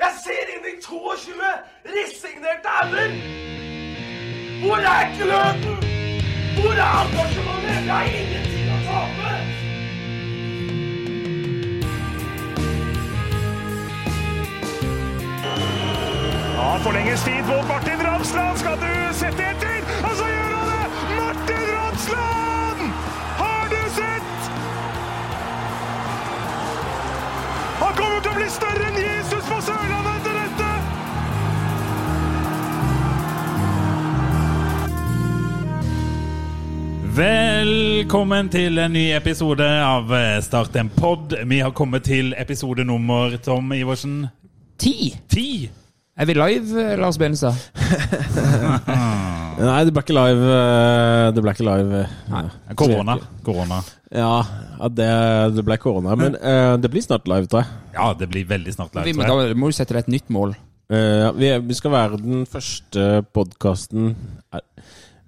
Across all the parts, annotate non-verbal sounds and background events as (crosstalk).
Jeg ser inn i 22 resignerte ender! Hvor er gløden? Hvor er engasjementet? Jeg har ingenting å tape! Ja, forlenges tid på Martin Ramsland. Skal du sette etter? Og så gjør han det! Martin Ramsland! Har du sett? Han kommer til å bli større enn Jesus på Sørlandet etter dette! Velkommen til en ny episode av eh, Start en pod. Vi har kommet til episode nummer, Tom Iversen, Ti! ti. Er vi live, eh, Lars Benestad? Nei, det ble ikke live. eh, Det ble ikke live. eh, Korona. Korona. Ja, ja det, det ble korona. Men eh, det blir snart live, tror jeg. Ja, det blir veldig snart Vi live, må, tror jeg. da må du sette deg et nytt mål. Eh, ja, vi, er- vi skal være den første podkasten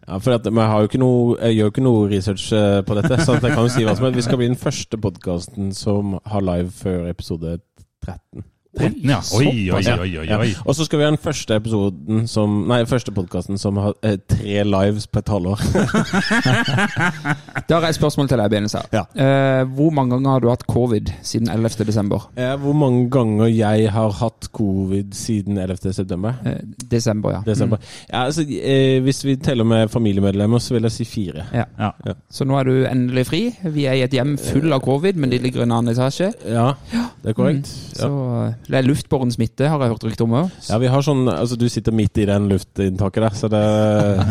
ja, For at, men jeg, har jo ikke noe, jeg gjør jo ikke noe research eh, på dette, så at jeg kan jo si hva som helst. Vi skal bli den første podkasten som har live før episode 13. Ja. Oi, oi, oi, oi, Ja. oi. Og så skal vi ha den første episoden som Nei, første podkasten som har eh, tre lives på et halvår. Da har jeg et spørsmål til deg, Benestad. Ja. Eh, hvor mange ganger har du hatt covid siden 11. desember? Eh, Hvor mange ganger jeg har hatt covid siden 11. september? Eh, desember, ja. Desember. mm. Ja, altså, eh, hvis vi teller med familiemedlemmer, så vil jeg si fire. Ja. Ja. Så nå er du endelig fri. Vi er i et hjem full av covid, men det ligger i en annen etasje. Ja, det er korrekt. Mm. Så eh, det er luftbåren smitte, har jeg hørt rykte om òg. Ja. ja, vi har sånn Altså, du sitter midt i den luftinntaket der, så det,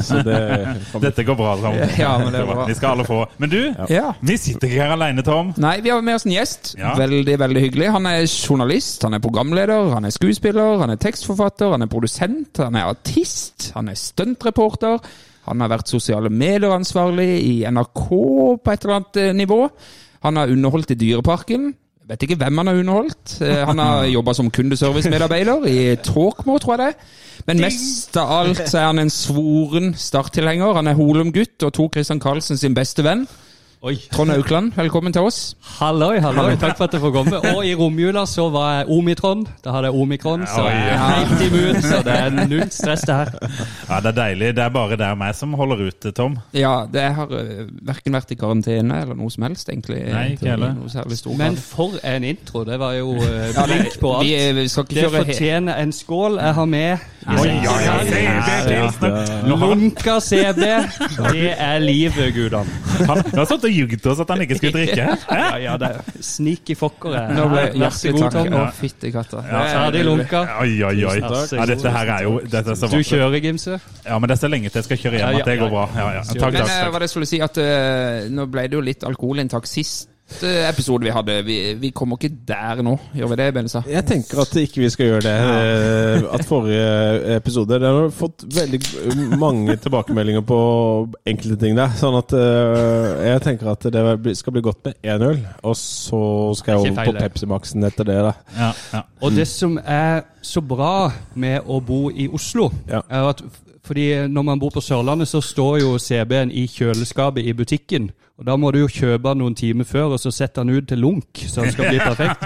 så det (laughs) Dette går bra, Tom. (laughs) Ja, men det er bra. Vi skal alle få. Men du, Ja. vi sitter ikke her alene, Tom. Nei, vi har med oss en gjest. Ja. Veldig, veldig hyggelig. Han er journalist, han er programleder, han er skuespiller, han er tekstforfatter, han er produsent, han er artist, han er stuntreporter. Han har vært sosiale medier-ansvarlig i NRK på et eller annet eh, nivå. Han har underholdt i Dyreparken. Vet ikke hvem han har underholdt. Eh, Han har jobba som kundeservice-medarbeider i Tråkmo, tror jeg det. Men mest av alt så er han en svoren Start-tilhenger. Han er Holum-gutt og Tor Christian Karlsen sin beste venn. Oi. Trond Aukland, velkommen til oss. Halloi, halloi. Takk for at jeg får komme. Og i romjula så var jeg omikron. Da hadde jeg omikron, så jeg er helt immun. Så det er null stress, det her. Ja, Det er deilig. Det er bare deg og meg som holder ut, eh, Tom. Ja, det jeg har uh, verken vært i karantene eller noe som helst, egentlig. Nei, ikke heller. I Noe særlig stor Men grad. for en intro. Det var jo eh, blink på vi, eh, alt. vi skal ikke Det kjøre he- fortjener en skål. Jeg har med Oi, ja, ja, CB-pilsner. Nå har han, Lunka CB. Det er livet, gudene. han, han har satt og ljugd til oss at han ikke skulle (laughs) drikke. Hæ? Ja, ja, det er sneaky fucker. jeg. Nå ble Vær så hjertelig god, takk. Tom. Å, fytti katta. Ferdig lunka. Oi, oi, oi. takk. Ja, dette her er jo dette er så Du vakkert. kjører, Gimse. Ja, men det er så lenge til jeg skal kjøre hjem at det går bra. Ja, ja. Takk, Men takk, eh, takk. hva det skulle si, at eh, nå ble det jo litt alkoholinntak sist eh, episode vi hadde. Vi, vi kommer ikke der nå, gjør vi det, Benestad? Jeg tenker at ikke vi skal gjøre det. eh, At forrige episode Det har fått veldig mange tilbakemeldinger på enkelte ting der. Sånn at eh, jeg tenker at det blir- skal bli godt med én øl, og så skal jeg Ikke over feil, på det. Pepsi Max-en etter det. da Ja, ja. Og det som er så bra med å bo i Oslo, Ja. er at fordi når man bor på Sørlandet, så står jo CB-en i kjøleskapet i butikken. Og Da må du jo kjøpe den noen timer før, og så sette den ut til lunk, så den skal bli perfekt.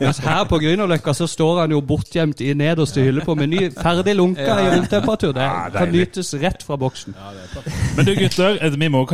Mens her på Grünerløkka så står han jo bortgjemt i nederste hylle på Meny, ferdig lunka i romtemperatur. Det Ja, kan deilig. nytes rett fra boksen. Men du gutter, eh, vi må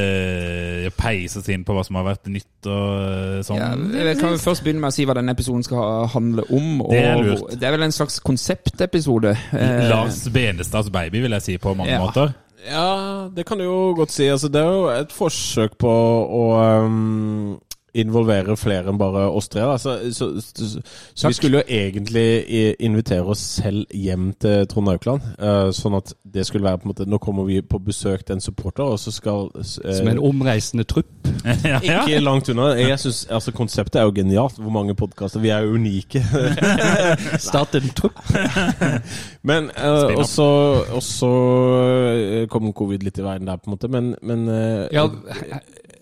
kanskje peise oss inn på hva som har vært nytt og eh, sånn. Ja, vi kan vi først begynne med å si hva denne episoden skal ha- handle om. Og Det er lurt. det er vel en slags konseptepisode. eh, Lars Benestads baby, vil jeg si, på mange Ja. måter. (laughs) Ja, det kan du jo godt si. Altså, det er jo et forsøk på å ehm, involvere flere enn bare oss tre. da. Så, så, så, så vi skulle jo egentlig i- invitere oss selv hjem til Trond Aukland. eh, sånn at det skulle være på en måte Nå kommer vi på besøk til en supporter, og så skal eh, Som en omreisende trupp. Ja, ja. Ikke langt unna. Jeg synes, altså Konseptet er jo genialt. Hvor mange podkaster. Vi er jo unike. (laughs) Start en trupp. Men Spinn eh, opp. Og så og så, eh, kom covid litt i veien der, på en måte. Men, men eh, Ja,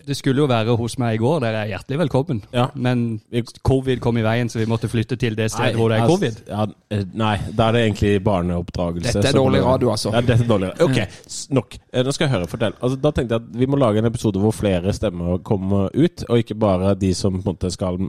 Det skulle jo være hos meg i går, dere er hjertelig velkommen. Ja. Men Vi- covid kom i veien, så vi måtte flytte til det stedet hvor det er covid. Ja, eh, nei, da er det egentlig barneoppdragelse. Dette er som- dårlig radio, altså. Mm. Ja, dette er dårlig radio. Ok, s- nok. Eh, Nå skal jeg høre. Fortell. Altså, da tenkte jeg at vi må lage en episode hvor flere stemmer kommer ut, og ikke bare de som på en måte skal,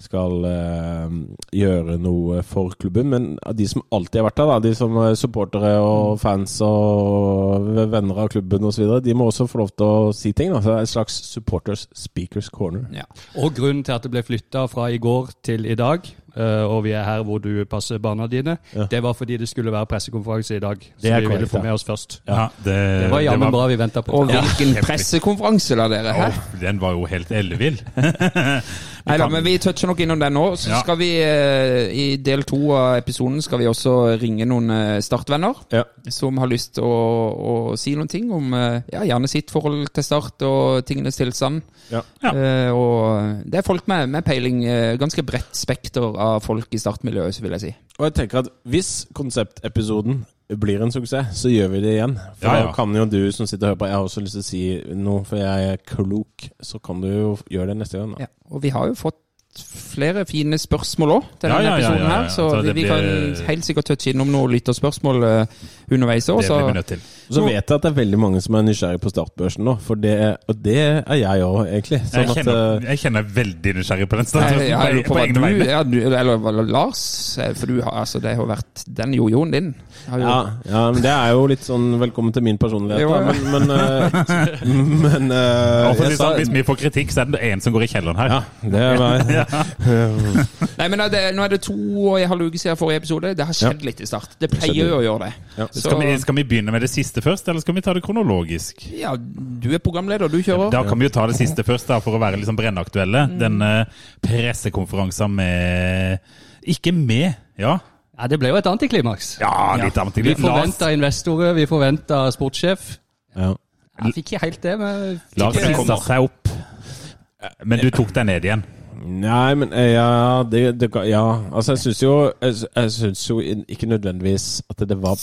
skal eh, gjøre noe for klubben, men av de som alltid har vært der. Da, de som er supportere Mm. og fans og venner av klubben osv. De må også få lov til å si ting. Da. Så det er en slags supporters speakers corner. Ja. Og grunnen til at det ble flytta fra i går til i dag, eh, og vi er her hvor du passer barna dine, det var fordi det skulle være pressekonferanse i dag. Så er vi ville korrekt, få ja. med oss først. Ja, det, Det var jammen bra vi venta på. Og hvilken pressekonferanse, da, dere. Hæ? Å, den var jo helt ellevill. Nei da, men vi toucher nok innom den nå. Så Ja. skal vi eh, i del to av episoden skal vi også ringe noen eh, startvenner Ja. som har lyst til å, å si noen ting om eh, ja, gjerne sitt forhold til Start og tingenes tilstand. Ja. Ja. Eh, og det er folk med, med peiling. eh, ganske bredt spekter av folk i startmiljøet, vil jeg si. Og jeg tenker at hvis konseptepisoden blir en suksess, så gjør vi det igjen. For Ja, ja. da kan jo du som sitter og hører på, jeg har også lyst til å si noe, for jeg er klok. Så kan du jo gjøre det neste gang. Da. Ja. Og vi har jo fått flere fine spørsmål òg til Ja, denne ja, ja, episoden ja, ja. her, så, Så vi, det vi blir- kan helt sikkert touche innom noen lytterspørsmål eh, underveis òg. Det Så blir vi nødt til. Og Så vet jeg at det er veldig mange som er nysgjerrig på startbørsen nå, for det, og det er jeg òg, egentlig. Sånn Jeg at kjenner, eh, jeg kjenner veldig nysgjerrig på den Nei, statusen. jeg på- lurer på på hva egne du, vegne. ja, du Eller hva- Lars, eh, for du har altså Det har jo vært den jojoen din. Har jo, ja, ja, men det er jo litt sånn velkommen til min personlighet, Jo, da. ja. Men, men, eh, (laughs) men eh, Og for å si jeg det sånn, sa- hvis vi får kritikk, så er det en som går i kjelleren her. ja, det (laughs) er meg. Nei, men nå er det, nå er det to og en halv uke siden forrige episode. Det har skjedd litt i start. Det pleier jo å gjøre det. Ja. Så, Skal, vi, skal vi begynne med det siste først, eller skal vi ta det kronologisk? ja, du er programleder, du kjører. Da kan vi jo ta det siste først, da, for å være liksom brennaktuelle. Denne pressekonferansen med Ikke med, ja. Ja, det ble jo et antiklimaks. Ja, litt Vi antiklimaks. forventa investorer, vi forventa sportssjef. Ja. Jeg fikk ikke helt det, men Lars fikk hissa seg opp, Eh, men du tok deg ned igjen. Nei, men eh, ja, det, det, kan- ja. Altså, jeg syns jo, jeg, sy- jeg synes jo in- ikke nødvendigvis at det var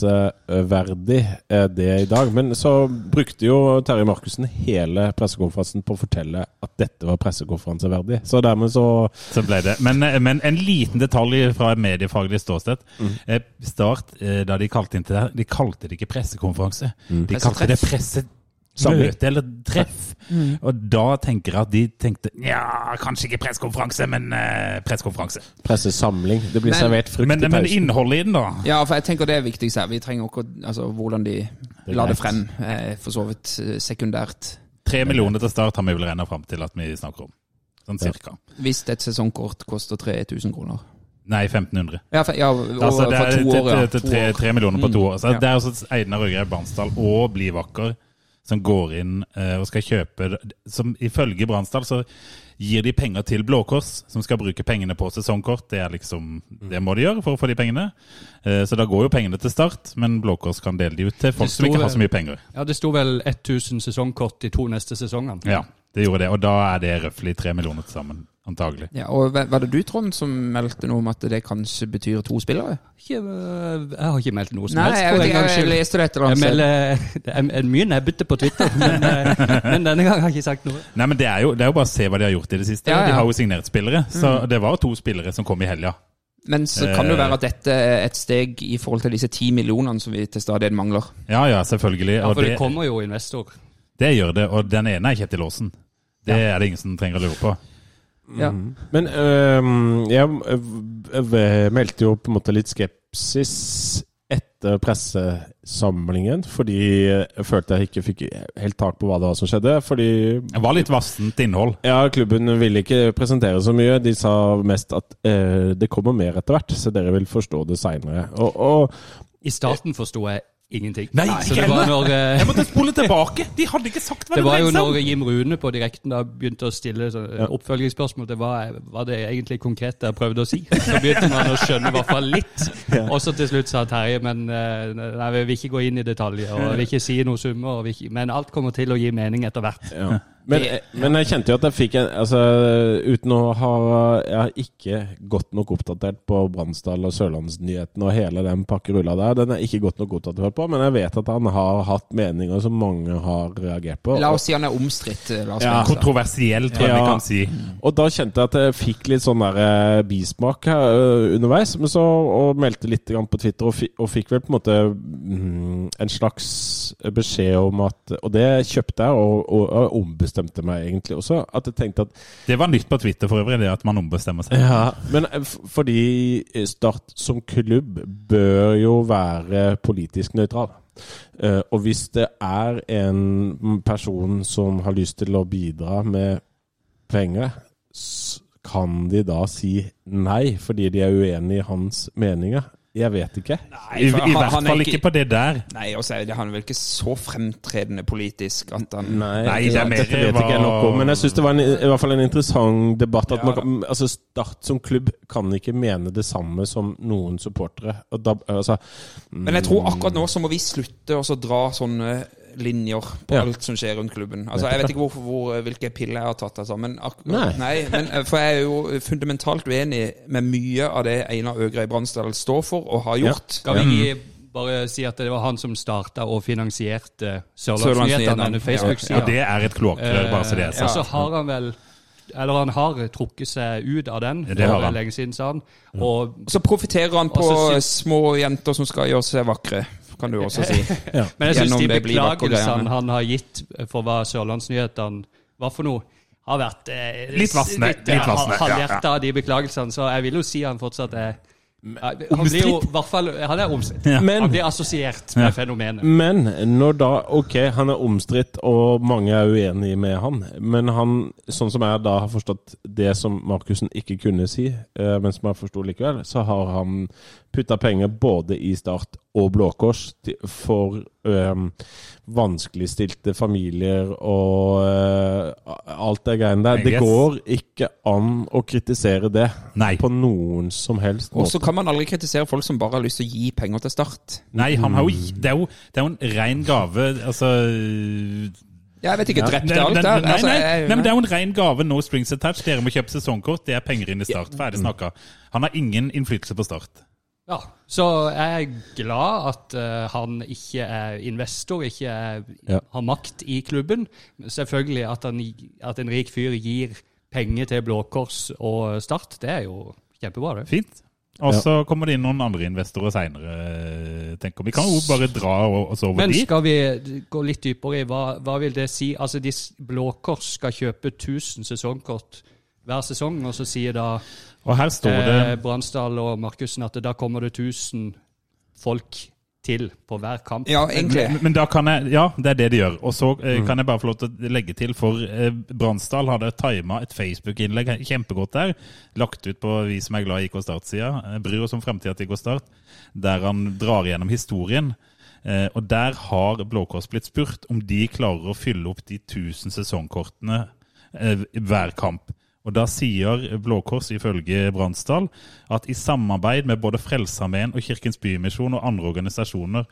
pressekonferanseverdig, eh, det i dag. Men så brukte jo Terje Markussen hele pressekonferansen på å fortelle at dette var pressekonferanseverdig. Så dermed så Så ble det. Men, eh, men en liten detalj fra et mediefaglig ståsted. Eh, Start, eh, da de kalte inn til det her, de kalte det ikke pressekonferanse. De kalte det pressemøte eller treff. Og da tenker jeg at de tenkte ja, kanskje ikke pressekonferanse, men eh, pressekonferanse. pressesamling. Det blir Men- servert frukt Men, i men pausen. innholdet i den, da? Ja, for jeg tenker det er viktigst her. Vi trenger også, altså, hvordan de la det greit. frem, eh, for så vidt eh, sekundært. Tre millioner til Start har vi vel regna fram til at vi snakker om. Sånn cirka. Hvis et sesongkort koster 3000 kroner. Nei, 1500. Ja, for, ja, og, Altså, det er for to år, ja. til- til- til To tre, år. Mm. tre millioner på to år. Så ja. Det er også Einar Øgreib Bransdal og Bli vakker som går inn eh, og skal kjøpe Som ifølge Bransdal så gir de penger til Blå Kors, som skal bruke pengene på sesongkort. Det er liksom, Mm. det må de gjøre for å få de pengene. Eh, Så da går jo pengene til Start, men Blå Kors kan dele de ut til folk Det som ikke har store- så mye penger. Ja, det sto vel 1000 sesongkort de to neste sesongene. Ja, det gjorde det. Og da er det røftlig tre millioner til sammen, antagelig. Ja, og hva- var det du, Trond, som meldte noe om at det kanskje betyr to spillere? Ikke, øh, jeg har ikke meldt noe som Nei, helst. jeg, for vet en ikke, gangs jeg skyld. leste det et eller Jeg annet sted. melder det er- er mye nebbete på Twitter, men, øh, men denne gang har jeg ikke sagt noe. Nei, men det er, jo, det er jo bare å se hva de har gjort i det siste. Ja, ja. De har jo signert spillere. Så det var to spillere som kom i helga. Men så kan det jo være at dette er et steg i forhold til disse ti millionene som vi til stadighet mangler. Ja, ja, selvfølgelig. Ja, og for det det, kommer jo investor. det gjør det. Og den ene er Kjetil Aasen. Det er det ingen som trenger å lure på. Ja. Men øhm, jeg, øh, øh, meldte jo på en måte litt skepsis etter pressesamlingen, fordi jeg følte jeg ikke fikk helt tak på hva det var som skjedde. Fordi Det var litt vassent innhold. ja, klubben ville ikke presentere så mye. De sa mest at øh, det kommer mer etter hvert, så dere vil forstå det seinere. Og, og I starten forsto jeg ingenting. Nei, så det var, når, øh, Jeg måtte spole tilbake! De hadde ikke sagt hva det det var jo dreide seg når om! Jim Rune på direkten da begynte å stille så- øh, Ja. oppfølgingsspørsmål til hva var det egentlig konkret jeg prøvde å si. Så begynte man å skjønne i hvert fall litt. Og så til slutt sa Terje men øh, nei, (laughs) vi vil ikke gå inn i detaljer og vi vil ikke si noen summer, og vi vil ikke, men alt kommer til å gi mening etter hvert. ja. Men, men jeg kjente jo at jeg fikk en altså, Uten å ha Jeg er ikke godt nok oppdatert på Bransdal og Sørlandsnyhetene og hele den pakkerulla der. Den er ikke godt nok oppdatert på, men jeg vet at han har hatt meninger som mange har reagert på. La oss si han er omstridt. eh, La oss si Ja. det. Kontroversiell, tror jeg Ja. vi kan si. Og da kjente jeg at jeg fikk litt sånn der eh, bismak her eh, underveis, men så, og meldte litt grann på Twitter, og, fi, og fikk vel på en måte mm, en slags beskjed om at Og det kjøpte jeg, og, og, og ombestemte meg egentlig også. At jeg tenkte at Det var nytt på Twitter for øvrig, det at man ombestemmer seg. ja, Men eh, f- fordi eh, Start som klubb bør jo være politisk nøytral. Eh, Og hvis det er en person som har lyst til å bidra med penger, s- kan de da si nei fordi de er uenig i hans meninger? Jeg vet ikke. I, for i han- hvert han er fall ikke- ikke på det der. Nei, også, er det- han er vel ikke så fremtredende politisk at han Nei, det er mer dette vet ikke jeg nok om. Men jeg syns det var en, i hvert fall en interessant debatt. At Ja, man kan, altså Start som klubb kan ikke mene det samme som noen supportere. Og da, altså, Men jeg tror akkurat nå så må vi slutte å så dra sånne linjer på Ja. alt som skjer rundt klubben. Altså, Jeg vet ikke hvorfor, hvor, hvilke piller jeg har tatt, altså, men akkurat Nei. Nei, men eh, for jeg er jo fundamentalt uenig med mye av det Einar Øgrei Bransdal står for og har gjort. Skal vi gi, bare si at det var han som starta og finansierte Sørlandsnyhetene. Sørlandsnyhetene, denne Og Facebook-sida? det er et kloakkrør, bare så det er Og sagt. så har han vel Eller han har trukket seg ut av den Ja, det har for han. Mm. lenge siden, sa han. Og, Og så profitterer han på Og så små jenter som skal gjøre seg vakre, kan du også (laughs) si. men jeg syns Gjennom de det blir vakre greiene. beklagelsene han har gitt for hva Sørlandsnyhetene var for noe, har vært eh, Litt vassende, Litt, litt vassende, ja, ja. Mm. Halvhjerta av de beklagelsene, så jeg vil jo si han fortsatt er ja, han blir jo i hvert fall Han er omstridt. Men- Han blir assosiert med fenomenet. Men når da Ok, han er omstridt, og mange er uenige med han. Men han, sånn som jeg da har forstått det som Markussen ikke kunne si, eh, men som jeg forsto likevel, så har han putta penger både i Start og Blå Kors til- for eh, vanskeligstilte familier og eh, alt det greiene der. Det Yes. går ikke an å kritisere det Nei. på noen som helst Og måte. så kan man aldri kritisere folk som bare har lyst til å gi penger til Start. Nei, han har jo, gi- det, er jo, det er jo en ren gave. Altså Jeg vet ikke, drepte alt Den- der? den- Nei, Altså, nei, jeg- nei, men det er jo en ren gave. No strings attached. Dere må kjøpe sesongkort. Det er penger inn i Start. Ferdig snakka. Han har ingen innflytelse på Start. Ja, så jeg er glad at eh, han ikke er investor, ikke er, Ja. har makt i klubben. Men Selvfølgelig at, han, at en rik fyr gir penger til Blå Kors og Start, det er jo kjempebra, det. Fint. Og så kommer det inn noen andre investorer seinere, tenker vi. Vi kan jo bare dra og, og så over Men de. skal vi gå litt dypere i hva, hva vil det si? Altså, de s- Blå Kors skal kjøpe 1000 sesongkort hver sesong, og så sier da Og her står det eh, Bransdal og Markussen at da kommer det 1000 folk til på hver kamp. Ja, egentlig. Men, men da kan jeg, ja, det er det de gjør. Og så eh, kan jeg bare få lov til å legge til, for eh, Bransdal hadde tima et Facebook-innlegg her, kjempegodt der, lagt ut på vi som er glad i IK Start-sida, eh, bryr oss om fremtida til IK Start, der han drar gjennom historien. Eh, og der har Blå Kors blitt spurt om de klarer å fylle opp de 1000 sesongkortene eh, hver kamp. Og da sier Blå Kors ifølge Bransdal at i samarbeid med både Frelsesarmeen og Kirkens Bymisjon og andre organisasjoner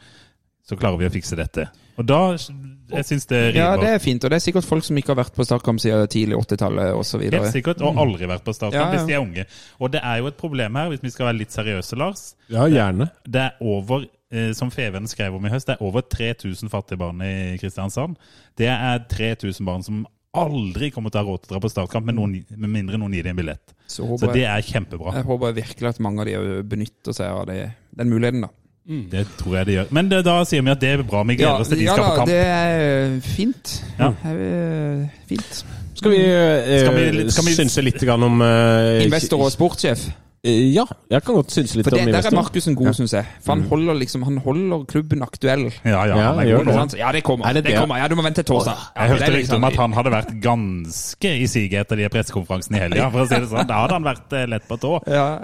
så klarer vi å fikse dette. Og da Jeg syns det rimer. Ja, det er fint. Og det er sikkert folk som ikke har vært på Startkamp siden tidlig 80-tallet osv. Helt sikkert. Og aldri vært på startkamp Ja, ja. hvis de er unge. Og det er jo et problem her, hvis vi skal være litt seriøse, Lars. Ja, gjerne. Det er over eh, som Feven skrev om i høst, det er over 3000 fattige barn i Kristiansand. Det er 3000 barn som aldri kommer til å ha råd til å dra på startkamp, med, noen, med mindre noen gir dem en billett. Så Så håper det jeg, er kjempebra. jeg håper virkelig at mange av de benytter seg av det, den muligheten, da. Det tror jeg de gjør. Men det, da sier vi at det er bra. Vi gleder oss til de skal på da, kamp. det er eh, fint. Ja. Det er, eh, fint. Skal vi, eh, Skal vi- skal vi- synse litt grann om eh, Investor og sportssjef. Eh, Ja, jeg kan godt synse litt For det, om der er investor. Markussen god, syns jeg. For Mm. han holder, liksom, han holder klubben aktuell. Ja, ja, Ja, han er gjør god det. nå. Sant? Ja, det kommer. Er det det, det? kommer. Ja, Du må vente til torsdag. Ja, Jeg det hørte er rykter om liksom- at han hadde vært ganske i siget etter de pressekonferansene i helga. for å si det sånn. Da hadde han vært eh, lett på tå, ja.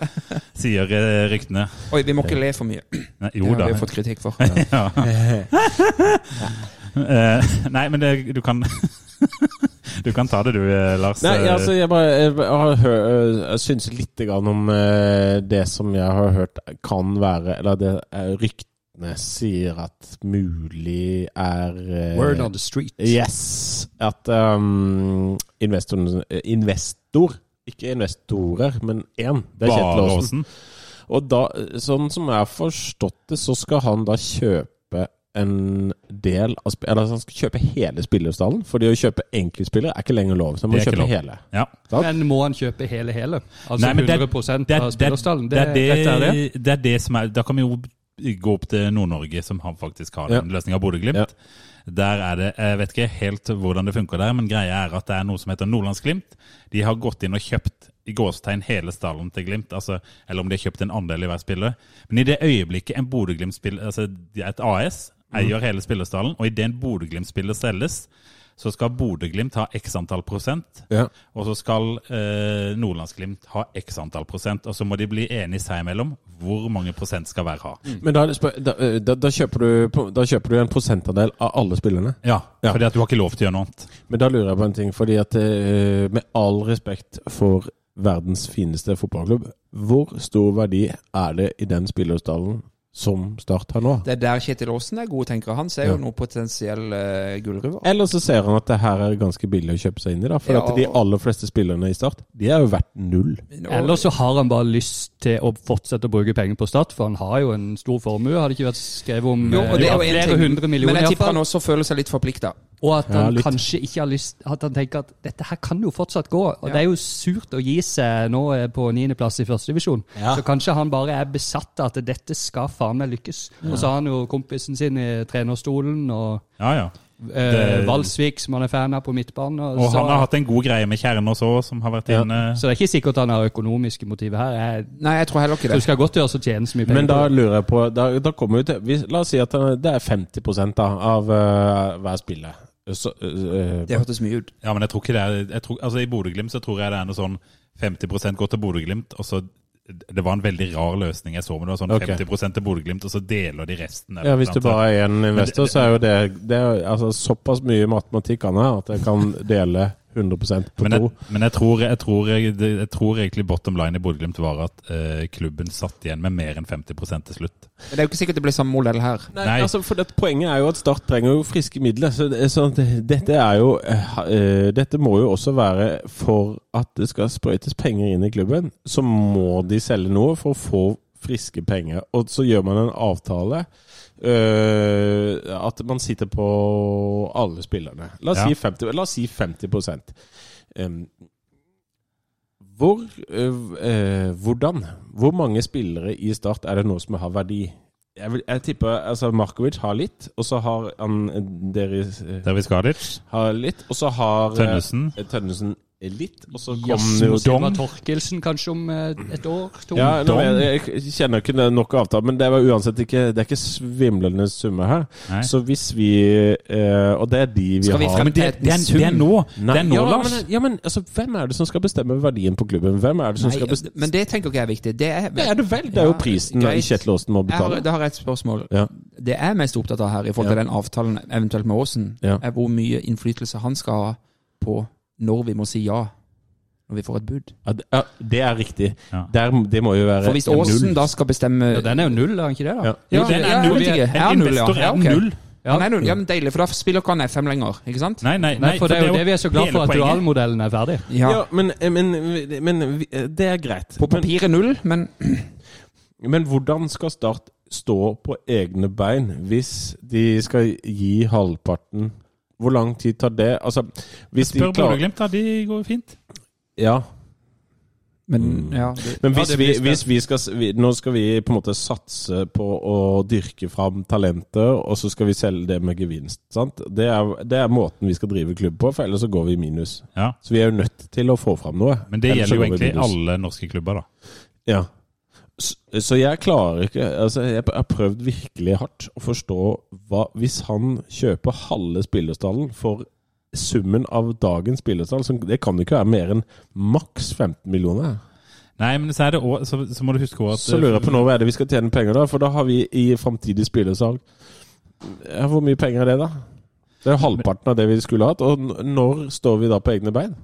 sier eh, ryktene. Oi, vi må ikke le for mye. Nei, Det jo har da. vi jo fått kritikk for. Eh, Nei, men det, du kan (laughs) Du kan ta det du, eh, Lars. Nei, Eh, altså, jeg bare jeg har hø jeg eh, synser litt grann om eh, det som jeg har hørt kan være Eller det er ryktene ryktene sier at mulig er eh, Word on the street. Yes. At um, investoren eh, Investor, ikke investorer, men én. Det er Kjetil Bare Aasen. Åsen. Og da, sånn som jeg har forstått det, så skal han da kjøpe en del av sp- Eller han skal kjøpe hele spillerstallen. Fordi å kjøpe enkeltspillere er ikke lenger lov. Så han Det må er ikke kjøpe lov. hele. Ja. Men må han kjøpe hele hele? Altså Nei, men det- 100 det er- av det- spillerstallen? det er dette er det? det, det er det som er Da kan vi jo gå opp til Nord-Norge, som har faktisk har den løsninga, Bodø-Glimt. Ja. Der er det Jeg vet ikke helt hvordan det funker der, men greia er at det er noe som heter Nordlandsglimt. De har gått inn og kjøpt i gåstegn hele stallen til Glimt, altså, eller om de har kjøpt en andel i hver spiller. Men i det øyeblikket en Bodø-Glimt-spiller Altså de er et AS Mm. eier hele spillerstallen, og idet en Bodø-Glimt-spiller selges, så skal Bodø-Glimt ha x antall prosent. Ja. Og så skal eh, Nordlandsglimt ha x antall prosent, og så må de bli enige seg imellom hvor mange prosent skal hver ha. Men da, er det spør- da, eh, da, da, kjøper du, på- da kjøper du en prosentandel av alle spillerne. Ja, Ja. fordi at du har ikke lov til å gjøre noe annet. Men da lurer jeg på en ting, fordi at eh, med all respekt for verdens fineste fotballklubb, hvor stor verdi er det i den spillerstallen som Start har nå? Det er der Kjetil Aasen er god, tenker han. Ser Ja. jo noe potensiell uh, gullruver. Eller så ser han at det her er ganske billig å kjøpe seg inn i, da. For Ja. at de aller fleste spillerne i Start, de er jo verdt null. Eller så har han bare lyst til å fortsette å bruke penger på Stad, for han har jo en stor formue. Har det ikke vært skrevet om jo, eh, og det er jo en flere ting, hundre millioner? men jeg i hvert tipper fall. han også føler seg litt forplikta. Og at Ja, han litt. kanskje ikke har lyst At han tenker at dette her kan jo fortsatt gå. Og Ja. det er jo surt å gi seg nå eh, på niendeplass i førstedivisjon. Så kanskje han bare er besatt av at dette skal faen meg lykkes. Og så har han jo kompisen sin i trenerstolen, og Ja, ja. eh, Det- Valsvik, som han er fan av, på midtbanen. Og Og så, han har hatt en god greie med Kjerne også, som har vært Ja. inne. så det er ikke sikkert han har økonomiske motiver her. Jeg Nei, jeg tror heller ikke tror det. det skal godt gjøres å tjene så mye penger. Men på da det. lurer jeg på Da, da kommer vi til vi, La oss si at eh, det er 50 da, av eh, hver spiller. Så, eh, Det hørtes mye ut. Ja, men jeg tror ikke det er jeg tror, Altså, i Bodø-Glimt så tror jeg det er noe sånn 50 går til Bodø-Glimt, og så Det var en veldig rar løsning jeg så, men det var sånn Ok. 50 til Bodø-Glitt, og så deler de resten. ja, hvis du bare er en investor, så er jo det, det er, altså, såpass mye matematikk han har, at jeg kan dele 100 på men jeg, to. men jeg, tror, jeg, tror, jeg, det- jeg tror egentlig bottom line i Bodø-Glimt var at eh, klubben satt igjen med mer enn 50 til slutt. Men det er jo ikke sikkert det blir samme modell her. Nei, Nei. altså for det, Poenget er jo at Start trenger jo friske midler. Så, det, så det, dette er jo eh, ha- eh, Dette må jo også være for at det skal sprøytes penger inn i klubben, så må de selge noe for å få friske penger. Og så gjør man en avtale eh, at man sitter på alle spillerne. La oss Ja. si 50, la oss si 50 Em, hvor, eh, eh, hvordan, hvor mange spillere i Start er det nå som har verdi? Jeg, vil, jeg tipper altså Markovic har litt, og så har han eh, Deris eh, Der vi Skadic, har litt, og så har eh, Tønnesen. eh, Tønnesen litt, og så kom Jasmus jo Ivar Torkelsen kanskje om eh, et år? To. ja, nå, Dom. jeg, jeg kjenner ikke det nok avtale, men det var uansett ikke, det er ikke svimlende summer her. Nei. Så hvis vi eh, Og det er de vi Skal vi har frem- Men det, det, er, det er nå! Nei, Det er nå, ja, Lars! Men, ja, men altså, hvem er det som skal bestemme verdien på klubben? Hvem er det som Nei, skal bestemme men det tenker ikke jeg er viktig. Det er, Det er det vel! Det er jo Ja, prisen greit. Kjetil Aasen må Jeg har, betale. da har jeg et spørsmål. Ja. Det jeg er mest opptatt av her, i forhold til den avtalen eventuelt med Aasen, Ja. er hvor mye innflytelse han skal ha på når vi må si ja når vi får et bud. Ja, det- ja, det er riktig. Ja. Der, det må jo være For hvis en Aasen null. da skal bestemme Ja, den er jo null, er han ikke det? da? Ja. Ja, Jo, den er ja, jeg null. vet ikke. Er han En null, ja? investor Ja, er ok. null. Ja, nei, ja, men Deilig, for da spiller ikke han FM lenger, ikke sant? Nei, nei, Nei, for det er jo det vi er så glad hele for at poenget. dualmodellen er ferdig. ja. Ja. men, eh, men, men vi- det er greit. På papiret null, men Men, men hvordan skal Start stå på egne bein hvis de skal gi halvparten Hvor lang tid tar det? Altså, hvis de Spør klarer Bodø-Glimt, da. De går jo fint. Ja. Men ja, det, Men hvis, det vi, blir hvis vi skal s- vi, Nå skal vi på en måte satse på å dyrke fram talenter, og så skal vi selge det med gevinst. Sant? Det, er, det er måten vi skal drive klubb på, for ellers så går vi i minus. Ja. Så vi er jo nødt til å få fram noe. Men det ellers så gjelder jo går vi i egentlig minus. alle norske klubber, da. Ja. Så, så jeg klarer ikke altså Jeg har prøvd virkelig hardt å forstå hva Hvis han kjøper halve spillerstallen for summen av dagens spillerstall, så det kan jo ikke være mer enn maks 15 millioner. Nei, men så, er det også, så, så må du huske også at Så lurer jeg på nå hva er det vi skal tjene penger da? For da har vi i framtidig spillersalg ja, Hvor mye penger er det, da? Det er jo halvparten av det vi skulle hatt. Og n- når står vi da på egne bein?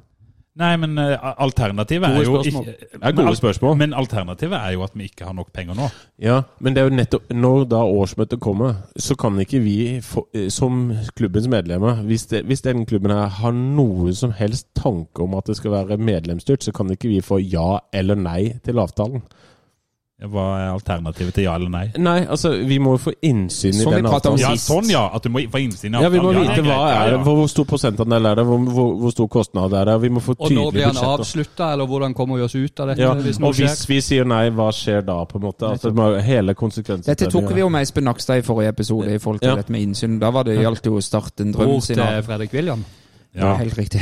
Nei, men eh, alternativet er jo Gode spørsmål. ikke- Det er gode men al- spørsmål. Men alternativet er jo at vi ikke har nok penger nå. Ja, men det er jo nettopp når da årsmøtet kommer, så kan ikke vi få, eh, som klubbens medlemmer hvis, det, hvis den klubben her har noen som helst tanke om at det skal være medlemsstyrt, så kan ikke vi få ja eller nei til avtalen. Hva er alternativet til ja eller nei? Nei, altså, vi må jo få innsyn Som i vi den pratet om avtalen. Ja, sist. sånn ja! At du må få innsyn i Ja, vi må det vite greit, hva ja, er det, ja. hvor, hvor stor prosentandel er det, hvor, hvor, hvor stor kostnad er det, og vi må få Og nå tydelige blir han budsjetter. avslutta, eller hvordan kommer vi oss ut av dette? Ja, hvis og noe skjer? hvis vi sier nei, hva skjer da, på en måte? Altså, det må- hele konsekvensen Dette tok vi jo med Espen Nakstad i forrige episode i forhold til Ja. dette med innsyn. Da var det gjaldt jo å starte en drøm Bror sin. til Fredrik William. Ja. Helt riktig.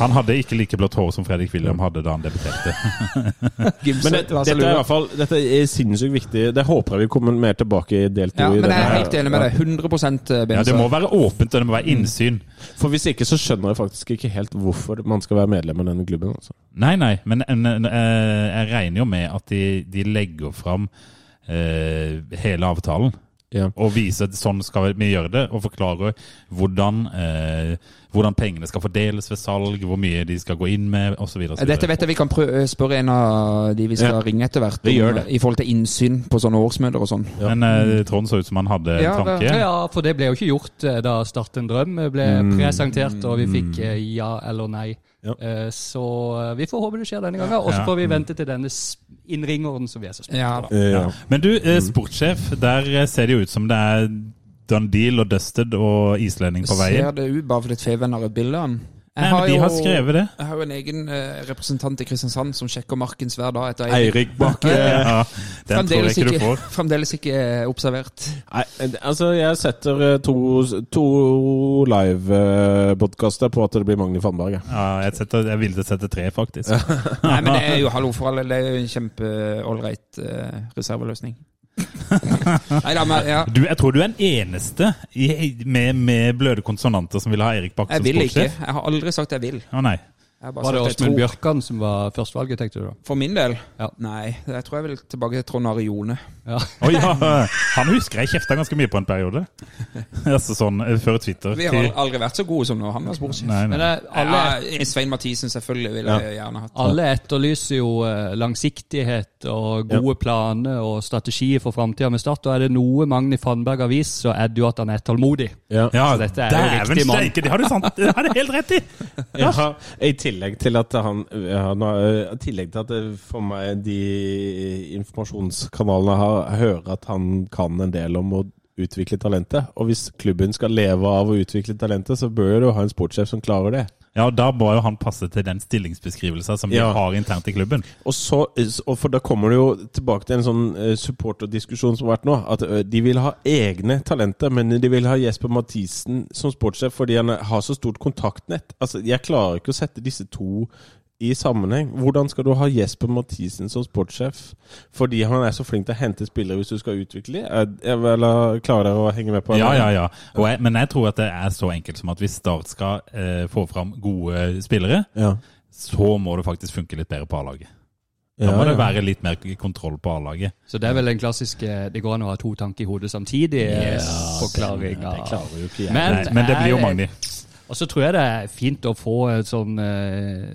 Han hadde ikke like blått hår som Fredrik William hadde da han debuterte. Men det, dette er i hvert fall dette er sinnssykt viktig. Det håper jeg vi kommer mer tilbake i del to. ja, i men denne jeg er her. helt enig med deg. eh, 100 Benza. Ja, Det må være åpent, og det må Mm. være innsyn. For hvis ikke så skjønner jeg faktisk ikke helt hvorfor man skal være medlem av denne klubben. Altså. Nei, nei, men en, en, eh, jeg regner jo med at de, de legger fram eh, hele avtalen. Ja. Og viser at sånn skal vi gjøre det, og forklarer hvordan, eh, hvordan pengene skal fordeles ved salg, hvor mye de skal gå inn med, osv. Eh, Dette vet jeg vi kan prø- spørre en av de vi skal Ja. ringe etter hvert Vi gjør om, eh, det. i forhold til innsyn på sånne årsmøter og sånn. Men eh, Trond så ut som han hadde en Ja, det- tanke. Ja, ja, for det ble jo ikke gjort eh, da Start en drøm ble presentert, og vi fikk eh, ja eller nei. Ja. Eh, Så eh, vi får håpe det skjer denne gangen, og så Ja. får vi vente til denne s- innringeren som vi er så spent Ja, på. Ja. Men du, eh, sportssjef, der eh, ser det jo ut som det er Dundeel og Dusted og islending på vei Ser inn. det ut bare fordi Feven har et bilde av den? Jeg Nei, men de har skrevet det. Jeg har jo en egen eh, representant i Kristiansand som sjekker markens hver dag etter Eirik. Eirik (laughs) Bakke Ja, den tror jeg Fremdeles ikke du ikke, får. (laughs) fremdeles ikke eh, observert. Nei, altså, jeg setter eh, to, to live-podkaster på at det blir Magni Fannberg. jeg. Ja, jeg, setter, jeg ville sette tre, faktisk. Nei, men det er jo hallo for alle. Det er jo en kjempeålreit uh, (laughs) reserveløsning. Nei da, men ja. Du, jeg tror du er den eneste i, med, med bløde konsonanter som vil ha Erik Bakke Jeg som vil ikke. sportssjef. Jeg har aldri sagt jeg vil. Å nei. Jeg har bare Var det sagt jeg Åsmund tror. Bjørkan som var førstevalget, tenkte du da? For min del? Ja. Nei. Jeg tror jeg vil tilbake til Trond Are Jone. Ja. Å ja, han husker jeg kjefta ganske mye på en periode. (laughs) Altså sånn eh, før Twitter. Vi har aldri vært så gode som når han var sportssjef. Nei, Men nei. eh, alle, Ja, Svein Mathisen selvfølgelig ville jeg gjerne hatt. alle etterlyser jo eh, langsiktighet og gode planer og strategier for framtida med Start, og er det noe Magni Fannberg har vist, så er det jo at han er tålmodig. Ja. Ja, Så altså, dette er jo dæven riktig mann. steike, det har du sant, det har du helt rett i! Jeg har, I tillegg til at han, han har, I tillegg til at det for meg de informasjonskanalene har, hører at han kan en del om å utvikle talentet. Og hvis klubben skal leve av å utvikle talentet, så bør du ha en sportssjef som klarer det. Ja, og da må jo han passe til den stillingsbeskrivelsen som Ja. de har internt i klubben. Og så, og for da kommer det jo tilbake til en sånn eh, supporterdiskusjon som har vært nå. At eh, de vil ha egne talenter, men de vil ha Jesper Mathisen som sportssjef fordi han eh, har så stort kontaktnett. Altså, Jeg klarer ikke å sette disse to i sammenheng. Hvordan skal du ha Jesper Mathisen som sportssjef fordi han er så flink til å hente spillere hvis du skal utvikle dem? Eller klarer dere å henge med på det? Ja, ja, ja. Og jeg, men jeg tror at det er så enkelt som at hvis Start skal eh, få fram gode spillere, Ja. så må det faktisk funke litt bedre på A-laget. Da Ja, må det ja. være litt mer kontroll på A-laget. Så det er vel den klassiske 'det går an å ha to tanker i hodet samtidig' eh, forklaringa. Klarer jo ikke jeg. Nei, Men det blir jo Magni. Og så tror jeg det er fint å få en sånn eh,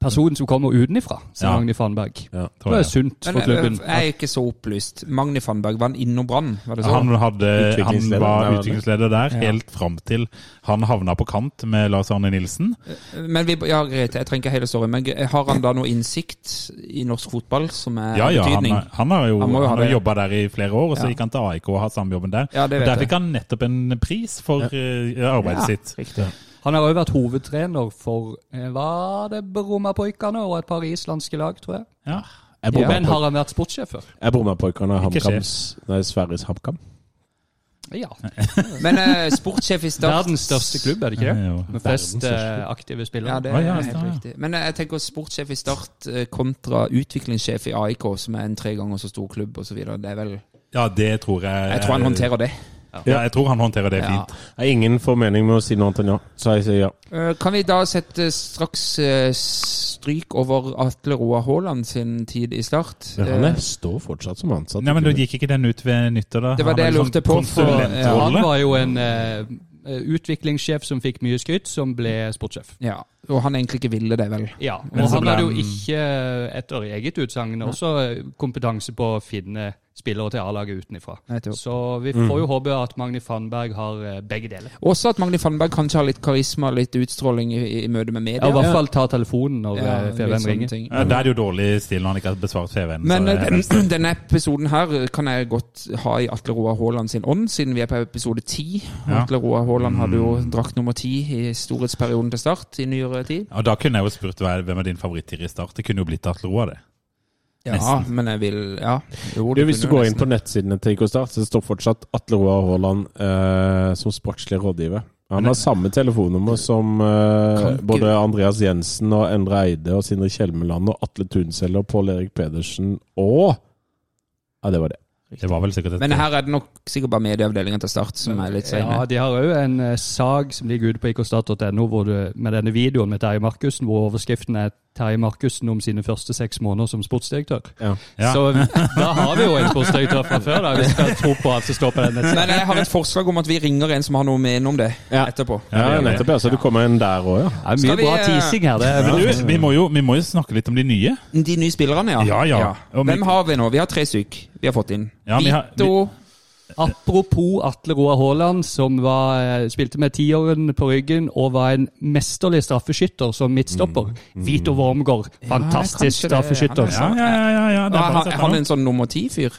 person som kommer utenifra, som Ja. Magni Fannberg. Ja. Det Tror er jeg. sunt for Men jeg, klubben. jeg er ikke så opplyst. Magni Fannberg, var han innom Brann? Var det Han, sånn? hadde, han Utviklingsleder. var Nei, utviklingsleder der Ja. helt fram til han havna på kant med Lars Arne Nilsen. Men vi, ja, greit, jeg trenger ikke hele storyen. Men har han da noe innsikt i norsk fotball som er Ja, av ja, han, betydning? er- han har jo, Han må jo han ha har det. jobba der i flere år, og så Ja. gikk han til AIK og har samme jobben der. Ja, det og vet Der jeg. fikk han nettopp en pris for eh, arbeidet sitt. Riktig. Han har òg vært hovedtrener for eh, var det Brommapojkane og et par islandske lag, tror jeg. Ja. Jeg bor Men meg på- har han vært sportssjef før? jeg bor meg på Ikana Ikke Hamkams Nei, Sverres HamKam. Ja. Men eh, sportssjef i Start Verdens største klubb, er det ikke Ja, det? jo. Med flest eh, aktive Ja, spillere. det Å, er ja, helt stemmer. riktig. Men eh, jeg tenker sportssjef i Start eh, kontra utviklingssjef i AIK, som er en tre ganger så stor klubb osv. Det er vel ja, det tror jeg Jeg tror han håndterer det. Ja, jeg tror han håndterer det Ja. fint. Nei, Ingen får mening med å si noe annet enn ja, så jeg sier ja. Eh, Kan vi da sette straks eh, stryk over Atle Roar Haaland sin tid i Start? Men han Eh, er, står fortsatt som ansatt. Nei, men da gikk ikke den ut ved nyttår, da? Det var det Han liksom jeg hadde lurte på, for- Ja, konsulentrolle. eh, han var jo en eh, utviklingssjef som fikk mye skryt, som ble sportssjef. Ja, og han egentlig ikke ville det, vel. Ja, og Men så han ble hadde jo han- ikke, eh, etter eget utsagn, også eh, kompetanse på å finne spillere til A-laget utenfra. Nettopp. Så vi får jo håpe at Magni Fannberg har eh, begge deler. Også at Magni Fannberg kanskje har litt karisma litt utstråling i, i møte med media. Ja, I hvert fall ta telefonen når Ja, eh, litt FVM sånne ringer. ting. Ja, det er det jo dårlig stil når han ikke har besvart CV-en. Men så eh, det er den, (clears throat) denne episoden her kan jeg godt ha i Atle Roar Haaland sin ånd, siden vi er på episode ti. Ja. Atle Roar Haaland hadde jo drakt nummer ti i storhetsperioden til Start i nyere tid. Og da kunne jeg jo spurt hva er- hvem er din favoritttier i start. Det kunne jo blitt Atle Roa, det. Ja, Nesten. men jeg vil Ja. Jo, Du, hvis du kunne jo går inn nesten. på nettsidene til IK Start, så står fortsatt Atle Roar Haaland eh, som sportslig rådgiver. Han har samme telefonnummer som eh, Kan ikke- både Andreas Jensen og Endre Eide og Sindre Kjelmeland og Atle Tunselle og Pål Erik Pedersen og Ja, det var det. Det var vel sikkert et Men her er det nok sikkert bare medieavdelingen til Start som er litt Ja, seine. De har òg en eh, sag som ligger ute på ikostat.no hvor du- med denne videoen med Terje Markussen, hvor overskriften er 'Terje Markussen om sine første seks måneder som sportsdirektør'. Ja. Ja. Så eh, da har vi jo en sportsdirektør fra før, da, hvis vi skal tro på alt som står på den nettsiden. Men jeg har et forslag om at vi ringer en som har noe å mene om det, Ja. etterpå. Ja, nettopp. Ja, så du kommer inn der òg, ja. Det er mye Skal vi, bra eh, teasing her. Det er Men du, vi må, jo, vi må jo snakke litt om de nye. De nye spillerne, ja. Ja, ja. Og Hvem Mik- har vi nå? Vi har tre stykk vi har fått inn. Ja, vi har- Vito Apropos Atle Roar Haaland, som var, eh, spilte med tiåren på ryggen og var en mesterlig straffeskytter som Mm. midtstopper. Vito Wormgård, kanskje det. fantastisk straffeskytter. Han er Ja, ja, ja. ja, ja. Det Er er bare å han, sette er han han opp. en sånn nummer ti-fyr?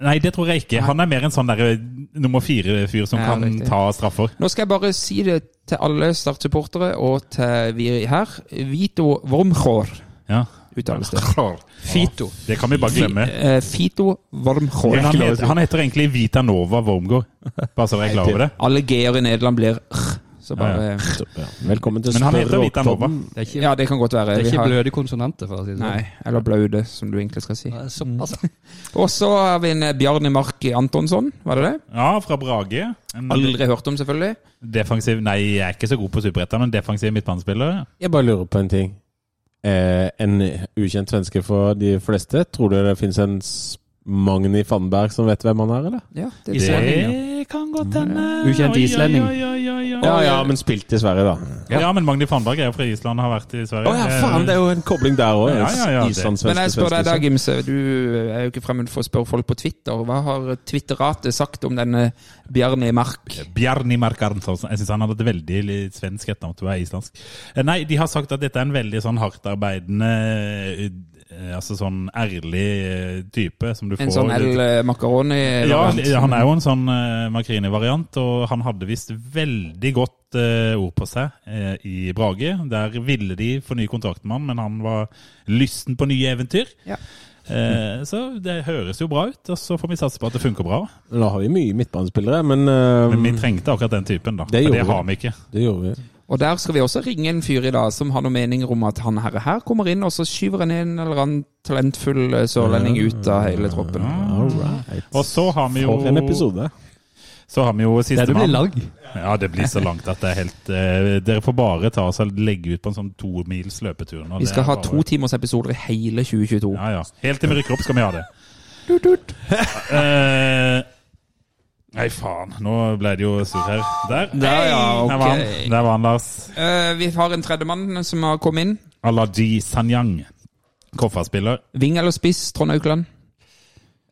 Nei, det tror jeg ikke. Han er mer en sånn der, eh, nummer fire-fyr som Ja, kan riktig. ta straffer. Nå skal jeg bare si det til alle Start-supportere og til vi her. Vito Wormchor Ja. uttales det. Fito. Det kan vi bare glemme. Eh, Fito Wormchor. Men han, heter, han heter egentlig Vita Nova Wormgård, bare så dere er klar over det. Alle g-er i Nederland blir r, så Ja, bare Ja. Velkommen til Men han heter Vita Nova. Språkpodden. Det er ikke, Ja, det kan godt være. det er Vi ikke har, bløde konsonanter, for å si det nei, eller blaude, som du egentlig skal si. sånn. Såpass. Og så har vi en eh, Bjarne Mark Antonsson, var det det? Ja, fra Brage. En Aldri hørt om, selvfølgelig. Defensiv Nei, jeg er ikke så god på superetter, men defensiv midtbanespiller. ja. Jeg bare lurer på en ting. Eh, en ukjent svenske for de fleste. Tror du det finnes en s- Magni Fannberg som vet hvem han er, eller? Ja, det er Islending, ja. Det kan godt hende. Ukjent Oi, oi, islending. oi, oi, oi, oi. Ja, ja, men spilt i Sverige, da. Ja. ja, men Magni Fannberg er jo fra Island og har vært i Sverige. Å ja, faen, det er jo en kobling der òg. Ja, ja, ja, det- Men jeg spør deg da, Gimse. Du eh, er jo ikke fremmed for å spørre folk på Twitter. Hva har Twitteratet sagt om denne Bjarne Mark? Eh, Bjarni Mark Arntonsen. Jeg syns han hadde et veldig litt svensk etternavn. tror jeg er islandsk. Eh, Nei, de har sagt at dette er en veldig sånn hardtarbeidende eh, Altså sånn ærlig eh, type som du får En sånn El Macaroni? Ja, han er jo en sånn uh, Macrini-variant, og han hadde visst veldig godt eh, ord på seg eh, i Brage. Der ville de fornye kontrakten med han, men han var lysten på nye eventyr. Ja. Eh, så det høres jo bra ut, og så får vi satse på at det funker bra. Nå har vi mye midtbanespillere, men, eh, Men vi trengte akkurat den typen, da. Det for gjorde det har vi. vi ikke. det gjorde vi. Og der skal vi også ringe en fyr i dag som har noen meninger om at han herre her kommer inn, og så skyver han en eller annen talentfull eh, sørlending ut av hele troppen. All right. Og så har vi jo For en episode. Så har vi jo Det blir sistemann. lag. Ja, det blir så langt at det er helt eh, Dere får bare ta oss og legge ut på en sånn to mils løpetur. nå. Vi Det er skal ha bare- to timers episoder i hele 2022. Ja, ja. Helt til vi rykker opp, skal vi ha det. (laughs) Eh, nei, faen. Nå ble det jo sur her. Der. Der, ja, ok. Der var han, Der var han Lars. Eh, vi har en tredjemann som har kommet inn. Alaji Sanyang. Kofferspiller. Ving eller spiss, Trond Aukland?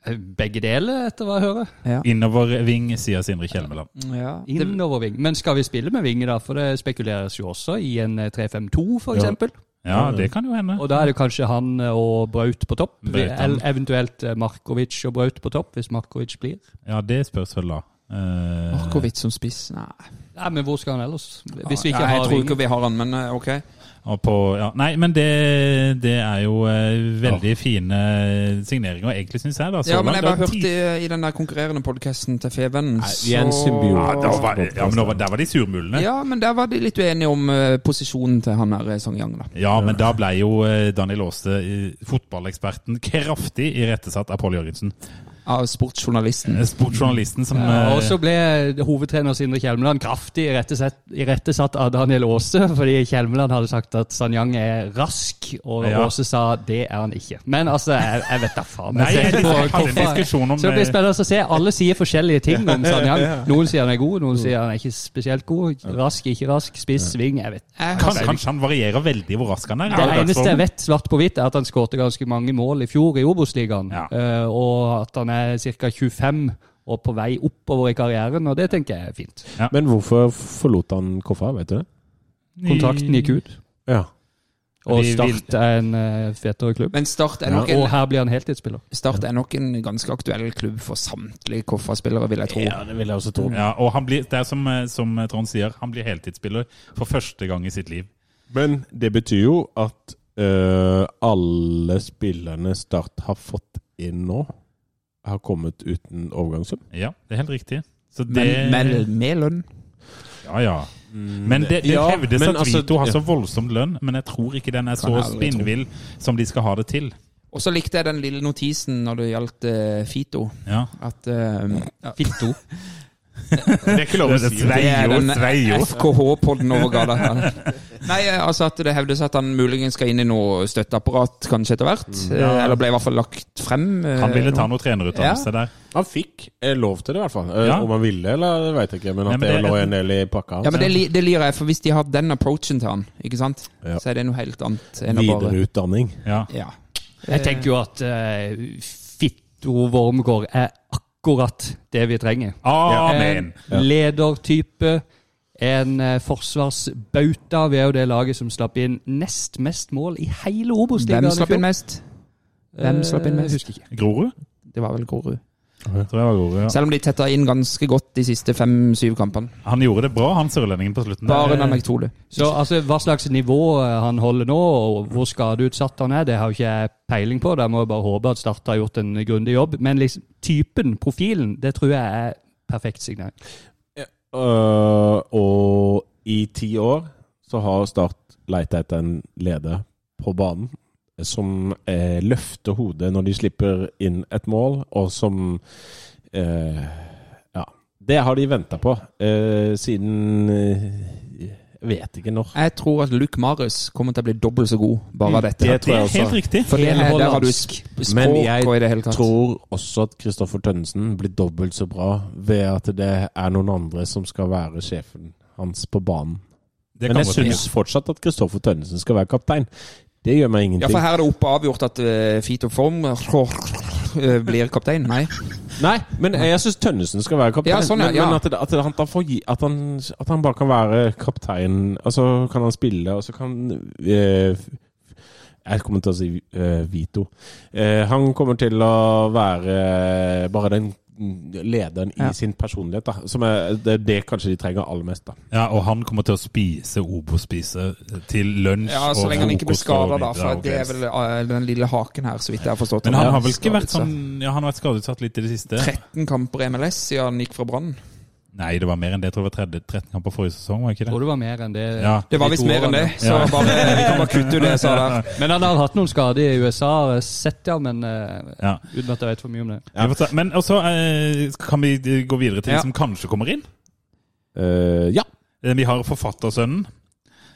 Eh, Begge deler, etter hva jeg hører. Innoverving, sier Sindre Kjelmeland. Ja. Det, Innoverving. Men skal vi spille med vinger, da? For det spekuleres jo også i en eh, 3-5-2, for eksempel. Ja, det kan jo hende. Og da er det kanskje han og Braut på topp. Braut, ja. Eller eventuelt eh, Markovic og Braut på topp, hvis Markovic blir. Ja, det spørs vel, da. Eh, Markovic som spiss? Nei. Nei, men hvor skal han ellers? Hvis vi ikke Nei, jeg har tror vinger. ikke vi har han, men eh, ok. Og på, ja. Nei, men det, det er jo eh, veldig fine signeringer, egentlig, syns jeg. da. Så Ja, men jeg langt. bare Det er hørte ti- i, i den der konkurrerende podkasten til Feven Nei, vi er en symbiose. ja, da var, ja, men da var, Der var de surmulene. Ja. Ja, men der var de litt uenige om eh, posisjonen til han her eh, Song Yang, da. men da ble jo eh, Daniel Aase, eh, fotballeksperten, kraftig irettesatt av Pål Jørgensen. av sportsjournalisten. Sportsjournalisten som Ja, og eh, så ble hovedtrener Sindre Kjelmeland kraftig irettesett- irettesatt av Daniel Aase, (laughs) fordi Kjelmeland hadde sagt at Sanyang er rask, og Ja. Aase sa det er han ikke. Men altså, jeg, jeg vet da faen. Nei, Jeg ser jeg på hadde en hvorfor- diskusjon om Så det blir eh, spennende å se. Alle sier forskjellige ting (laughs) om Sanyang. Noen sier han er god, noen sier han er ikke spesielt god. Rask, ikke rask, spiss, sving, jeg vet. Jeg har eh, Kanskje, kanskje han varierer veldig hvor rask han er. Det eneste jeg vet svart på hvitt, er at han skårte ganske mange mål i fjor i Obos-ligaen. Ja. eh, Og at han er ca. 25 og på vei oppover i karrieren, og det tenker jeg er fint. Men hvorfor forlot han Koffa, vet du det? Kontrakten gikk ut, Ja. og Vi vil- Start er en eh, fetere klubb. Men Start er, Ja, nok Og en, her blir han heltidsspiller. Start er nok en ganske aktuell klubb for samtlige Koffa-spillere, vil jeg tro. ja, det vil jeg også tro. Ja, og han blir, det er som, eh, som Trond sier, han blir heltidsspiller for første gang i sitt liv. Men det betyr jo at øh, alle spillerne Start har fått inn nå, har kommet uten overgangssum. Ja, det er helt riktig. Så det, Men med, med lønn. ja, ja. Mm, Men det, det ja, hevdes men at altså- Vito har ja. så voldsom lønn, men jeg tror ikke den er så jeg aldri tro. spinnvill som de skal ha det til. Og så likte jeg den lille notisen når det gjaldt eh, Fito. Ja. At eh, Fito (laughs) Det er ikke lov å si. si. Det er den Sveio. FKH-podden over gata. her. Nei, eh, altså at det hevdes at han muligens skal inn i noe støtteapparat kanskje etter hvert. Mm. eh, Eller ble i hvert fall lagt frem. eh, Han ville ta nå. noe trenerutdannelse der. Han fikk eh, lov til det, i hvert fall. Eh, Ja. Om han ville, eller det vet jeg ikke, men at Nei, men det, det- lå en del i pakka Ja, hans. men det, li- det lirer jeg, for hvis de har den approachen til han, ikke sant, Ja. så er det noe helt annet enn å bare Videreutdanning. Ja. Ja. Jeg tenker jo at eh, Fitto Wormgård er akkurat det vi trenger. Amen! En ledertype, en eh, forsvarsbauta. Vi er jo det laget som slapp inn nest mest mål i hele Obos-ligaen. i Hvem slapp fjor. inn mest? Hvem slapp inn Eh, mest? Husker ikke. Grorud? Det var vel Grorud. Tror jeg var Grorud, ja. Selv om de tetta inn ganske godt de siste fem-syv kampene. Han gjorde det bra, han sørlendingen på slutten. Bare en Det- anekdote. Så altså, Hva slags nivå eh, han holder nå, og hvor skadeutsatt han er, det har jo ikke jeg peiling på. Der må jeg bare håpe at Start har gjort en grundig jobb. Men liksom, typen, profilen, det tror jeg er perfekt signal. Øh, og i ti år så har Start leita etter en leder på banen som eh, løfter hodet når de slipper inn et mål, og som eh, Ja. Det har de venta på eh, siden eh, Jeg vet ikke når. Jeg tror at Luke Marius kommer til å bli dobbelt så god bare av dette. Mm. Det tror Det jeg er helt også. riktig. For det er, der har du Helhollandsk. sk Men språk jeg og i det hele tatt. tror også at Kristoffer Tønnesen blir dobbelt så bra ved at det er noen andre som skal være sjefen hans på banen. Det Men kan jeg godt hende. syns fortsatt at Kristoffer Tønnesen skal være kaptein. Det gjør meg Ja, for ingenting. her er det oppe avgjort at eh, Fito Form eh, blir kaptein. Nei. Nei, men jeg syns Tønnesen skal være kaptein. Ja, sånn, ja, Men- ja. Men at, det- at, det- han, da får gi- at, han, at han bare kan være kaptein, og så kan han spille, og så kan eh, Jeg kommer til å si eh, Vito. Eh, han kommer til å være eh, bare den lederen i Ja. sin personlighet, da. Som er det, er det kanskje de trenger aller mest, da. Ja, og han kommer til å spise Obo-spise til lunsj Ja, Så og lenge han ikke blir skada, frokost og da. middag For og det er kvelds. vel eh, den lille haken her, så vidt jeg har forstått. Men Han han er har vel ikke vært skadet, sånn Ja, han har vært skadeutsatt litt i det siste. så. 13 kamper i MLS siden han gikk fra Brann. Nei, det var mer enn det. Jeg tror det var 30 13 kamper forrige sesong, var det ikke Jeg det? tror det var mer enn det. Ja. Det var De visst to mer enn det, årene. så bare, vi kan bare kutte ut det jeg sa (laughs) der. Men han har hatt noen skader i USA, har jeg sett ja, men eh, Ja. uten at jeg vet for mye om det. Vi får se. Men også eh, kan vi eh, gå videre til Ja. en som kanskje kommer inn. Eh, ja. Eh, Vi har forfattersønnen.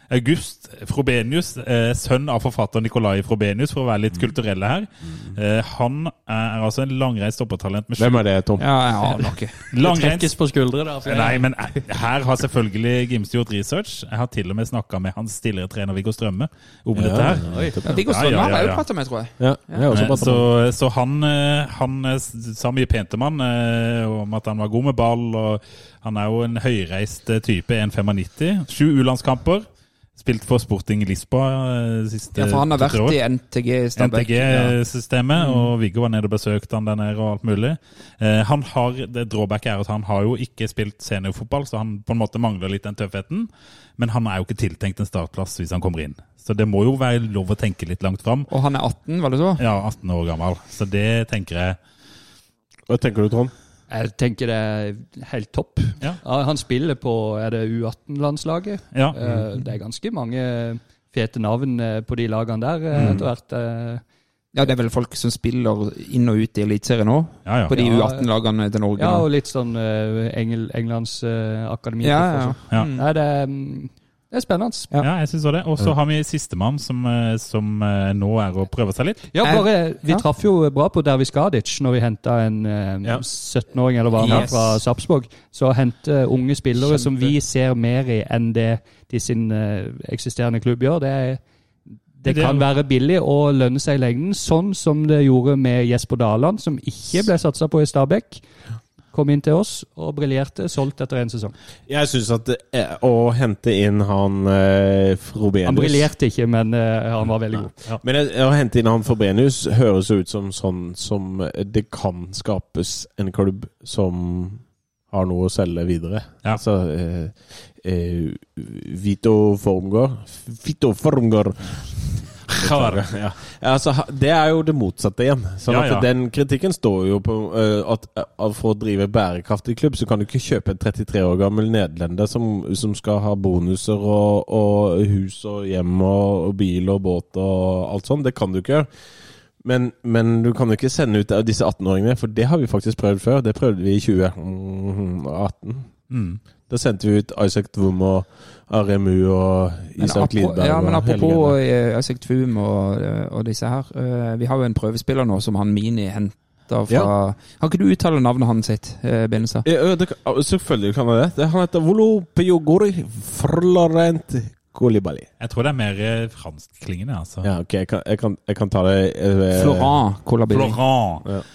August Frobenius, eh, sønn av forfatter Nikolai Frobenius, for å være Mm. litt kulturelle her. Eh, han er altså en langreist stoppertalent med Hvem er det, Tom? Ja, jeg aner ikke. Langreist på skuldre der. for Nei, men eh, her har selvfølgelig Gimse gjort research. Jeg har til og med snakka med hans tidligere trener Viggo Strømme om dette her. Ja, Viggo Ja, ja, Strømme har ja, jeg jo ja. prata med, tror jeg. Ja, jeg har også Eh, pratet Så, om så han, eh, han eh, sa mye pent om han, eh, om at han var god med ball. og Han er jo en høyreist eh, type, 1,95. Sju U-landskamper. Spilt for Sporting Lisboa eh, siste Ja, for han har vært to-tre år. i NTG Stabæk. eh. Ja. NTG-systemet, og Viggo var nede og besøkte han der nede og alt mulig. Eh, han har, det Drawback er at han har jo ikke spilt seniorfotball, så han på en måte mangler litt den tøffheten. Men han er jo ikke tiltenkt en startplass hvis han kommer inn. Så det må jo være lov å tenke litt langt fram. Og han er 18, var det så? Ja, 18 år gammel. Så det tenker jeg Hva tenker du, Trond? Jeg tenker det er helt topp. Ja. Han spiller på er det U18-landslaget. Ja. Mhm. Eh, Det er ganske mange fete navn eh, på de lagene der eh, etter hvert. eh. Ja, det er vel folk som spiller inn og ut i Eliteserien nå? Ja, ja. På de Ja. U18-lagene til Norge? Ja, nå. og litt sånn eh, Engel, Englands eh, akademi. ja, ja. Ja. Mm. Nei, det, er, mm, det er spennende. Ja. Ja, jeg syns også det. Og så har vi sistemann, som, eh, som eh, nå er å prøve seg litt. Ja, Jeg- bare, Vi Eh, ja. traff jo bra på Dervis Gadic når vi henta en eh, Ja. 17-åring eller hva han var Yes. fra Sarpsborg. Så å hente unge spillere som vi ser mer i enn det de sin eh, eksisterende klubb gjør, det, er- det Det er- kan være billig og lønne seg i lengden. Sånn som det gjorde med Jesper Daland, som ikke ble satsa på i Stabæk. Kom inn til oss og briljerte. Solgt etter én sesong. Jeg syns at det er å hente inn han eh, Frobenius Han briljerte ikke, men eh, han var veldig god. Ja. Men jeg- å hente inn han Frobenius høres jo ut som sånn som det kan skapes en klubb som har noe å selge videre. Ja. Altså eh, eh, Vito Formgård Vito Formgård! Ja. Altså, ha- det er jo det motsatte igjen. Sånn Ja, at ja. Den kritikken står jo på eh, at eh, for å drive bærekraftig klubb, så kan du ikke kjøpe en 33 år gammel nederlender som, som skal ha bonuser og, og hus og hjem og, og bil og båt og alt sånt. Det kan du ikke gjøre. Men, men du kan jo ikke sende ut disse 18-åringene, for det har vi faktisk prøvd før. Det prøvde vi i 2018. Mm. Da sendte vi ut Isaac Dwum og RMU og Men Isak apro- Lidberg. ja, men og hele apropos gjengen. eh, Isaac Tvum og, eh, og disse her. eh, Vi har jo en prøvespiller nå som han Mini henter fra Ja. Kan ikke du uttale navnet hans sitt, eh, Benestad? Ja, ja, det, kan- selvfølgelig kan han det. det. Han heter Volo Pejogori Frlorent Kolibali. Jeg tror det er mer eh, franskklingende, altså. Ja, ok, jeg kan, jeg kan, jeg kan ta det eh, Florent Colabini. Florent.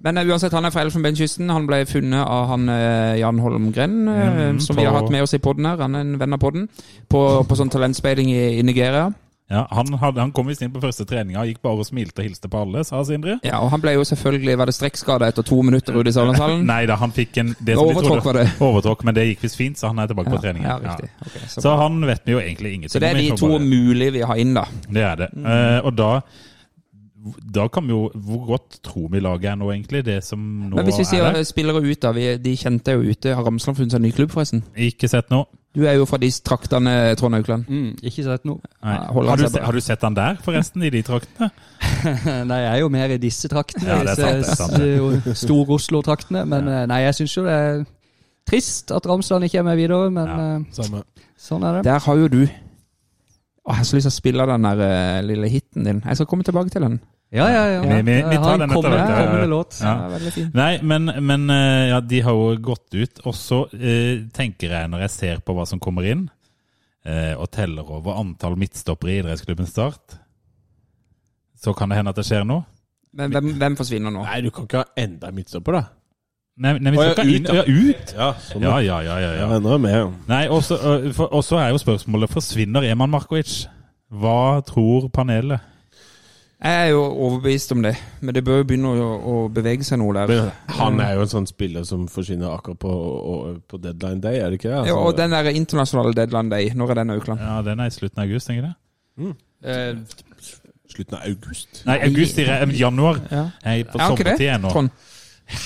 Men eh, uansett, han er fra Elfenbenskysten. Han ble funnet av han eh, Jan Holmgren, eh, Mhm, som på- vi har hatt med oss i podden her. Han er en venn av podden. På, på sånn talentspeiding i, i Nigeria. Ja, han, hadde, han kom visst inn på første treninga og gikk bare og smilte og hilste på alle, sa Sindre. Ja, og han ble jo selvfølgelig Var det strekkskade etter to minutter ute i Sørlandshallen? Nei da, han fikk en det vi Overtråkk var det. Overtråkk, men det gikk visst fint, så han er tilbake på trening. ja, riktig. Ok, så, Så han vet vi jo egentlig ingenting så det er om, de vi får to Mm. bare- mulige vi har inn, da. Det er det. Eh, og da da kan vi jo Hvor godt tror vi laget er nå, egentlig? Det som nå Men hvis vi er sier der? spillere ut, da. Vi, de kjente er jo ute. Har Ramsland funnet seg en ny klubb, forresten? Ikke sett noe. Du er jo fra de traktene, Trond Aukland. Mm, ikke sett noe. Nei. Ja, holder Har, han du, seg se- bra? har du sett han der, forresten? I de traktene? Nei, jeg er jo mer i disse traktene. Ja, det er sant, det er sant, disse Stor-Oslo-traktene. Men eh, nei, jeg syns jo det er trist at Ramsland ikke er med videre, men Ja. eh, Samme. sånn er det. Der har jo du Å, Jeg har så lyst til å spille den der eh, lille hiten din. Jeg skal komme tilbake til den. Ja, ja, ja. Vi- vi- vi Jeg tar har den en etter kommende, hvert, ja, ja. kommende låt. Ja. Den er veldig fin. Nei, men, men eh, ja, de har jo gått ut. Og så eh, tenker jeg, når jeg ser på hva som kommer inn, eh, og teller over antall midtstoppere i idrettsklubben Start, så kan det hende at det skjer noe. Men hvem, hvem forsvinner nå? Nei, du kan ikke ha enda en midtstopper, da. Nei, nei vi Å, ja, skal ut, inn. ja. Ja, ut! Ja, sånn Ja, ja, ja. ja, ja. Jeg ender med. Nei, og så eh, for- og så er jo spørsmålet forsvinner Eman Markovic. Hva tror panelet? Jeg er jo overbevist om det, men det bør jo begynne å, å bevege seg noe der. Men han er jo en sånn spiller som forsvinner akkurat på, og- på deadline day, er det ikke det? Altså, Ja, og den der internasjonale deadline day, når er den, Aukland? Ja, Den er i slutten av august, tenker jeg. Slutten av august. Nei, august, sier jeg. eh, Januar. Ja. Jeg er på Er han ikke sommertid det, ennå. Trond?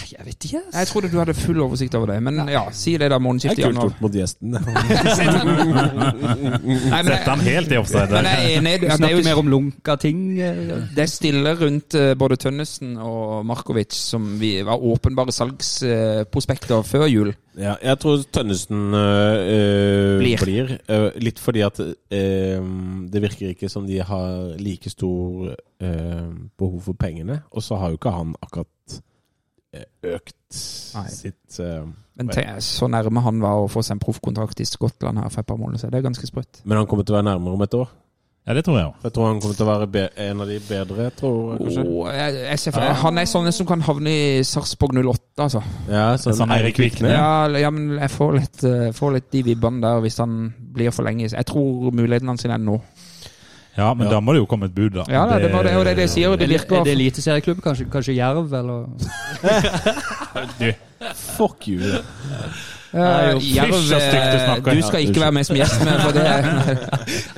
Jeg vet ikke, Jeg trodde du hadde full oversikt over det, men ja, si det da Det er månedsskiftet i kult januar. gjort mot (laughs) gjesten. (laughs) Nei, men Setter jeg, han helt i offside. men der. jeg er enig. Vi Det er snakker jo mer om lunka ting. eh, det er stille rundt eh, både Tønnesen og Markovic, som vi var åpenbare salgsprospekter før jul. Ja, jeg tror Tønnesen øh, øh, Blir. blir. Øh, litt fordi at øh, det virker ikke som de har like stor øh, behov for pengene. Og så har jo ikke han akkurat øh, økt Nei. sitt øh, Men tenk, så nærme han var å få seg en proffkontrakt i Skottland her for et par måneder siden. Det er ganske sprøtt. Men han kommer til å være nærmere om et år. Ja, det tror jeg òg. Jeg tror han kommer til å være be en av de bedre, tror jeg kanskje. Åh, jeg, jeg ser for, han er sånn som kan havne i Sarpsborg 08, altså. Ja, Sånn Eirik Vikne. Ja. Ja, ja, men jeg får litt, eh, får litt de vibbene der hvis han blir for lenge. Jeg tror muligheten hans er nå. Ja, men da må det jo komme et bud, da. Ja, da, det, var det, og det er det jeg sier. og Det Er virker det eliteserieklubb? Kanskje, kanskje Jerv, eller Fuck you. da. Ja, Fysj, så stygt du Jerv, snakker. eh, du skal ikke være med som gjest, men, for det er-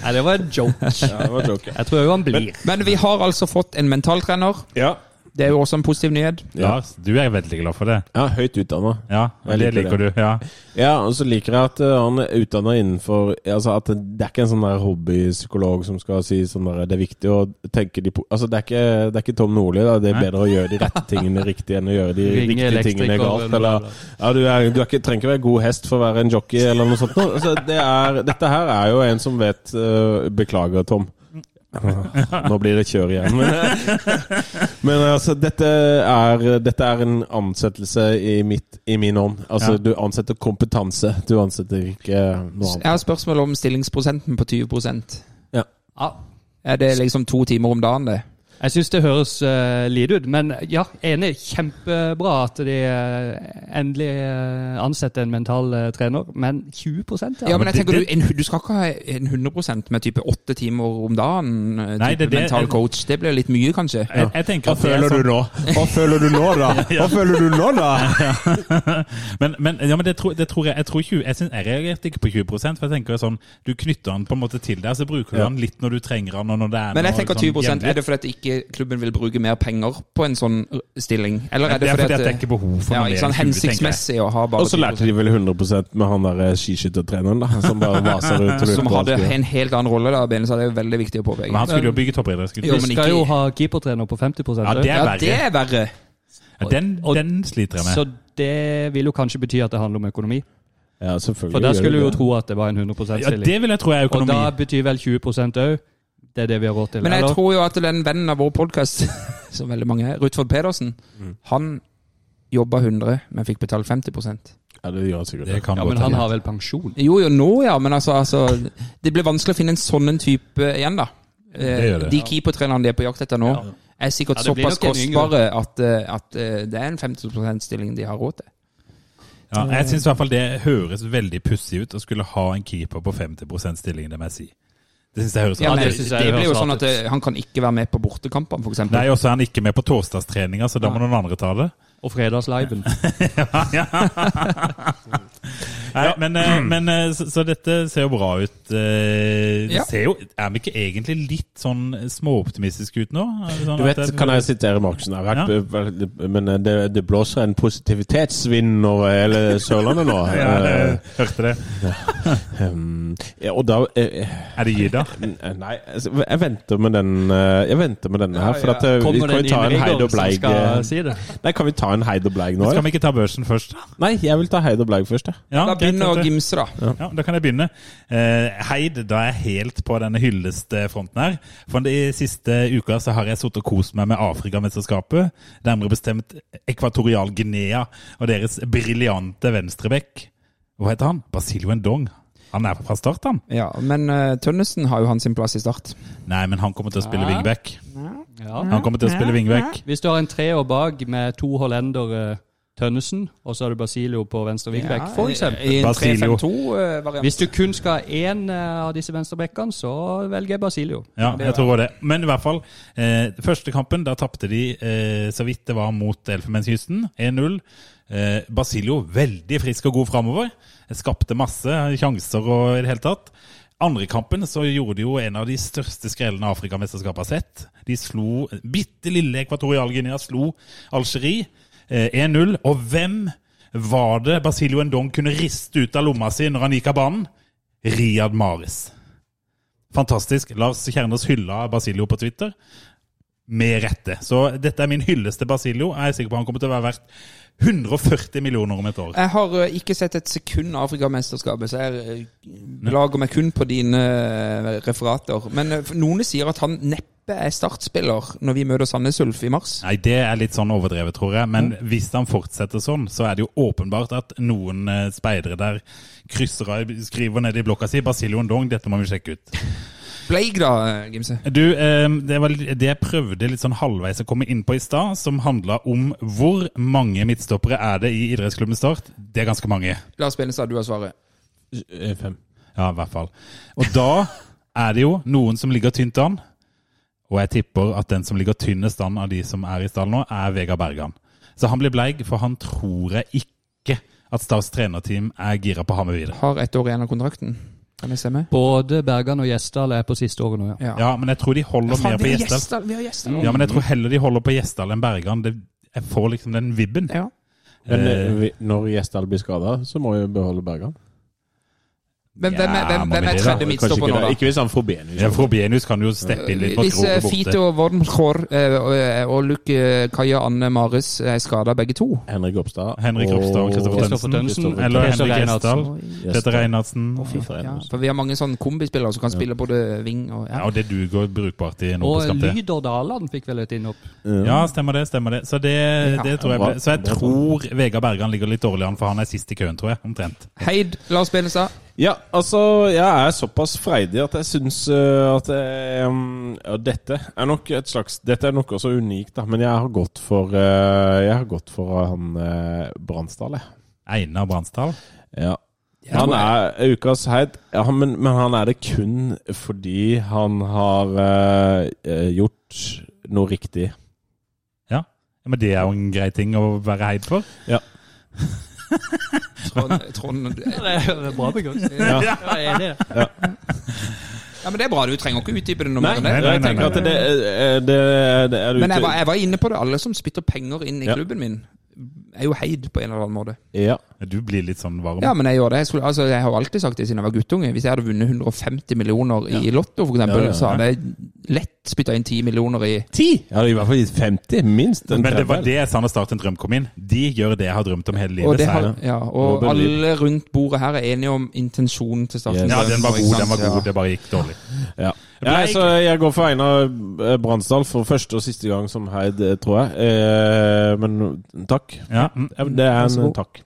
Nei, det var en joke. Ja, det var joke. Jeg tror jo han blir. men vi har altså fått en mentaltrener. Ja. Det er jo også en positiv nyhet. Ja. Lars, du er veldig glad for det. Ja, høyt utdanna. Ja, Jeg Det liker liker du. ja. Ja, og så liker jeg at eh, han er utdanna innenfor Altså at det det er ikke en sånn der hobbypsykolog som skal si sånn der Det er viktig å tenke de po- Altså det er ikke, det er ikke Tom Nordli, da. Det er Nei. bedre å gjøre de rette tingene riktig enn å gjøre de Ringe riktige tingene elektriker, galt. eller- Eller ja, du, er, du er ikke, trenger ikke være god hest for å være en jockey eller noe sånt. nå. Altså, det er, dette her er jo en som vet eh, Beklager, Tom. Nå blir det kjør (laughs) igjen. Men, men altså, dette er, dette er en ansettelse i, mitt, i min ånd. Altså, Ja. du ansetter kompetanse. Du ansetter ikke noe Jeg annet. har spørsmål om stillingsprosenten på 20 Ja. Ja. Er det liksom to timer om dagen, det? Jeg syns det høres uh, lite ut, men ja, enig. Kjempebra at de eh, endelig eh, ansetter en mental eh, trener, men 20 ja. Ja, men jeg det- tenker du, en, du skal ikke ha en 100 med type åtte timer om dagen. eh, Type Nei, det er det- mental en- coach. Det blir litt mye, kanskje. Jeg, jeg tenker Hva at det er føler sånn- du nå? Hva føler du nå, da? Hva føler du nå, da? Men, men, ja, men det, tror- det tror jeg Jeg, tror 20, jeg, synes, jeg reagerte ikke på 20 for jeg tenker sånn Du knytter den på en måte til deg, så bruker du Ja. den litt når du trenger den. og når det er Men jeg noe tenker sånn 20 jevnlig. Er det fordi at ikke klubben vil bruke mer penger på en sånn stilling? Eller er Det det er fordi fordi at det at er ikke behov for ja, noe ikke mer sånn enn 20, tenker jeg. hensiktsmessig å ha bare (laughs) Og så lærte de vel 100 med han der eh, skiskyttertreneren, da. Som bare vaser ut. og lurer som på hva han hadde skulle gjøre. en helt annen rolle der, Ben, så det er jo veldig viktig å påpeke. Men han skulle jo bygge toppidrett. Jo, Vi men skal ikke- jo ha keepertrener på 50 Ja, det er ja, det verre. er verre. Den, og- den sliter jeg med. så det vil jo kanskje bety at det handler om økonomi. Ja, For selvfølgelig. der gjør skulle de vi jo det. tro at det var en 100 Ja, stilling. det vil jeg tro er og økonomi. da betyr vel 20 òg. Det er det vi har råd til. Men jeg eller? tror jo at den vennen av vår podkast, (laughs) som veldig mange er, Rutford Pedersen, Mm. han jobba 100, men fikk betalt 50 Ja, det gjør han sikkert. det kan ja, godt men han hende. har vel pensjon? Jo, jo, nå, ja, men altså, altså Det blir vanskelig å finne en sånn en type igjen, da. Eh, Det gjør det. De keepertrenerne de er på jakt etter nå, er sikkert Ja, det blir såpass nok en yngre. kostbare at, eh, at eh, det er en 50 %-stilling de har råd til. Ja, Mm. jeg syns i hvert fall det høres veldig pussig ut å skulle ha en keeper på 50 stilling, det må jeg si. Det syns jeg høres Ja, rart men det det, ut. synes jeg blir jo høres sånn rart at eh, han kan ikke være med på bortekampene, f.eks. Nei, og så er han ikke med på torsdagstreninga, så da må noen andre ta det. Og fredagsliven. Nei, (clears throat) men, eh, men eh, så, så dette ser jo bra ut. Eh, det Ja. ser jo, er vi ikke egentlig litt sånn småoptimistiske ut nå? Er det sånn Du at vet, det- kan jeg sitere Markussen her? Men eh, det, det blåser en positivitetsvind over hele Sørlandet nå. ja, det, Hørte det. Eh, um, ja, og da eh, Er det Gyda? eh, Nei, altså, jeg venter med den eh, Jeg venter med denne her. For at, eh, vi Kommer kan det vi ta en Heid innrigger og som Bleig eh, skal si det? Nei, kan vi ta en Heid og Bleig nå? Skal eller? vi ikke ta børsen først, da? Nei, jeg vil ta Heid og Bleig først, jeg. Ja, Da greit, begynner greit. å gimse, da. Ja, da kan jeg begynne. Eh, Heid, da er jeg helt på denne hyllestfronten her. For de siste uka så har jeg sittet og kost meg med Afrikamesterskapet. Nærmere bestemt Ekvatorial Guinea og deres briljante venstrebekk. Hva heter han? Basilio Endong. Han er fra start, han. Ja, men eh, Tønnesen har jo han sin plass i start. Nei, men han kommer til å spille wingback. Ja. Han kommer til å spille wingback. Hvis du har en treer bak med to hollendere, Tønnesen, og så har du Basilio på venstre vingbekk, for eksempel. Eh, I en Basilio. 3-5-2-variant. Hvis du kun skal ha én eh, av disse venstrebekkene, så velger jeg Basilio. Ja, jeg tror også det. Men i hvert fall, eh, første kampen, da tapte de eh, så vidt det var mot Elfenbenskysten, 1-0. Eh, Basilio veldig frisk og god framover. Eh, Skapte masse sjanser og i det hele tatt. Andre kampen så gjorde de jo en av de største skrellene Afrikamesterskapet har sett. De slo eh, bitte lille Ekvatorial Guinea, slo Algerie eh, 1-0. Og hvem var det Basilio Endong kunne riste ut av lomma si når han gikk av banen? Riyad Maris. Fantastisk. Lars Kjernås hylla Basilio på Twitter. Med rette. Så dette er min hyllest til Basilio. Jeg er sikker på han kommer til å være verdt 140 millioner om et år. Jeg har eh, ikke sett et sekund av Afrikamesterskapet, så jeg eh, lager meg kun på dine eh, referater. Men eh, for noen sier at han neppe er startspiller når vi møter Sandnes Ulf i mars. Nei, det er litt sånn overdrevet, tror jeg. Men hvis han fortsetter sånn, så er det jo åpenbart at noen eh, speidere der krysser av, skriver ned i blokka si 'Basilio Ndong, dette må vi sjekke ut'. Bleik da, eh, Gimse. Du, eh, det var det jeg prøvde litt sånn halvveis å komme inn på i stad, som handla om hvor mange midtstoppere er det i idrettsklubben Start. Det er ganske mange. Lars Benestad, du har svaret. Eh, Fem. Ja, i hvert fall. Og da er det jo noen som ligger tynt an. Og jeg tipper at den som ligger tynnest an av de som er i stallen nå, er Vegard Bergan. Så han blir bleig, for han tror jeg ikke at Starts trenerteam er gira på å ha med videre. Har ett år igjen av kontrakten. Kan jeg stemme? Både Bergan og Gjesdal er på siste året nå, ja. Ja, men jeg tror de holder Faen, mer på vi har Gjesdal. Gjesdal. Vi har Gjesdal. Ja, men jeg tror heller de holder på Gjesdal enn Bergan. Det, jeg får liksom den vibben. Ja. Men eh, Eh, vi, når Gjesdal blir skada, så må vi beholde Bergan. Men hvem er, hvem, Ja, må hvem vi er det, tredje da? Kanskje midtstopper ikke, nå, det. da? ikke hvis han Frobenius Ja, Frobenius kan jo steppe inn litt for Hvis eh, Krog borte. Fito Vordenhår eh, og Luke eh, Kaja Anne Maris er skada, begge to Henrik Opstad. Henrik Hofstad og Kristoffer Kristoffer Tønnesen. Kristoffer Eller Peter Henrik Reinhardsen. Gjesdal. Peter Reinhardsen. ja, For vi har mange sånne kombispillere som kan spille både wing og Ja, ja. og det duger brukbart i Og Nordpåskapet. Lyder Daland fikk vel et innhopp. Ja, stemmer det. stemmer det. Så det, det tror jeg ble. Så jeg tror Vegard Bergan ligger litt dårlig an, for han er sist i køen, tror jeg. Omtrent. Heid, Lars Benestad. Ja, altså, jeg er såpass freidig at jeg syns eh, at jeg, mm, ja, dette er nok et slags Dette er nok også unikt, da, men jeg har gått for eh, Jeg har gått for han uh, Bransdal, jeg. Einar Bransdal. Ja. Han er ukas heid, ja, men, men han er det kun fordi han har eh, eh, gjort noe riktig. Ja. Men det er jo en grei ting å være heid for. Trond, Trond eh, Det er bra begrunnelse. Ja. Ja, det er det. Ja, men det er bra. Du trenger ikke utdype det noe Nei, mer enn nei, det. nei, nei, nei, Det, eh, det, det er Men jeg ute- var, jeg var inne på det. Alle som spytter penger inn i Ja. klubben min, er jo heid på en eller annen måte. Ja. Du blir litt sånn varm. Ja, men jeg gjør det. Jeg, skulle, altså, jeg har jo alltid sagt det siden jeg var guttunge. Hvis jeg hadde vunnet 150 millioner i Lotto, for eksempel, Ja, ja, ja. så hadde jeg lett spytta inn 10 millioner i Ti! Jeg hadde i hvert fall gitt 50, minst. en Men det var tredjedel. det Sander Start en drøm kom inn. De gjør det jeg har drømt om hele Og, livet. det sa jeg. har, ja, og Robin Lee. alle rundt bordet her er enige om intensjonen til starten. Yes. Ja, den var Ikke god, sant? den var god. Ja. Det bare gikk dårlig. Ja. ble Nei, ikke- så jeg går for Einar eh, Bransdal for første og siste gang som Heid, eh, tror jeg. Eh, men takk. Ja. mm. Ja, men Det er så en god. takk.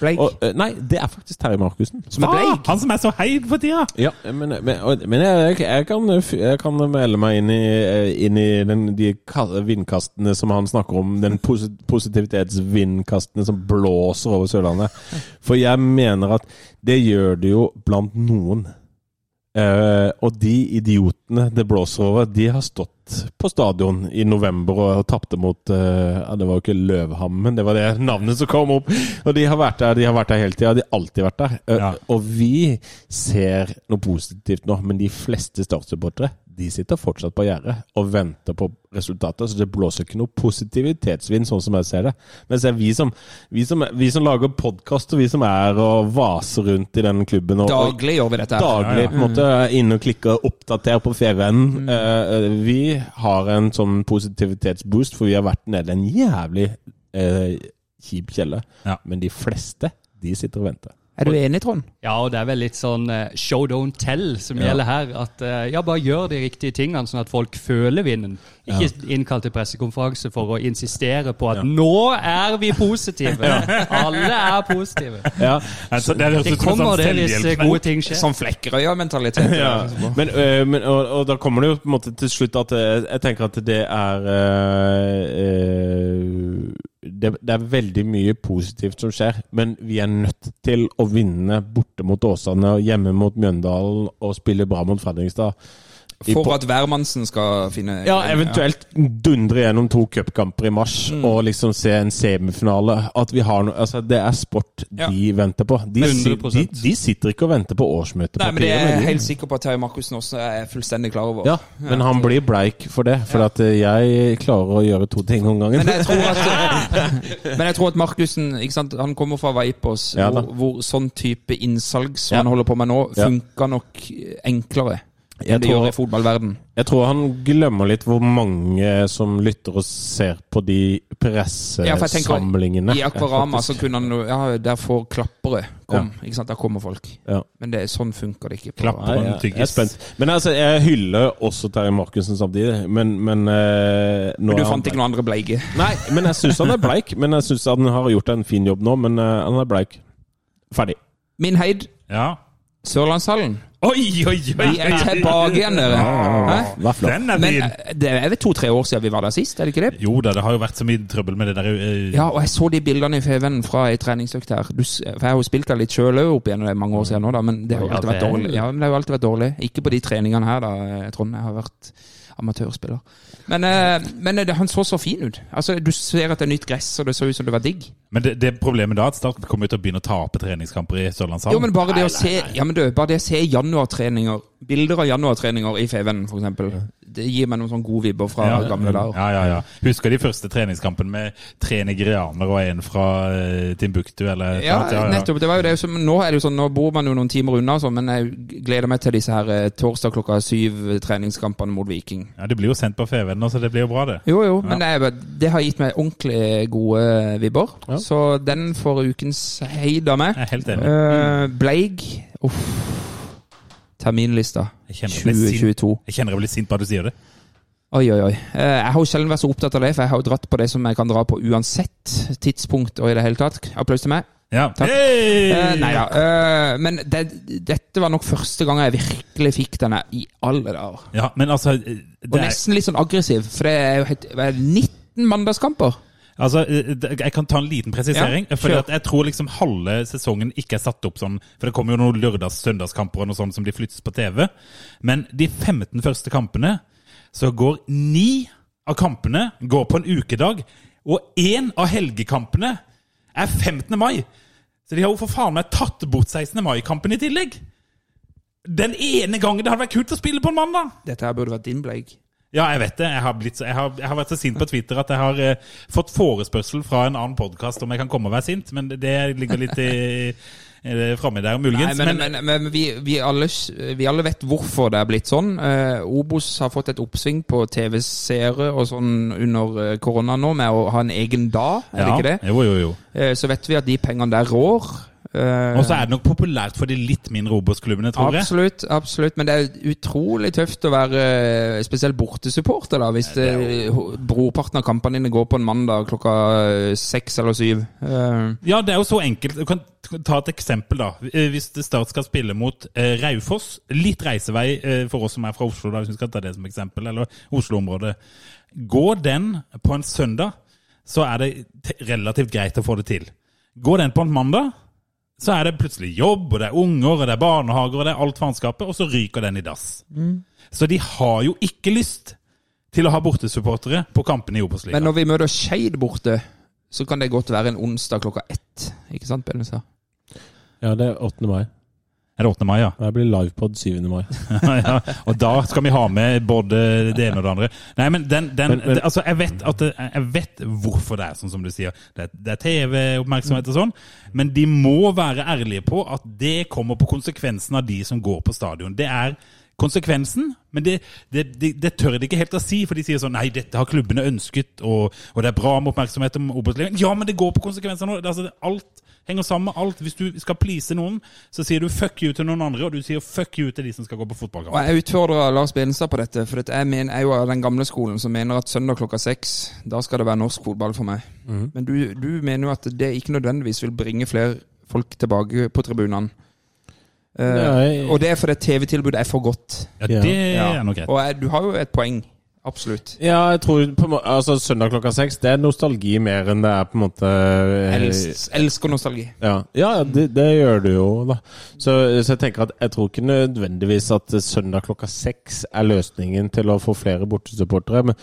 Blake. Og, eh, nei, det er faktisk Terje Markussen. som er Ah, Blake. han som er så heid for tida! Ja, men, men, og- men jeg, jeg, kan, eh, jeg kan melde meg inn i, eh, inn i den, de ka- vindkastene som han snakker om. Den posi- positivitetsvindkastene som blåser over Sørlandet. For jeg mener at det gjør det jo blant noen. Eh, og de idiotene det blåser over, de har stått på stadion i november og tapte mot eh, ja, Det var jo ikke Løvhammen, det var det navnet som kom opp. Og de har vært der de har vært der hele tida. De har alltid vært der. Eh, Ja. Og vi ser noe positivt nå, men de fleste Start-supportere de sitter fortsatt på gjerdet og venter på resultatet. Så det blåser ikke noe positivitetsvind, sånn som jeg ser det. Men det er vi som, vi som, vi som lager podkast, og vi som er og vaser rundt i den klubben og, og Daglig gjør vi dette. her. daglig på en måte inne og klikke og oppdatere på ferien. Mm. Eh, vi har en sånn positivitetsboost, for vi har vært nede i en jævlig eh, kjip kjelle. Ja. Men de fleste, de sitter og venter. Er du enig, Trond? ja, og det er vel litt sånn eh, show don't tell som gjelder her. At eh, ja, bare gjør de riktige tingene sånn at folk føler vinden. Ikke innkall til pressekonferanse for å insistere på at nå er vi (laughs) positive! Alle er positive. Ja. Altså, det høres Det ut som en kommer sånn det hvis eh, selvhjelp. gode ting skjer. Sånn Flekkerøya-mentalitet. (laughs) Ja, men, øh, men, og, og da kommer det jo på en måte til slutt at eh, jeg, jeg tenker at det er øh, øh, det, det er veldig mye positivt som skjer, men vi er nødt til å vinne borte mot Åsane og hjemme mot Mjøndalen og spille bra mot Fredrikstad. I For po- at hvermannsen skal finne ja, eventuelt dundre gjennom to cupkamper i mars og liksom se en semifinale. At vi har noe Altså, det er sport de Ja. venter på. De, si- 100%. de, de sitter ikke og venter på årsmøtet. Nei, men det er jeg helt sikker på at Terje Markussen også er fullstendig klar over. Ja, men han blir bleik for det, for at eh, jeg klarer å gjøre to ting om gangen. Men jeg tror at, (laughs) men jeg tror at Markussen ikke sant, han kommer fra Vipers, Ja da. hvor, hvor sånn type innsalg som Ja. han holder på med nå, Ja. funker nok enklere enn Jeg det gjør tror, i fotballverden. jeg tror han glemmer litt hvor mange som lytter og ser på de Ja, for jeg tenker, pressesamlingene. I Akvarama så faktisk. kunne han jo Ja, der får klappere kom. Ikke sant, der kommer folk. Ja. Men det, sånn funker det ikke. På, Klapp. Nei, på en jeg, jeg er tyggis. spent. Men altså, jeg hyller også Terje Markussen samtidig, men, men eh, nå Men er du han fant ikke noen andre bleike? bleik. Nei, men jeg syns han er bleik. Men jeg syns han har gjort en fin jobb nå, men eh, han er bleik. Ferdig. Min heid, Ja. Sørlandshallen. Oi, oi, oi! Vi er tilbake igjen, dere. Hæ? Vær flott. Den er Men fin! eh, det er vel to-tre år siden vi var der sist, er det ikke det? Jo da, det har jo vært så mye trøbbel med det der eh, Ja, og jeg så de bildene i Feven fra ei treningsøkt her. Du, s- for jeg har jo spilt der litt sjøl òg opp igjennom det er mange år siden nå, da, men det har jo Ja alltid vært vel. dårlig. Ja, men det har jo alltid vært dårlig. Ikke på de treningene her, da, eh, Trond. Jeg har vært amatørspiller. Men, eh, men det, han så så fin ut. Altså, Du ser at det er nytt gress, og det så ut som det var digg. Men det, det problemet da, at Start kommer til å begynne å tape treningskamper i Sørlandshallen. Jo, men bare det å se, ja, men du, bare det å se januartreninger, bilder av januartreninger i Feven, for eksempel, det gir meg noen sånne gode vibber fra Ja. gamle dager. Ja, ja, ja. Husker de første treningskampen med tre nigerianere og en fra eh, Timbuktu? Eller, Ja, sant? Ja, ja. nettopp. Det var jo det som, nå er det jo sånn, nå bor man jo noen timer unna, og sånn, men jeg gleder meg til disse her eh, torsdag klokka syv eh, treningskampene mot Viking. Ja, det blir jo sendt på FVN nå, så det blir jo bra, det. Jo, jo, men det, er, bare- det har gitt meg ordentlig gode eh, vibber. Så den får ukens heid av meg. Jeg er helt enig. Eh, Bleig Uff. Terminlista Jeg kjenner jeg blir sint, 2022. jeg kjenner jeg blir sint bare du sier det. Oi, oi, oi. Eh, Jeg har jo sjelden vært så opptatt av det, for jeg har jo dratt på det som jeg kan dra på uansett tidspunkt og i det hele tatt. Applaus til meg. Ja. Takk. Hey! Eh, Nei da. eh, Men det, dette var nok første gang jeg virkelig fikk denne i alle dager. Ja, men altså eh, Og det er, nesten litt sånn aggressiv, for det er jo helt hva er det, 19 mandagskamper. altså, eh, det- Jeg kan ta en liten presisering. Ja, fordi kjør. at jeg tror liksom halve sesongen ikke er satt opp sånn. For det kommer jo noen lørdags-søndagskamper og noe sånt som de flyttes på TV. Men de 15 første kampene, så går ni av kampene går på en ukedag. Og én av helgekampene er 15. mai! Så de har jo for faen meg tatt bort 16. mai-kampen i tillegg! Den ene gangen det hadde vært kult å spille på en mandag! Dette her burde vært din, Bleig. Ja, jeg vet det. Jeg har, blitt, så- jeg har, jeg har vært så sint på Twitter at jeg har eh, fått forespørsel fra en annen podkast om jeg kan komme og være sint, men det- det ligger litt i, eh, framme der, Nei, muligens. men, men, men, men vi, vi, alle, vi alle vet hvorfor det er blitt sånn. Eh, Obos har fått et oppsving på TV-seere og sånn under eh, korona nå, med å ha en egen dag, er det ja, ikke det? Jo, jo, jo. Eh, Så vet vi at de pengene der rår. Eh, Og så er det nok populært for de litt mindre Obos-klubbene, tror jeg. Absolutt, absolutt. Men det er utrolig tøft å være eh, spesielt bortesupporter, da, hvis det, ho- brorparten av kampene dine går på en mandag klokka eh, seks eller syv. Eh, Ja, det er jo så enkelt. Du kan t- ta et eksempel, da. Eh, Hvis det Start skal spille mot eh, Raufoss Litt reisevei eh, for oss som er fra Oslo, da, hvis vi skal ta det som eksempel, eller Oslo-området. Går den på en søndag, så er det t- relativt greit å få det til. Går den på en mandag, så er det plutselig jobb, og det er unger, og det er barnehager, og det er alt faenskapet, og så ryker den i dass. Så de har jo ikke lyst til å ha bortesupportere på kampene i Obos-ligaen. Men når vi møter Skeid borte, så kan det godt være en onsdag klokka ett. Ikke sant, Benestad? Ja, det er 8. mai. Er det 8. mai, ja? Og jeg blir livepod 7. mai. (laughs) ja, og da skal vi ha med både det ene og det andre. Nei, men den, den Men- men- det- Altså, jeg vet, at det, jeg vet hvorfor det er sånn som du sier. Det, er- det er TV-oppmerksomhet og sånn. Men de må være ærlige på at det kommer på konsekvensen av de som går på stadion. Det er konsekvensen, men det, det, det, det tør de ikke helt å si. For de sier sånn Nei, dette har klubbene ønsket, og, og det er bra med oppmerksomhet om Obos-ligaen. Ja, men det går på konsekvenser nå. Det, altså, det, alt henger sammen med alt. Hvis du skal please noen, så sier du fuck you til noen andre, og du sier fuck you til de som skal gå på fotballkamp. Og jeg utfordrer Lars Benestad på dette, for at jeg mener, jeg er jo av den gamle skolen som mener at søndag klokka seks, da skal det være norsk fotball for meg. Men du, du mener jo at det ikke nødvendigvis vil bringe flere folk tilbake på tribunene. Eh, Nei. og det er fordi TV-tilbudet er for godt. Ja, det Ja. er nok greit. Og jeg, du har jo et poeng. Absolutt. Ja, jeg tror på en må- altså, Søndag klokka seks det er nostalgi mer enn det er på en måte Eh, Els, elsker nostalgi. Ja, ja det, det gjør du jo, da. Så, så jeg tenker at jeg tror ikke nødvendigvis at søndag klokka seks er løsningen til å få flere bortesupportere. Men,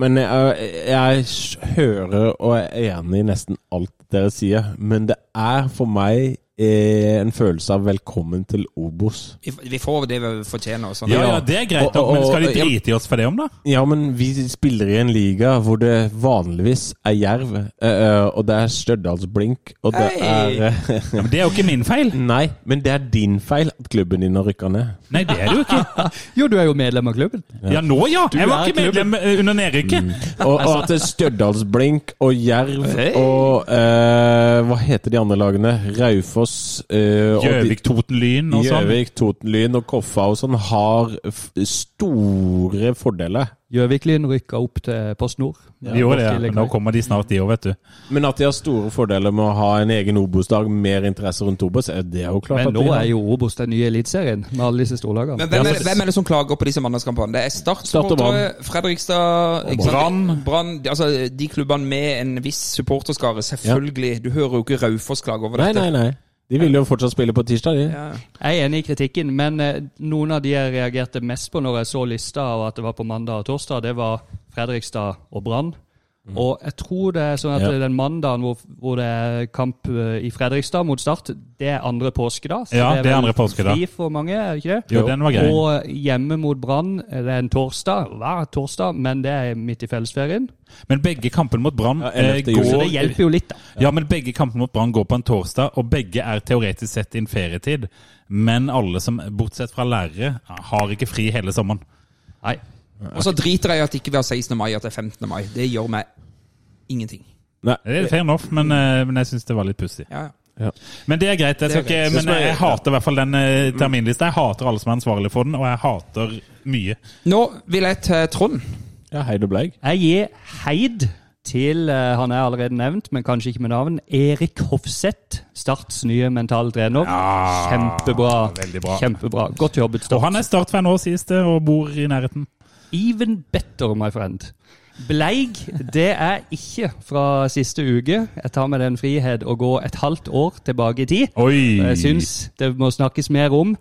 men jeg, jeg hører og er enig i nesten alt dere sier. Men det er for meg eh, en følelse av velkommen til Obos. Vi, vi får det vi fortjener. og Sånn. Ja, ja, det er greit nok, Og- og- men skal de og- drite i oss for det om, da? Ja, men vi spiller i en liga hvor det vanligvis er jerv, eh, eh, og det er Stjørdals-blink, og det Hei! er eh, (laughs) Ja, men Det er jo ikke min feil. Nei, men det er din feil at klubben din har rykka ned. Nei, det er det jo ikke. Jo, du er jo medlem av klubben. Ja, nå ja! Jeg var er ikke medlem eh, under nedrykket. Og, og at det er Stjørdals-blink og jerv Hei! og eh, Hva heter de andre lagene? Raufoss eh, og de- Gjøvik, Toten, Lyn og sånn. Gjøvik, Toten, Lyn og Koffa og sånn har f store fordeler. Gjøvik-Lyn rykka opp til Post Nord. De gjorde det, ja. Nå kommer de snart, de òg, vet du. Men at de har store fordeler med å ha en egen Obos-dag, mer interesse rundt Obos, eh, det er jo klart Men at nå de har. er jo Obos den nye eliteserien, med alle disse storlagene. Men hvem er, hvem er det som klager på disse mandagskampene? Det er Start-supportere, Fredrikstad ikke sant? Brann. Brann. de- Altså, de klubbene med en viss supporterskare, selvfølgelig. Du hører jo ikke Raufoss klage over Nei, dette. nei, nei. De vil jo fortsatt spille på tirsdag, de. Jeg er enig i kritikken, men eh, noen av de jeg reagerte mest på når jeg så lista av at det var på mandag og torsdag, det var Fredrikstad og Brann. Mm. Og jeg tror det er sånn at Ja. den mandagen hvor, hvor det er kamp eh, i Fredrikstad mot Start, det er andre påskedag. så Ja, det er vel andre påskedag. Fri for mange, er det ikke det? Jo, den var grei. Og eh, hjemme mot Brann, eh, det er en torsdag, hver torsdag, men det er midt i fellesferien. Men begge kampene mot Brann Ja, eh, 11. juli. Så det går hjelper jo litt, da. Ja, men begge kampene mot Brann går på en torsdag, og begge er teoretisk sett i en ferietid. Men alle som, bortsett fra lærere, har ikke fri hele sommeren. Nei. Og så driter jeg i at det ikke vi har 16. mai, at det er 15. mai. Det gjør meg ingenting. Nei. Det er fair enough, men, eh, men jeg syns det var litt pussig. Ja, ja. Men det er greit. Jeg Det er skal ikke, greit. men jeg hater i hvert fall den eh, terminlista. Jeg hater alle som er ansvarlig for den, og jeg hater mye. Nå vil jeg til Trond. Ja, hei du bleig. Jeg gir heid til, eh, han er allerede nevnt, men kanskje ikke med navn, Erik Hofseth, Starts nye mentale trener. Kjempebra. veldig bra. Kjempebra. Godt jobbet, Og Start. han er Start-fan òg, sies det, eh, og bor i nærheten. Even better, my friend. Bleig, det er ikke fra siste uke. Jeg tar meg den frihet å gå et halvt år tilbake i tid. Oi! Jeg syns det må snakkes mer om.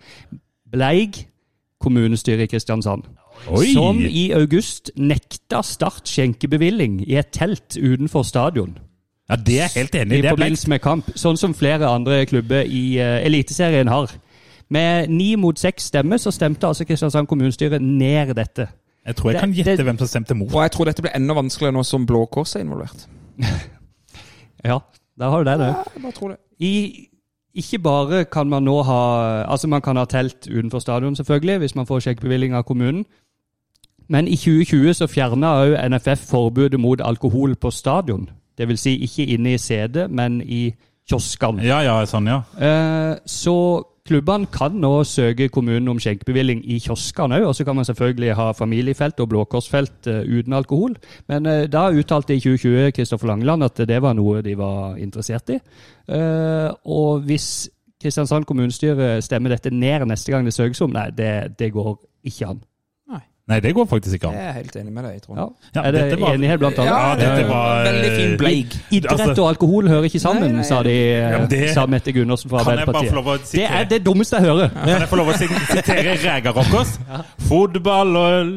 Bleig, kommunestyret i Kristiansand. Oi. Som i august nekta Start skjenkebevilling i et telt utenfor stadion. Ja, det er jeg helt enig I i. Det er blekt. forbindelse med kamp, sånn som flere andre klubber i eh, Eliteserien har. Med ni mot seks stemmer så stemte altså Kristiansand kommunestyre ned dette. Jeg tror jeg Det- kan gjette det- hvem som stemte mot. Og jeg tror dette blir enda vanskeligere nå som Blå Kors er involvert. Ja, der har du det, det. Ja, jeg bare tror det. I, ikke bare kan man nå ha Altså, man kan ha telt utenfor stadion, selvfølgelig, hvis man får skjenkebevilling av kommunen. Men i 2020 så fjerna òg NFF forbudet mot alkohol på stadion. Det vil si ikke inne i setet, men i kioskene. Ja, ja, sånn, ja. Eh, så klubbene kan nå søke kommunen om skjenkebevilling i kioskene òg. Og så kan man selvfølgelig ha familiefelt og blåkorsfelt eh, uten alkohol. Men eh, da uttalte i 2020 Kristoffer Langeland at det var noe de var interessert i. Eh, og hvis Kristiansand kommunestyre stemmer dette ned neste gang det søkes om, nei, det, det går ikke an. Nei, det går faktisk ikke an. Jeg er helt enig med deg, Trond. Ja. Ja, er det dette var- enighet blant alle? Ja, dette var- eh, Veldig fin bleig. Idrett Altså- og alkohol hører ikke sammen, Nei, nei, sa de, eh, men det- sa Mette Gundersen fra Kan jeg bare Arbeiderpartiet. få lov å det sitere? er det dummeste jeg hører. Kan jeg få lov å sit- sitere Rega Rockers? Fotball og øl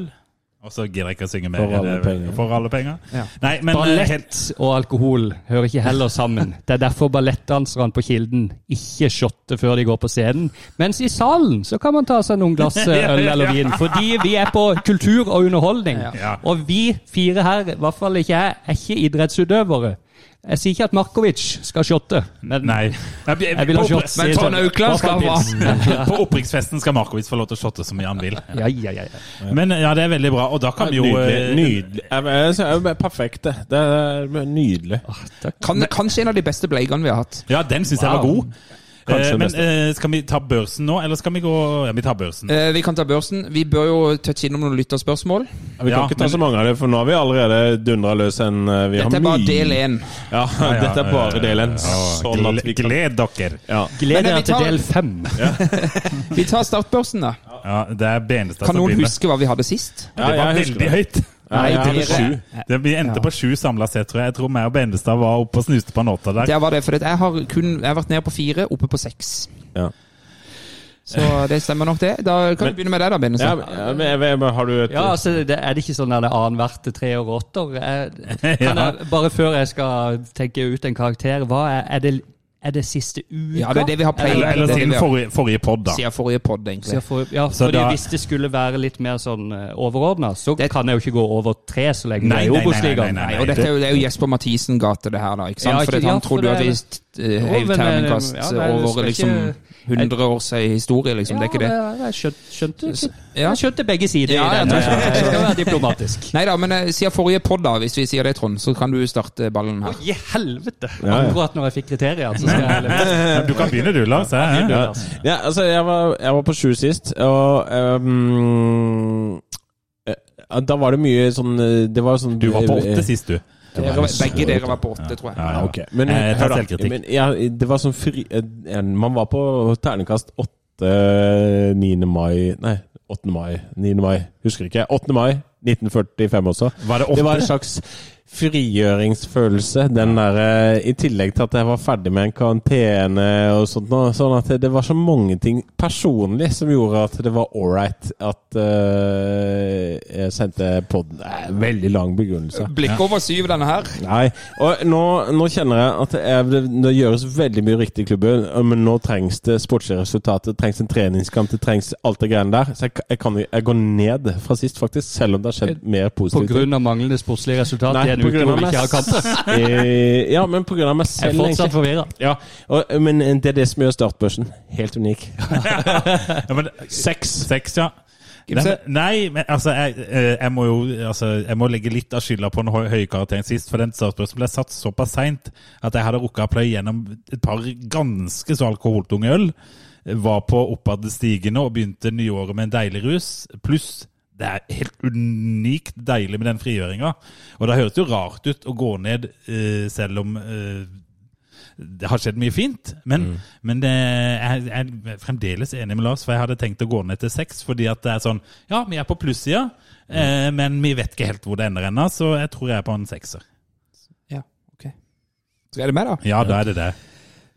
Og så gidder jeg ikke å synge mer. For alle det er- penger. For alle penger. Nei, men eh, helt, Ballett og alkohol hører ikke heller sammen. Det er derfor ballettdanserne på Kilden ikke shotter før de går på scenen. Mens i salen så kan man ta seg noen (laughs) glass eh, øl eller vin, fordi vi er på kultur og underholdning. Ja. Og vi fire her, i hvert fall ikke jeg, er ikke idrettsutøvere. Jeg sier ikke at Markovic skal shotte, men Nei. Jeg, jeg vil ha shots. Men Trond Aukland skal ha (laughs) På opprikksfesten skal Markowitz få lov til å shotte så mye han vil. Ja, ja, ja. ja. Men eh, ja, det er veldig bra. Og da kan vi jo eh, Nydelig. nydelig. Jeg, jeg, jeg, jeg, perfekt, det. Det er nydelig. Kan, kanskje en av de beste bleigene vi har hatt. Ja, den syns jeg var Wow. god. Kanskje Eh, den men beste. eh, skal vi ta børsen nå, eller skal vi gå Ja, vi tar børsen. Eh, vi kan ta børsen. Vi bør jo touche innom noen lytterspørsmål. Vi kan eh, Ja, ikke ta men- så mange av det, for nå har vi allerede dundra løs en eh, vi har Dette er bare mye- del E. én. (laughs) Ja, Ja, dette er bare eh, del én. ja, Sånn at gle- vi kan Gled dere. ja. Men, Gled eh, vi dere til tar- del fem. Vi tar startbørsen, da. Ja, det er Benestad Kan som noen begynner. huske hva vi hadde sist? det Ja, var jeg husker veldig høyt. Nei, jeg hadde dere- sju. Det, vi endte på sju samla sett, tror jeg. Jeg tror meg og Benestad var oppe og snuste på en åtter der. Der var det, for jeg har kun jeg har vært nede på fire, oppe på seks. Ja. Så det stemmer nok, det. Da kan vi begynne med deg, da, Ja, Benestad. men- ja, men jeg, jeg, har du et Ja, altså, det, er det ikke sånn at det er annenhver til tre og åtter? Jeg- Kan (laughs) Ja. jeg, bare før jeg skal tenke ut en karakter, hva er, er, det, er det siste uka? Ja, det er det vi har pleid. Eller, det er eller det siden vi har- forrige, forrige pod, da. Siden forrige pod, egentlig. Så jeg får, ja, Så fordi da- Hvis det skulle være litt mer sånn overordna, så Det- kan jeg jo ikke gå over tre så lenge det Nei, er nei, nei, i Obos-ligaen. nei, Nei, og dette er jo, det er jo Jesper Mathisen-gate, det her, da. ikke sant? Ja, ikke- Fordi at ja, han trodde for jo at det vi er- eh, Jo, heiv men, eh, terningkast ja, nei, det over skal liksom ikke- 100 års historie, liksom. Det er ikke det. Ja, jeg skjønte, skjønte, ikke- Ja. jeg skjønte begge sider. Ja, i jeg det. tror- jeg skal være (laughs) diplomatisk. Nei da, men eh, siden forrige pod, da, hvis vi sier det, Trond, så kan du starte ballen her. I helvete! Ja, ja. Akkurat når jeg fikk kriterier, så skal jeg levere. Du kan begynne du, Lars. Jeg, Ja, ja altså, jeg var, jeg var på sju sist, og ehm, eh, da var det mye sånn eh, Det var sånn Du var på åtte sist, du. Dere var- Begge dere var på åtte, tror jeg. Ja, ok. Men, Eh, ta hør da, selvkritikk. men ja, det var sånn fri... eh, Man var på terningkast 8 9. mai Nei, 8. mai. 9. mai. Husker ikke. 8. mai 1945 også. Var det Det åtte? var en slags frigjøringsfølelse. Den der, eh, I tillegg til at jeg var ferdig med en karantene og sånt. nå, Sånn at det var så mange ting personlig som gjorde at det var ålreit at eh, jeg sendte podden. Det er en veldig lang begrunnelse. Blikk over syv, denne her. Nei, og nå, nå kjenner jeg at jeg, det, det gjøres veldig mye riktig i klubben, men nå trengs det sportslige resultater, det trengs en treningskamp, det trengs alt det greiene der. Så jeg, jeg, kan, jo- jeg går ned fra sist, faktisk, selv om det har skjedd mer På positivt. grunn av manglende sportslige resultat i Nei, en på uke grunn hvor av vi meg ikke har kamper. Eh, ja, men på grunn av meg Jeg er selv. fortsatt egentlig. forvirra. Ja, og, men eh, det er det som gjør startbørsen helt unik. Ja, men, Seks. Seks, ja. Nei, Gimse? men- nei, men altså jeg, eh, jeg må jo altså, jeg må legge litt av skylda på den hø- høye karakteren sist, for den startspørsmålen ble satt såpass seint at jeg hadde rukka å pløye gjennom et par ganske så alkoholtunge øl. Var på oppadstigende og begynte nyåret med en deilig rus. Pluss det er helt unikt deilig med den frigjøringa. Og det høres jo rart ut å gå ned eh, selv om eh, det har skjedd mye fint, men, men det, jeg, jeg er fremdeles enig med Lars, for jeg hadde tenkt å gå ned til seks, fordi at det er sånn Ja, vi er på plussida, eh, men vi vet ikke helt hvor det ender ennå, så jeg tror jeg er på en sekser. Ja, ok. Så er det meg, da. Ja, da er det det.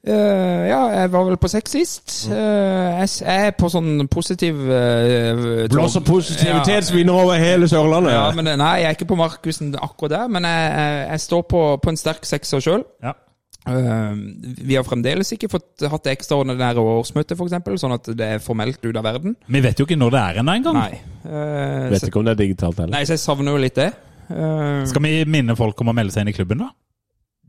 Eh, ja, jeg var vel på seks sist. Mm. Eh, jeg, s- jeg er på sånn positiv uh, Blåser Ja. positivitet som vinner over hele Sørlandet. Ja, men det- nei, jeg er ikke på Markussen akkurat der, men jeg, jeg, jeg står på, på en sterk sekser sjøl. Ja. vi har fremdeles ikke fått, hatt det ekstraordinære årsmøtet, f.eks., sånn at det er formelt ut av verden. Vi vet jo ikke når det er ennå engang. Nei. Eh, Vet så, ikke om det er digitalt heller. nei, så jeg savner jo litt det. Eh, Skal vi minne folk om å melde seg inn i klubben, da?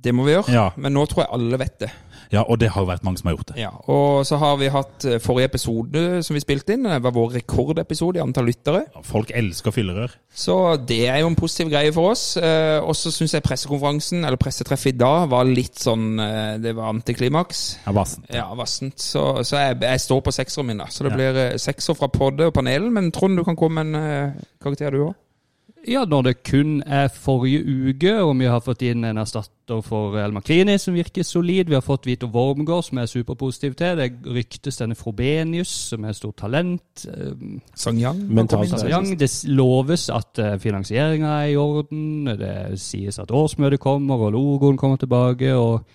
det må vi gjøre, Ja. men nå tror jeg alle vet det. Ja, og det har jo vært mange som har gjort det. Ja, og så har vi hatt eh, forrige episode som vi spilte inn, det var vår rekordepisode i antall lyttere. Folk elsker fyllerør. Så det er jo en positiv greie for oss. Eh, og så syns jeg pressekonferansen, eller pressetreffet i dag, var litt sånn eh, Det var antiklimaks. Ja, basen. Ja, vassent. Så, så jeg, jeg står på sekseren min, da. Så det blir eh, sekser fra Podde og panelen. Men Trond, du kan komme med en eh, karakter, du òg. Ja, når det kun er forrige uke, og vi har fått inn en erstatter for El Makrini, som virker solid. Vi har fått Vito Wormgård, som jeg er superpositiv til. Det ryktes denne Frobenius, som er stort talent. Eh, Sangyang. Mentalt. Kongsberg Young. Det s- loves at finansieringa er i orden. Det sies at årsmøtet kommer, og logoen kommer tilbake. og...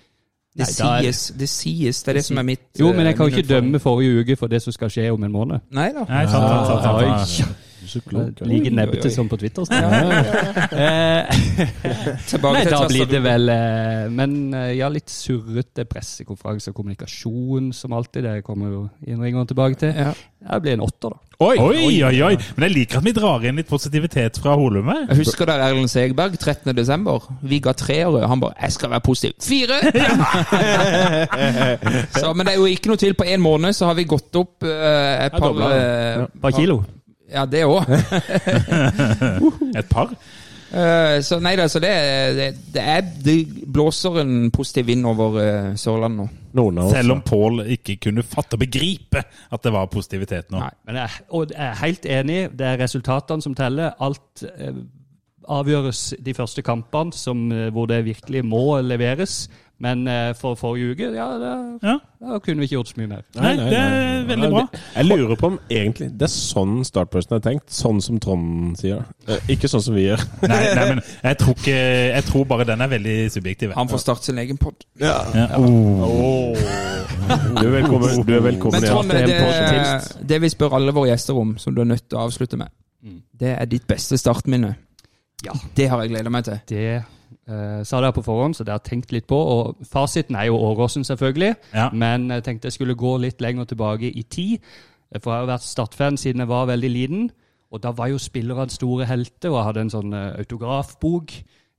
Det Nei, da er- sies, det sies. Det er det som er mitt Jo, men jeg kan eh, jo ikke min dømme forrige uke for det som skal skje om en måned. utfordring. Nei da. Nei, sant, sant, sant, sant, sant. Så klok, Jeg ja. Like Oi, oi. nebbete som på Twitter. Ja, ja, ja. (laughs) Eh, Tilbake Nei, til da Tessa, blir du. det vel eh, Men eh, ja, litt surrete pressekonferanse og kommunikasjon som alltid. Det kommer jo innringeren tilbake til. Ja. Det blir en åtter, da. Oi, oi, oi, oi! Men jeg liker at vi drar inn litt positivitet fra Holum her. Jeg husker der Erlend Segberg 13. desember. Vi ga treere. Han bare 'Jeg skal være positiv'. Fire! (laughs) så, men det er jo ikke noe til. På en måned så har vi gått opp eh, et Ja, par dobla. eh, Par kilo. Ja, det (laughs) òg. Et par. Eh, så nei da, så det, det, det er Det blåser en positiv vind over eh, Sørlandet nå. Noen av oss. Selv om Pål ikke kunne fatte og begripe at det var positivitet nå. Nei. Men jeg, og jeg er helt enig. Det er resultatene som teller. Alt eh, avgjøres de første kampene som, eh, hvor det virkelig må leveres. Men eh, for forrige uke, ja, da, Ja. da kunne vi ikke gjort så mye mer. Nei, det er veldig bra. Jeg lurer på om egentlig det er sånn startbørsen er tenkt. Sånn som Trond sier. Eh, Ikke sånn som vi gjør. (laughs) Nei, nei, men jeg tror, ikke, jeg tror bare den er veldig subjektiv. jeg. Han får starte sin egen pod. Ja. Oh. Du er velkommen, du er velkommen Men igjen. Trond, Det er en påskepils. det, det vi spør alle våre gjester om, som du er nødt til å avslutte med, Mm. det er ditt beste startminne. Ja. Det har jeg gleda meg til. Det eh, sa dere på forhånd, så det har jeg tenkt litt på. Og fasiten er jo Åråsen, selvfølgelig. Ja. Men jeg tenkte jeg skulle gå litt lenger tilbake i tid. eh, For jeg har jo vært Start-fan siden jeg var veldig liten. Og da var jo spillerne store helter, og jeg hadde en sånn eh, autografbok.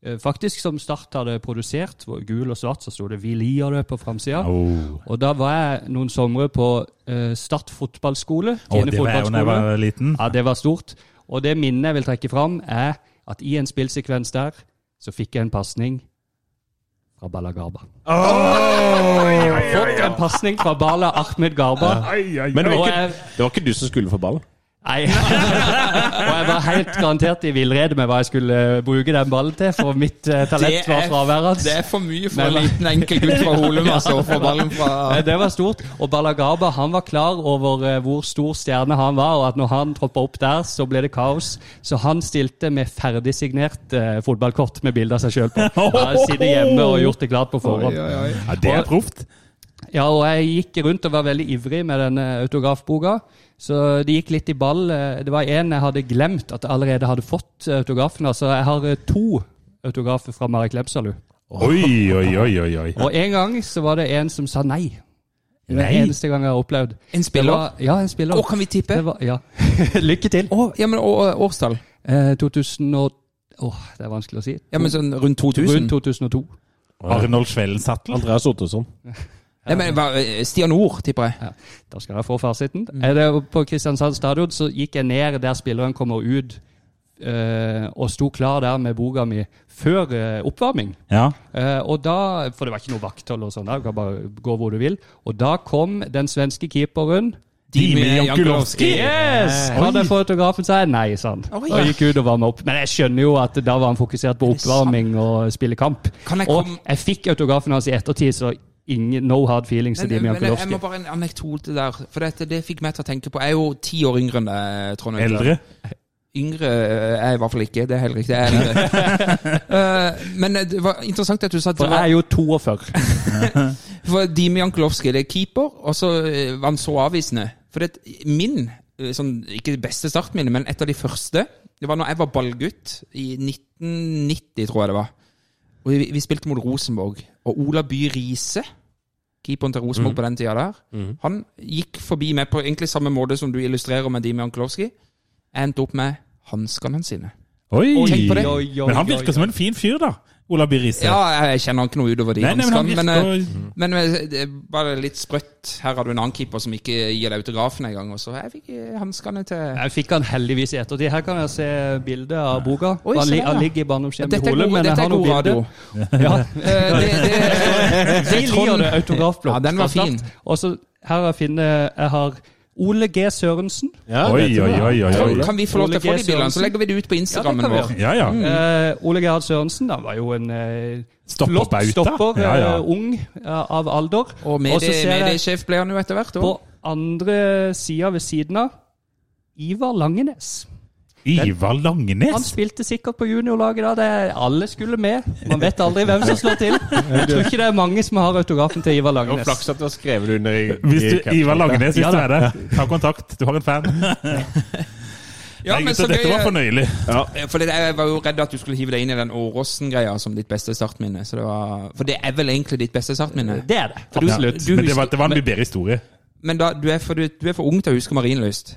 eh, Faktisk som Start hadde produsert, hvor gul og svart, så sto det 'Vi lier det' på framsida. Oh. Og da var jeg noen somre på eh, Start fotballskole. Å, Tine det var jeg jo da jeg fotballskole. var liten. Ja, det var stort. Og det minnet jeg vil trekke fram, er at i en spillsekvens der, så fikk jeg en pasning fra Bala Garba. Fått en pasning fra Bala Ahmed Garba. Men det var, Og ikke, jeg, det var ikke du som skulle få ballen. Nei. og jeg var helt garantert i villrede med hva jeg skulle eh, bruke den ballen til, for mitt eh, Det talent var er- Det fraværende. er for mye for en Nei, nei. liten enkel gutt fra Holum altså, å få ballen fra (laughs) Nei, Det var stort. Og Balagaba han var klar over eh, hvor stor stjerne han var, og at når han troppa opp der, så ble det kaos. Så han stilte med ferdigsignert eh, fotballkort med bilde av seg sjøl på. Han hadde sittet hjemme og gjort det klart på forhånd. Ja, det er proft. Ja, og jeg gikk rundt og var veldig ivrig med denne autografboka. Så det gikk litt i ball. Eh, Det var en jeg hadde glemt at jeg allerede hadde fått autografen. Altså, jeg har eh, to autografer fra Marek Lebsalu. Oi, oi, oi, oi. oi. Og en gang så var det en som sa nei. Det var Nei. den eneste gang jeg har opplevd. En Det spiller. var, ja, en spiller. Å, kan vi tippe? Det var, (laughs) ja. Lykke til. Å, ja, men å, å, årstall? Eh, 2000 og... Åh, det er vanskelig å si. Ja, men sånn rundt 2000? Rundt 2002. Arnold Schwellensattel. Andreas Ottosson. Nei, men hva- eh, Stian Ord, tipper jeg. Ja, da skal jeg få fasiten. Mm. Er det på Kristiansand stadion så gikk jeg ned der spilleren kommer ut, eh, og sto klar der med boka mi før eh, oppvarming. Ja. Eh, og da, For det var ikke noe vakthold, og sånn, der, du kan bare gå hvor du vil. Og da kom den svenske keeperen. Dimi Jankulovski. Yes! Hadde jeg fått autografen, sa jeg nei, sa han. Oi. Og gikk ut og varma opp. Men jeg skjønner jo at da var han fokusert på oppvarming og spille kamp. Kan jeg og komme- jeg fikk autografen hans i ettertid, så ingen, no hard feelings til Men, Dimi men jeg, jeg Jankulovski. må bare en anekdote der, for dette, det fikk meg til å tenke på Jeg er jo ti år yngre enn deg, Trond. Øyvind. Eldre. Yngre eh, er jeg i hvert fall ikke, det er helt riktig. Jeg er eldre. (laughs) Eh, men det var interessant at du sa at det For jeg var, er jo 42. for Dimi Jankulovskij det er keeper, og så eh, var han så avvisende. For det, min, eh, sånn, ikke det beste startminnet, men et av de første, det var når jeg var ballgutt, i 1990 tror jeg det var. Og vi, vi spilte mot Rosenborg, og Ola By Riise, keeperen til Rosenborg Mm. på den tida der, han gikk forbi meg på egentlig samme måte som du illustrerer med Dimi Jankulovskij. Jeg endte opp med hanskene sine. Oi. Tenk på det. Men han virker som en fin fyr, da. Ola By Riise. Ja, jeg kjenner han ikke noe utover de Nei, nei, men han hanskene. Men, eh, virker men eh, det er bare litt sprøtt. Her har du en annen keeper som ikke gir deg autografen engang. Og så jeg fikk eh, hanskene til Jeg fikk han heldigvis i ettertid. Her kan jeg se bilde av boka. Oi, han, se li der, ja. han ligger i barndomshjemmet Dette er Holum, god, men jeg dette har er god noe radio. bilde. (laughs) Ja. Eh, det, det, De liker det, autografblokk. Ja, den var fra fin. start. Og så her har jeg funnet Jeg har Ole G. Sørensen. Ja, Oi, vet du oi, det. oi. oi, kan, oi. kan vi få lov til å få Ole de G. bildene? Så Sørensen. legger vi det ut på Instagrammen kan vi vår. Ja, ja. Eh, Ole Gerhard Sørensen han var jo en eh, Stopper flott bauta. stopper. Ja, ja. eh, ung eh, av alder. Og Og så ser jeg mediesjef ble han jo etter hvert. på også. andre sida ved siden av Ivar Langenes. Ivar Han Langnes. spilte sikkert på juniorlaget da. Det, alle skulle med. Man vet aldri hvem som slår til. Jeg tror ikke det er mange som har autografen til Ivar Det var Langnes. flaks at du har skrevet det under i, Hvis i du, caption. Ivar Langnes, hvis Ja, du da. er der, ta kontakt. Du har en fan. Ja, Nei, men gutter, så dette gøy, var eh, fornøyelig. For det, jeg var jo redd at du skulle hive deg inn i den Åråsen-greia som ditt beste startminne. Så det var, for det er vel egentlig ditt beste startminne? Det er det. du- Absolutt. du Men det var, husker- det var en mye bedre historie. Men da, du, er for, du, du er for ung til å huske Marienlyst.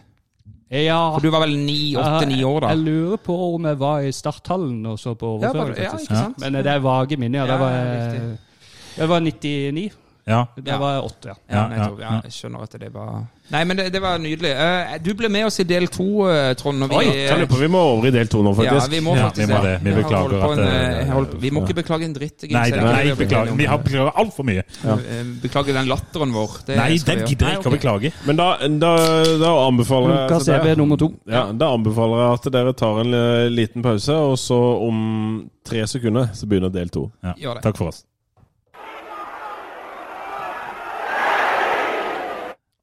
Ja. For du var vel ni, åtte-ni år da? Jeg lurer på om jeg var i starthallen og så på Ja, var overføring, du- ja, faktisk. ikke sant? Men eh, det er vage minner. Ja, Ja, det var, eh, riktig. det var 99. Ja. Det var jeg åtte, ja. Ja, Ja, nettopp. ja, Ja, jeg skjønner at det var Nei, men det, det var nydelig. Eh, Du ble med oss i del to, eh, Trond. Og vi, Jeg lurer på, vi må over i del to nå, ja, faktisk. vi må Ja, faktisk vi må det. Vi har beklager holdt på at, en, eh, eh, holdt, Vi må ikke beklage en dritt. Gims. Nei, Er det ikke nei, det vi har blitt beklager. Vi har beklaget altfor mye. enige om? Eh, Beklager den latteren vår. Det Nei, skal vi den gjøre. gidder jeg Nei, ikke å ok. beklage. Men da, da, da anbefaler jeg Lukas altså, det- EB nummer to. Ja, Da anbefaler jeg at dere tar en eh, liten pause, og så om tre sekunder så begynner del to. Ja. Gjør det. Takk for oss.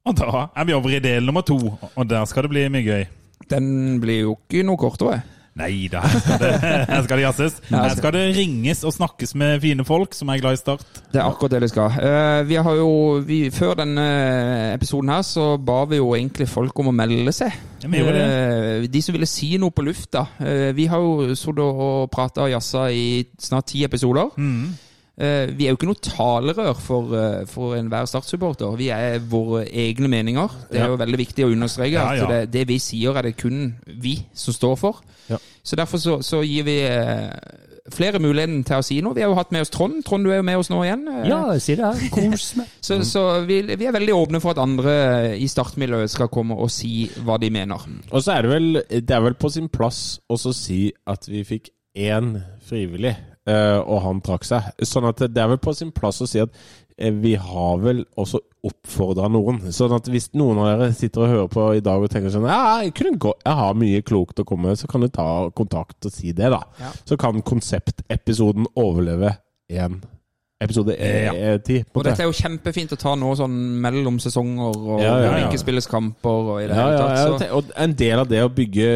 Og da er vi over i del nummer to, og der skal det bli mye gøy. Den blir jo ikke noe kortere. Nei da, her skal det, (laughs) her skal det jazzes. altså. Her skal det ringes og snakkes med fine folk som er glad i Start. Det er akkurat det det skal. Eh, vi har jo, vi, Før denne episoden her så ba vi jo egentlig folk om å melde seg. Ja, vi gjorde Eh, de som ville si noe på lufta. Eh, vi har jo sittet og prata og jazza i snart ti episoder. Mm. Eh, vi er jo ikke noe talerør for, eh, for enhver Start-supporter. Vi er våre egne meninger. Det er jo veldig viktig å understreke Ja, ja. at det, det vi sier, er det kun vi som står for. Så derfor så, så gir vi eh, flere muligheten til å si noe. Vi har jo hatt med oss Trond. Trond, du er jo med oss nå igjen. Eh, Ja, si det her. Kos meg. så, så vi, vi er veldig åpne for at andre i startmiljøet skal komme og si hva de mener. Og så er det vel Det er vel på sin plass å så si at vi fikk én frivillig eh, og han trakk seg. Sånn at det er vel på sin plass å si at eh, vi har vel også oppfordra noen. Sånn at hvis noen av dere sitter og hører på i dag og tenker sånn ja, jeg, kunne gå, jeg har mye klokt å komme med, så kan du ta kontakt og si det, da. Så kan konseptepisoden overleve én episode Ja. eh, ti. Og på en måte. dette er jo kjempefint å ta nå sånn mellom sesonger og Ja, ja, når det ja. ikke spilles kamper og i det Ja, hele ja, tatt. jeg Så. tenker- og en del av det å bygge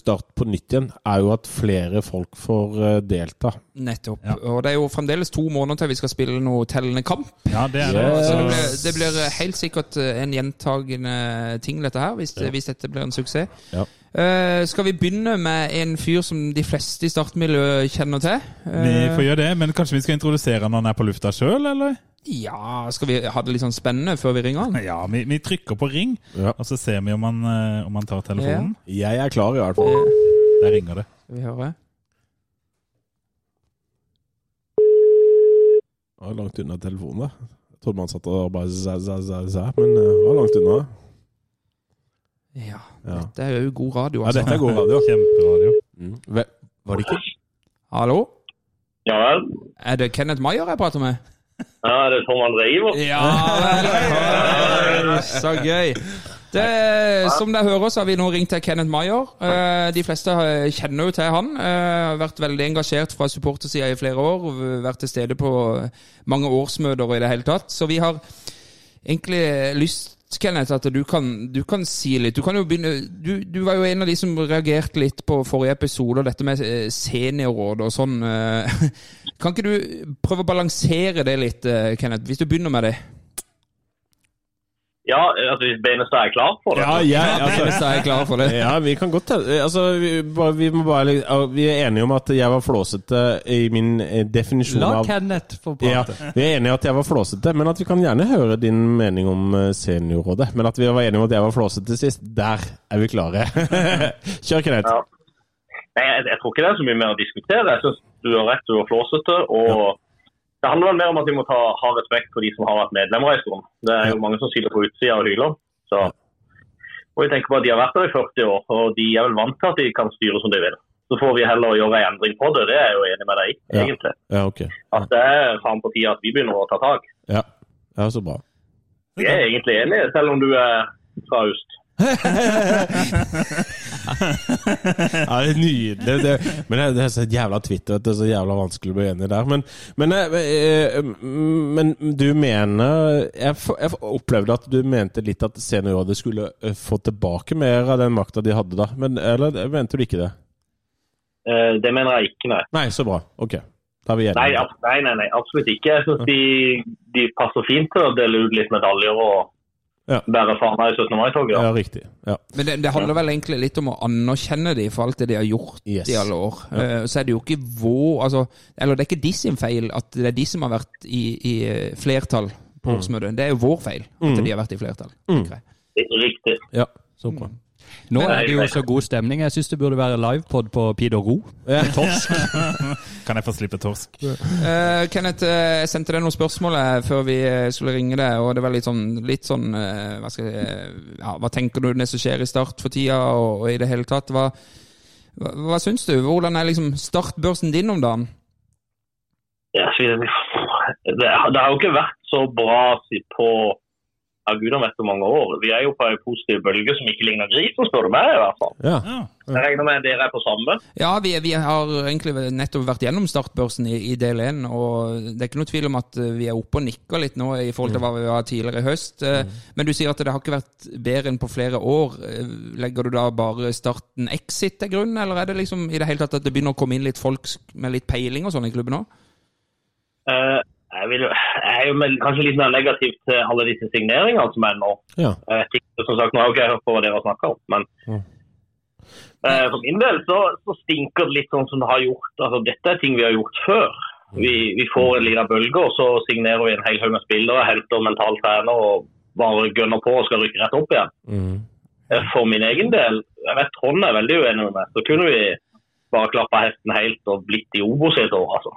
Start på nytt igjen, er jo at flere folk får eh, delta. Nettopp. Ja. Og det er jo fremdeles to måneder til vi skal spille noe tellende kamp. Ja, det er Yes. Så det det. blir, det blir eh, helt sikkert en gjentagende ting, dette her, hvis, hvis dette blir en suksess. Ja. Eh, skal vi begynne med en fyr som de fleste i startmiljøet kjenner til? Vi Eh, får gjøre det, men kanskje vi skal introdusere han når han er på lufta sjøl, eller? ja, skal vi ha det litt sånn spennende før vi ringer han? Ja, vi, vi trykker på ring, Ja. og så ser vi om han, eh, om han tar telefonen. Jeg er klar, i hvert fall. Der ringer det. Skal vi høre? Det var langt unna telefonen, da. Jeg trodde man satt og bare zæ, zæ, zæ, zæ, men eh, det var langt unna. Ja. Ja. Det er jo god radio, Ja, altså. dette er god radio. Kjemperadio. Ve- Var det ikke Hallo? Ja vel. Er det Kenneth Maier jeg prater med? Ja, er det Tom André Iversen? Ja vel! Så gøy. Det, som dere hører, så har vi nå ringt til Kenneth Maier. Eh, De fleste har- kjenner jo til han. Eh, Har vært veldig engasjert fra supportersida i flere år. og Vært til stede på mange årsmøter og i det hele tatt. Så vi har egentlig lyst Kenneth, at du kan, du kan si litt. Du kan jo begynne du, du var jo en av de som reagerte litt på forrige episode og dette med eh, seniorråd og sånn. eh. Kan ikke du prøve å balansere det litt, eh, Kenneth, hvis du begynner med det? Ja, altså hvis Benestad er klar for det. Ja, jeg, altså, Hvis jeg er klar for det. ja, vi kan godt telle. Eh, Altså, vi, bare, vi, må bare, litt- ja, vi er enige om at jeg var flåsete i min eh, definisjon La av Kenneth få ja, prate. Vi er enige i at jeg var flåsete, men at vi kan gjerne høre din mening om eh, seniorrådet. Men at vi var enige om at jeg var flåsete sist, der er vi klare. (laughs) Kjør, Kenneth. Ja. Nei, jeg, jeg tror ikke det er så mye mer å diskutere. Jeg synes du har rett, du er flåsete. Og det handler vel mer om at vi må ta, ha respekt for de som har vært medlemmer en stund. Det er jo mange som sitter på utsida og hyler. Så. Og jeg tenker på at De har vært der i 40 år, og de er vel vant til at de kan styre som de vil. Så får vi heller gjøre en endring på det. Det er jeg jo enig med deg i, Ja. egentlig. Ja, ok. At det er faen på tide at vi begynner å ta tak. Ja, ja så bra. Vi er egentlig enige, selv om du er fra øst. Ja, det er nydelig. Det, men det, det er så jævla Twitter at det er så jævla vanskelig å bli enig der. Men, men, eh, eh, men du mener jeg, f- jeg opplevde at du mente litt at seniorrådet skulle eh, få tilbake mer av den makta de hadde da. Men, eller mente du ikke det? Eh, Det mener jeg ikke, nei. Nei, så bra. Ok. Da er vi Nei, enige. ab- nei, nei, nei absolutt ikke. Jeg syns de, de passer fint til å dele ut litt medaljer og Ja. bære fana i 17. mai-toget. Ja, Ja. riktig. Ja. Men det, det handler vel egentlig litt om å anerkjenne dem for alt det de har gjort Yes. i alle år. Eh, Så er det jo ikke vår altså, Eller det er ikke de sin feil at det er de som har vært i, i eh, flertall Mm. på årsmøtet. Det er jo vår feil at de har vært i flertall. tenker jeg. Riktig. ja. Så bra. Nå er det jo så god stemning. Jeg syns det burde være livepod på Pid og Ro. Torsk. Kan jeg få slippe torsk? Eh, Kenneth, eh, jeg sendte deg noen spørsmål eh, før vi eh, skulle ringe deg, og det var litt sånn, litt sånn eh, hva, skal jeg, si, ja, hva tenker du det som skjer i Start for tida, og, og i det hele tatt? Hva, hva, hva syns du? Hvordan er liksom startbørsen din om dagen? Ja, så vi- det, det har jo ikke vært så bra si- på ja, gudene vet hvor mange år. Vi er jo på en positiv bølge som ikke ligner grisen, spør du meg i hvert fall. Ja. Ja. Jeg regner med dere er på samme. Ja, vi, vi har egentlig nettopp vært gjennom startbørsen i, i del 1, og det er ikke noe tvil om at eh, vi er oppe og nikker litt nå i forhold til hva vi var tidligere i høst. eh, Men du sier at det har ikke vært bedre enn på flere år. Eh, Legger du da bare starten exit til grunn, eller er det liksom i det hele tatt at det begynner å komme inn litt folk sk- med litt peiling og sånn i klubben òg? Eh, Jeg, vil, jo- jeg er jo med, kanskje litt mer negativ til alle disse signeringene som er nå. Ja. Eh, Jeg vet ikke, som sagt, nå har jeg ikke hørt på hva dere har snakket om, men Mm. eh, for min del så, så stinker det litt sånn som det har gjort. Altså, dette er ting vi har gjort før. Vi, vi får en liten bølge, og så signerer vi en hel haug med spillere, henter mental trener og bare gønner på og skal rykke rett opp igjen. Mm. Eh, For min egen del, jeg vet Trond er veldig uenig med meg, så kunne vi bare klappa hesten helt og blitt i Obos et år, altså.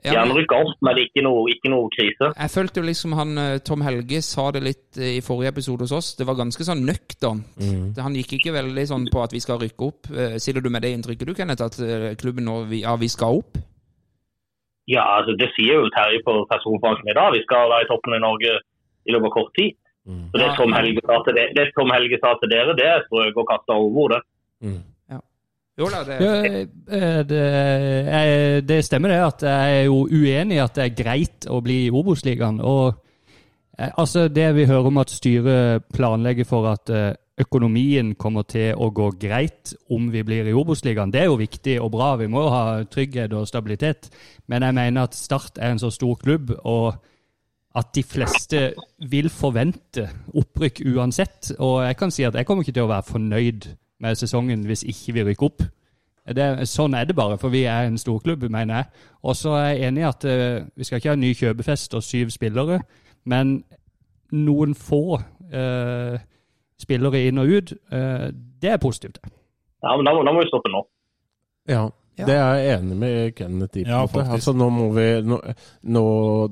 Gjerne rykke opp, men ikke noe, ikke noe krise. Jeg følte jo liksom han eh, Tom Helge sa det litt eh, i forrige episode hos oss. Det var ganske sånn nøkternt. Det- Han gikk ikke veldig sånn på at vi skal rykke opp. Eh, Sitter du med det inntrykket du, Kenneth, at eh, klubben nå vi, ja, vi skal opp? Ja, altså Det sier jo Terje på personfangsten i dag. Vi skal være i toppen i Norge i løpet av kort tid. Så Det Tom Helge sa til, de, det Tom Helge sa til dere, det er strøk og kasta over det. Jo da, det Ja, eh, det, jeg, det stemmer det at jeg er jo uenig i at det er greit å bli i Obos-ligaen. Og eh, altså det vi hører om at styret planlegger for at eh, økonomien kommer til å gå greit om vi blir i Obos-ligaen, det er jo viktig og bra. Vi må ha trygghet og stabilitet. Men jeg mener at Start er en så stor klubb. og at de fleste vil forvente opprykk uansett. Og jeg kan si at jeg kommer ikke til å være fornøyd med sesongen hvis ikke vi rykker opp. Det, sånn er det bare, for vi er en storklubb, mener jeg. Og så er jeg enig i at eh, vi skal ikke ha en ny kjøpefest og syv spillere, men noen få eh, spillere inn og ut, eh, det er positivt. Ja, men Da må, da må vi stoppe nå. Ja. Det er jeg enig med Kenneth i. på en Ja, måte. faktisk. altså, nå må vi, nå, nå,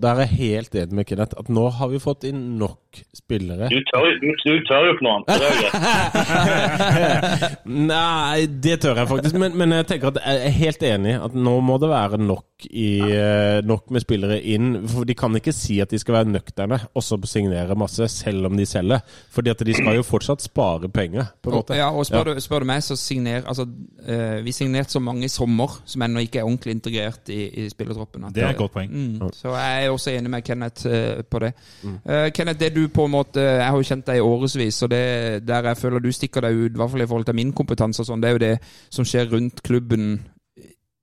der er jeg helt enig med Kenneth. At nå har vi fått inn nok spillere. (laughs) Du tør, jo- du, du tør jo ikke noe annet. så det er jo greit. Nei, det tør jeg faktisk. Men, men jeg tenker at jeg er helt enig at nå må det være nok, i, eh, nok med spillere inn. For de kan ikke si at de skal være nøkterne og så signere masse, selv om de selger. Fordi at de skal jo fortsatt spare penger, på Og, en måte. ja, og spør, Du, spør du meg, så signer altså, eh, Vi signerte så mange i sommer som ennå ikke er ordentlig integrert i, i spillertroppen. at- Det er et godt poeng. Mm, så jeg er også enig med Kenneth eh, på det. Eh, Kenneth, det du på en måte eh, Jeg har jo kjent deg i årevis, og det der jeg føler du stikker deg ut, i hvert fall i forhold til min kompetanse og sånn, det er jo det som skjer rundt klubben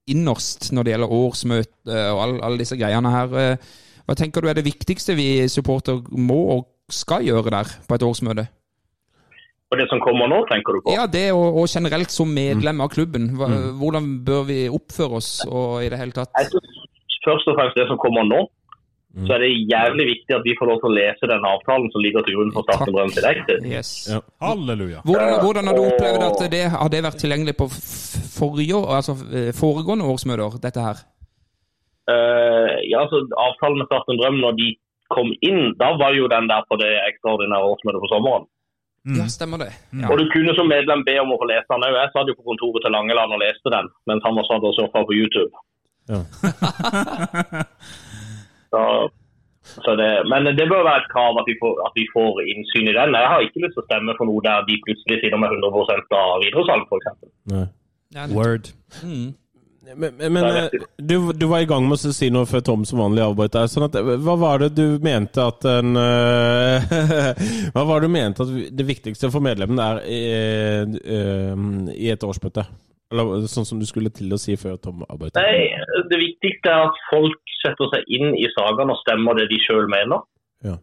innerst når det gjelder årsmøte eh, og all- alle disse greiene her. Eh, Hva tenker du er det viktigste vi supporter må og skal gjøre der på et årsmøte? Og det som kommer nå, tenker du på? Ja, det og, og generelt som medlem av klubben. Hva, Hvordan bør vi oppføre oss og i det hele tatt? Jeg synes Først og fremst det som kommer nå, så er det jævlig viktig at vi får lov til å lese den avtalen som ligger til grunn for Takk. Starten Drøm til deg. Yes. Ja. Halleluja. Hvordan, hvordan har du opplevd at det har det vært tilgjengelig på f- forrige, år- altså eh, foregående årsmøter, dette her? Eh, ja, altså Avtalen med Starten Drøm når de kom inn, da var jo den der på det ekstraordinære årsmøtet på sommeren. Mm. Ja, stemmer det. Ja. Og du kunne som medlem be om å få lese den òg. Jeg satt jo på kontoret til Langeland og leste den mens han var satt og surfa på YouTube. Ja. (laughs) så, så det, men det bør være et krav at vi, får, at vi får innsyn i den. Jeg har ikke lyst til å stemme for noe der de plutselig sitter med 100 av videresalg, f.eks. Nei. Ja, Word. mm. Men, men eh, du, du var i gang med å si noe før Tom som vanlig avbrøt deg. Sånn at, eh, hva var det du mente at en eh, (laughs) Hva var det du mente at vi- det viktigste for medlemmene er eh, eh, i et årsmøte? Eller sånn som du skulle til å si før Tom avbrøt Nei, deg. Det viktigste er at folk setter seg inn i sakene og stemmer det de sjøl mener. Ja.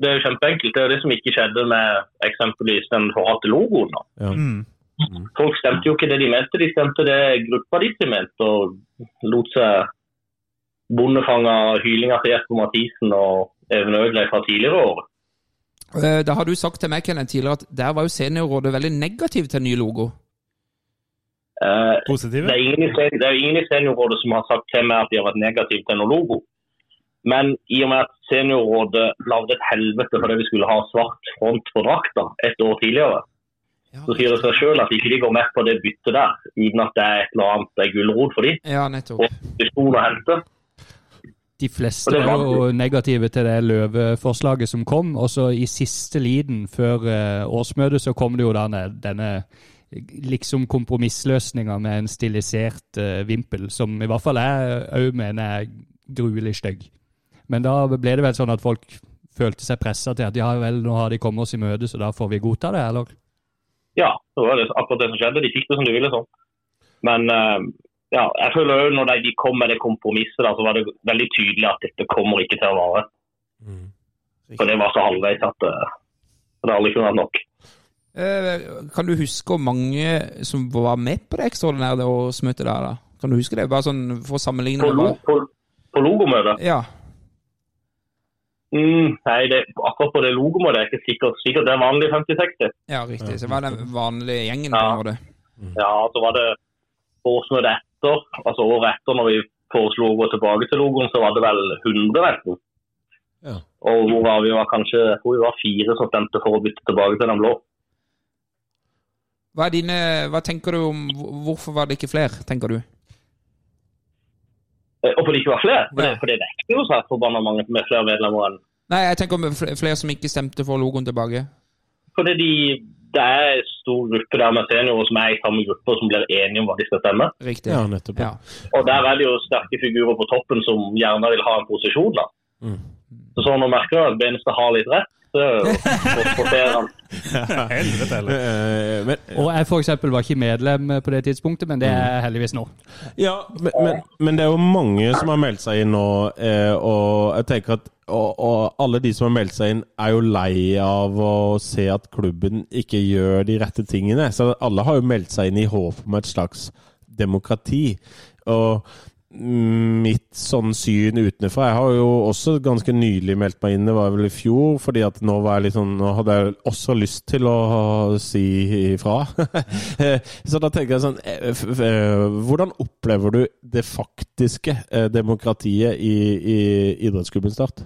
Det er jo kjempeenkelt. Det er jo det som ikke skjedde med eksempelvis den forhatte logoen. da. Ja. Mm. Folk stemte jo ikke det de mente, de stemte det gruppa de ikke mente, og lot seg bondefange av hylinga til Jesper Mathisen og Even Ødley fra tidligere år. Eh, Da har du sagt til meg Kenneth, tidligere at der var jo seniorrådet veldig negativ til ny logo. Eh, Det Positive? er ingen i, sen- det er ingen i seniorrådet som har sagt til meg at de har vært negative til noen logo. Men i og med at seniorrådet lagde et helvete fordi vi skulle ha svart front på drakta et år tidligere, Ja, så sier det seg sjøl at ikke de går med på det byttet der, uten at det er et eller annet det er gulrot for de. ja nettopp. Det er stor å hente. De fleste Og det er var- jo negative til det løveforslaget som kom, og så i siste liten før eh, årsmøtet så kom det jo denne, denne liksom kompromissløsninga med en stilisert eh, vimpel, som i hvert fall jeg òg mener er gruelig stygg. Men da ble det vel sånn at folk følte seg pressa til at ja vel, nå har de kommet oss i møte, så da får vi godta det, eller? Ja, det var det, akkurat det som skjedde. De fikk det som de ville. sånn. Men eh, ja, jeg føler jo når de- de kom med det kompromisset, da, så var det veldig tydelig at dette kommer ikke til å vare. Mm. For det var så halvveis at eh, det aldri kunne vært nok. Eh, Kan du huske hvor mange som var med på det ekstraordinære årsmøtet der, da? Kan du huske det? Bare sånn for å sammenligne På, med lo, hva- på, på logomøtet? Ja. Mm, nei, det, akkurat på det logomøtet er jeg ikke sikkert. Sikkert det er vanlig 50-60. Ja, riktig. Så det var den vanlige gjengen. på Ja. en måte. Ja, så var det på årsmøtet etter, altså året etter når vi foreslo å gå tilbake til logoen, så var det vel 100 nesten. Ja. Og hvor var vi var kanskje, jeg tror vi var fire som stemte for å bytte tilbake til den blå. Hva, er dine, hva tenker du om Hvorfor var det ikke flere, tenker du? Eh, Og fordi det ikke var flere. For det, Ja. for det er ikke noe svært forbanna mange med flere medlemmer enn Nei, jeg tenker om fl- flere som ikke stemte for logoen tilbake. Fordi de, det er en stor gruppe der med seniorer som er i samme gruppe, og som blir enige om hva de skal stemme. Riktig. Ja, nettopp. Ja. Og der er det jo sterke figurer på toppen som gjerne vil ha en posisjon, da. Så sånn å merke at Benestad har litt rett, det er jo forferderende. Helvete heller. Eh, men, Og jeg for eksempel var ikke medlem på det tidspunktet, men det er jeg heldigvis nå. ja, men, men, men det er jo mange som har meldt seg inn nå, eh, og jeg tenker at og, og alle de som har meldt seg inn, er jo lei av å se at klubben ikke gjør de rette tingene. Så alle har jo meldt seg inn i håp om et slags demokrati. Og mitt sånn syn utenfra Jeg har jo også ganske nylig meldt meg inn, det var vel i fjor, fordi at nå var jeg litt sånn Nå hadde jeg også lyst til å si ifra. (laughs) Så da tenker jeg sånn eh, f- f- eh, Hvordan opplever du det faktiske eh, demokratiet i, i idrettsklubben Start?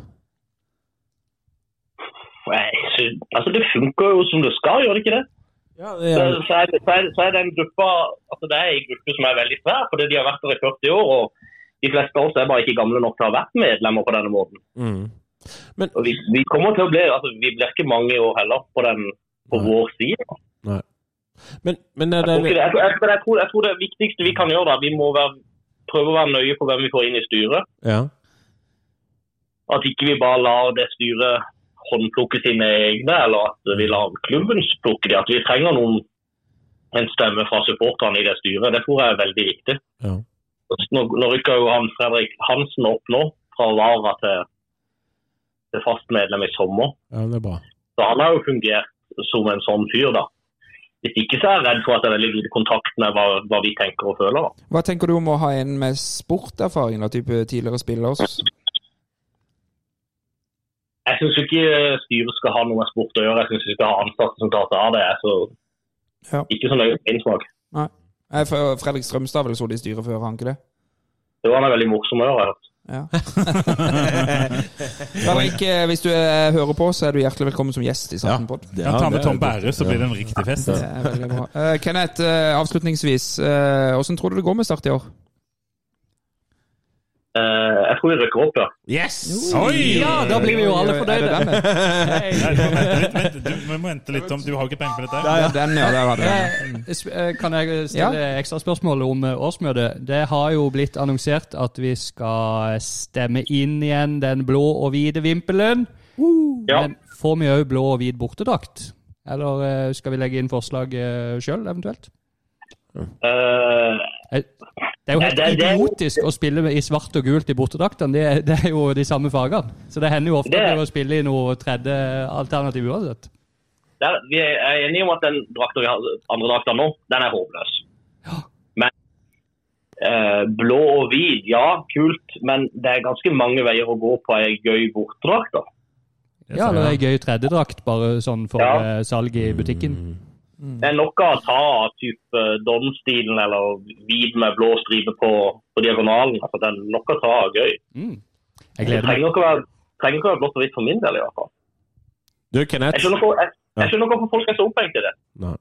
Nei, så- Altså, det funker jo som det skal, gjør det ikke det? Ja, Så, så, er, det- så, er, det- så er den gruppa altså Det er en gruppe som er veldig svær, fordi de har vært der i 40 år. og de fleste av oss er bare ikke gamle nok til å ha vært medlemmer på denne måten. Mm. Og vi, vi kommer til å bli, altså vi blir ikke mange i år heller på, den, på Nei. vår side. Men, men er Jeg tror, det ikke det. Jeg, tror- jeg, tror- jeg, tror, jeg tror det viktigste vi kan gjøre, da, vi må være, prøve å være nøye på hvem vi får inn i styret. Ja. At ikke vi bare lar det styret håndplukke sine egne, eller at vi lar klubben plukke de. At vi trenger noen, en stemme fra supporterne i det styret. Det tror jeg er veldig viktig. Ja. Nå, nå rykker jo han Fredrik Hansen opp nå, fra Vara til, til fast medlem i sommer. ja, det er bra. Så han har jo fungert som en sånn fyr, da. Hvis ikke så er jeg redd for at det er veldig lite kontakt med hva, hva vi tenker og føler. da. Hva tenker du om å ha en med sporterfaring, da, type tidligere spiller? Jeg syns ikke eh, styret skal ha noe med sport å gjøre. Jeg syns vi skal ha ansatte som tar seg av det. Jeg er så, Ja. ikke så nøye med min smak. Nei, for Fredrik Strømstad har vel sittet i styret før, har han ikke det? Det var han er veldig morsom å gjøre. har jeg hørt. (laughs) Ja. Fredrik, eh, hvis du eh, hører på, så er du hjertelig velkommen som gjest i Sartenpod. det- Han tar det med er- Tom Bærum, så blir det en riktig fest. Det er veldig bra. Eh, Kenneth, eh, avslutningsvis. eh, Hvordan tror du det går med Start i år? Eh, jeg tror vi rykker opp, ja. Yes! Oi! Ja, da blir vi jo alle Er det fornøyde. den, det? Nei, du må vente litt, vent, du, vi må vente litt, Tom. Du har ikke penger på dette? her. Ja, den, ja. Der var det. Eh, sp- eh, Kan jeg stille ekstraspørsmål om eh, årsmøtet? Det har jo blitt annonsert at vi skal stemme inn igjen den blå og hvite vimpelen. ja. Men får vi òg blå og hvit bortedrakt? Eller eh, skal vi legge inn forslag sjøl, eventuelt? Eh, Det er jo helt Det- det- det- idiotisk å spille i svart og gult i bortedraktene. Det, er- (laughs) det er jo de samme fargene. Så det hender jo ofte at Det- vi må spille i noe tredje alternativ uansett. der, vi er jeg er enige om at den drakta vi har andre drakta nå, den er håpløs. Men eh, blå og hvit, ja, kult. Men det er ganske mange veier å gå på ei gøy bortedrakt. da. Ja, eller ei gøy tredjedrakt, bare sånn for Ja. eh, salg i butikken. Det er noe å ta av type Don-stilen eller hvit med blå stripe på, på diagonalen. Altså, det er noe å ta av gøy. Jeg Det gleder meg. trenger ikke å være, trenger ikke å være blått og hvitt for min del, i hvert fall. Du, Kenneth. Jeg skjønner ikke- jeg- jeg skjønner ikke hvorfor folk er så opphengt i det. Nei.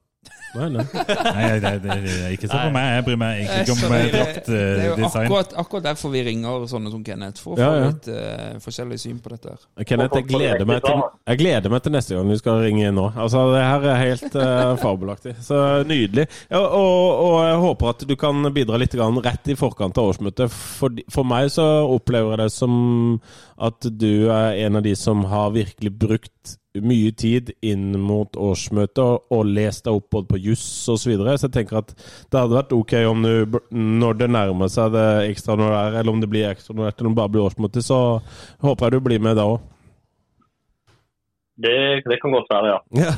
Nei, nei. Nei, det, det, det er ikke sånn for meg. Jeg bryr meg egentlig ikke om eh, Det er jo draktdesign. akkurat, akkurat derfor vi ringer sånne som Kenneth, for å få Ja, ja. litt eh, forskjellig syn på dette. her. Kenneth, jeg gleder, meg til, jeg gleder meg til neste gang du skal ringe inn nå. Altså, Det her er helt eh, fabelaktig. Så nydelig. Ja, og, og jeg håper at du kan bidra litt grann rett i forkant av årsmøtet. For, for meg så opplever jeg det som at du er en av de som har virkelig brukt mye tid inn mot årsmøtet og, og lest deg opp både på juss osv. Så, videre. så jeg tenker at det hadde vært ok om du, br- når det nærmer seg det ekstraordinære, eller om det blir ekstraordinært, eller om det bare blir årsmøte, så håper jeg du blir med da òg. Det, det kan godt være, ja. Ja,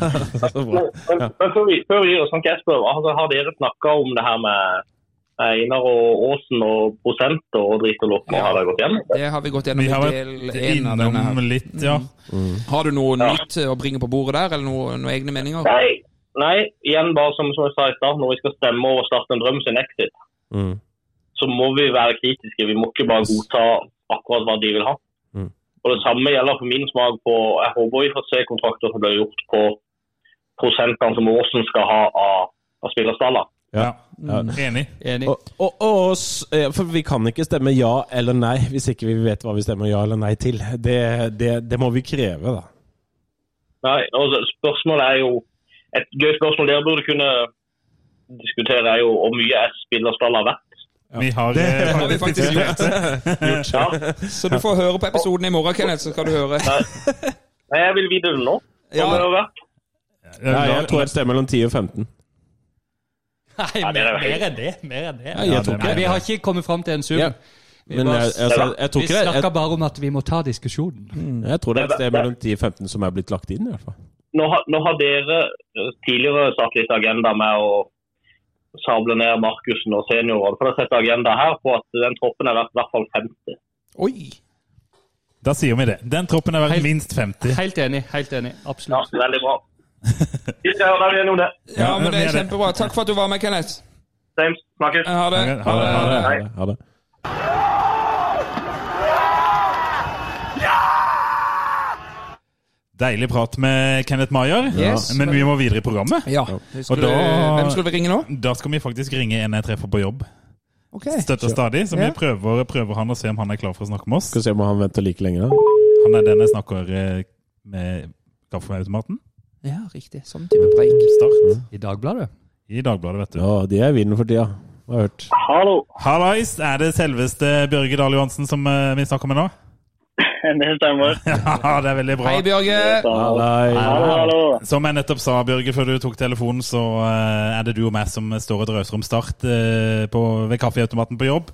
så bra. Men, men, men før, vi, før vi gir oss, kan ikke jeg spørre, altså, har dere snakka om det her med eh, Einar og Åsen og prosenter og drit og lokk? og Har dere gått gjennom det? Det har vi gått Vi gjennom har i del vært én av denne. innom her. litt, ja. Mm. Har du noe nytt eh, å bringe på bordet der, eller noe, noen egne meninger? Nei, nei, igjen bare som, som jeg sa i stad, når vi skal stemme over Start en drøm sin exit, Mm. så må vi være kritiske. Vi må ikke bare godta akkurat hva de vil ha. Mm. Og Det samme gjelder for min smak på Jeg håper vi får se kontrakter som blir gjort på prosentene som Åsen skal ha av, av spillerstallet. Ja. Enig. Enig. Og, og, og s- eh, for vi kan ikke stemme ja eller nei hvis ikke vi vet hva vi stemmer ja eller nei til. Det, det, det må vi kreve, da. Nei, altså, spørsmålet er jo Et gøy spørsmål dere burde kunne diskutere, er jo hvor mye er spillerstall har vært. Vi har eh, Det har vi (laughs) faktisk gjort. Ja. Så du får høre på episoden i morgen, Kenneth, så skal du høre. Nei, jeg vil vite det nå. Hvor Ja. mye har det vært? Nei, jeg tror jeg stemmer mellom 10 og 15. Nei, Ja, det mer, er jo helt- mer enn det. Mer enn det. jeg Ja, tror det- Nei, vi har ikke kommet fram til en sum. Ja. Vi, Men bare, jeg, altså, jeg, tror vi ikke det, snakker jeg, bare om at vi må ta diskusjonen. jeg tror det er et sted mellom 10 og 15 som er blitt lagt inn, i hvert fall. nå, har- nå har dere eh, tidligere satt litt agenda med å sable ned Markussen og seniorene. For det setter agenda her på at den troppen er verdt i hvert fall 50. Oi! Da sier vi det. Den troppen er verdt Helt- minst 50. Helt enig. helt enig, Ja, Absolutt. veldig bra. Vi skal høre deg gjennom det. Ja, men det vi er kjempebra. Takk for at du var med, Kenneth. James, snakkes. Ha det. Ha det, ha det. Ha det, ha det. Deilig prat med Kenneth Maier, Yes. men vi må videre i programmet. Ja. Skulle, da- Hvem skulle vi ringe nå? Da skal vi faktisk ringe en jeg treffer på jobb. Ok. Støtter stadig, så vi Ja. prøver, prøver han å se om han er klar for å snakke med oss. Skal vi se om han venter like lenge, da. Han er den jeg snakker eh, med kaffeautomaten. Ja, riktig. Sånn type preik. Start I Dagbladet. i Dagbladet, vet du. Ja, de er i vinden for tida, har jeg hørt. Hallo. Hallais, er det selveste Bjørge Dahl Johansen som eh, vi snakker med nå? (laughs) Det stemmer. Ja, det er veldig bra. Hei, Bjørge. Nei, Hallo, (laughs) hallo. Som jeg nettopp sa, Bjørge, før du tok telefonen, så eh, er det du og meg som står og drøser om start eh, på, ved kaffeautomaten på jobb.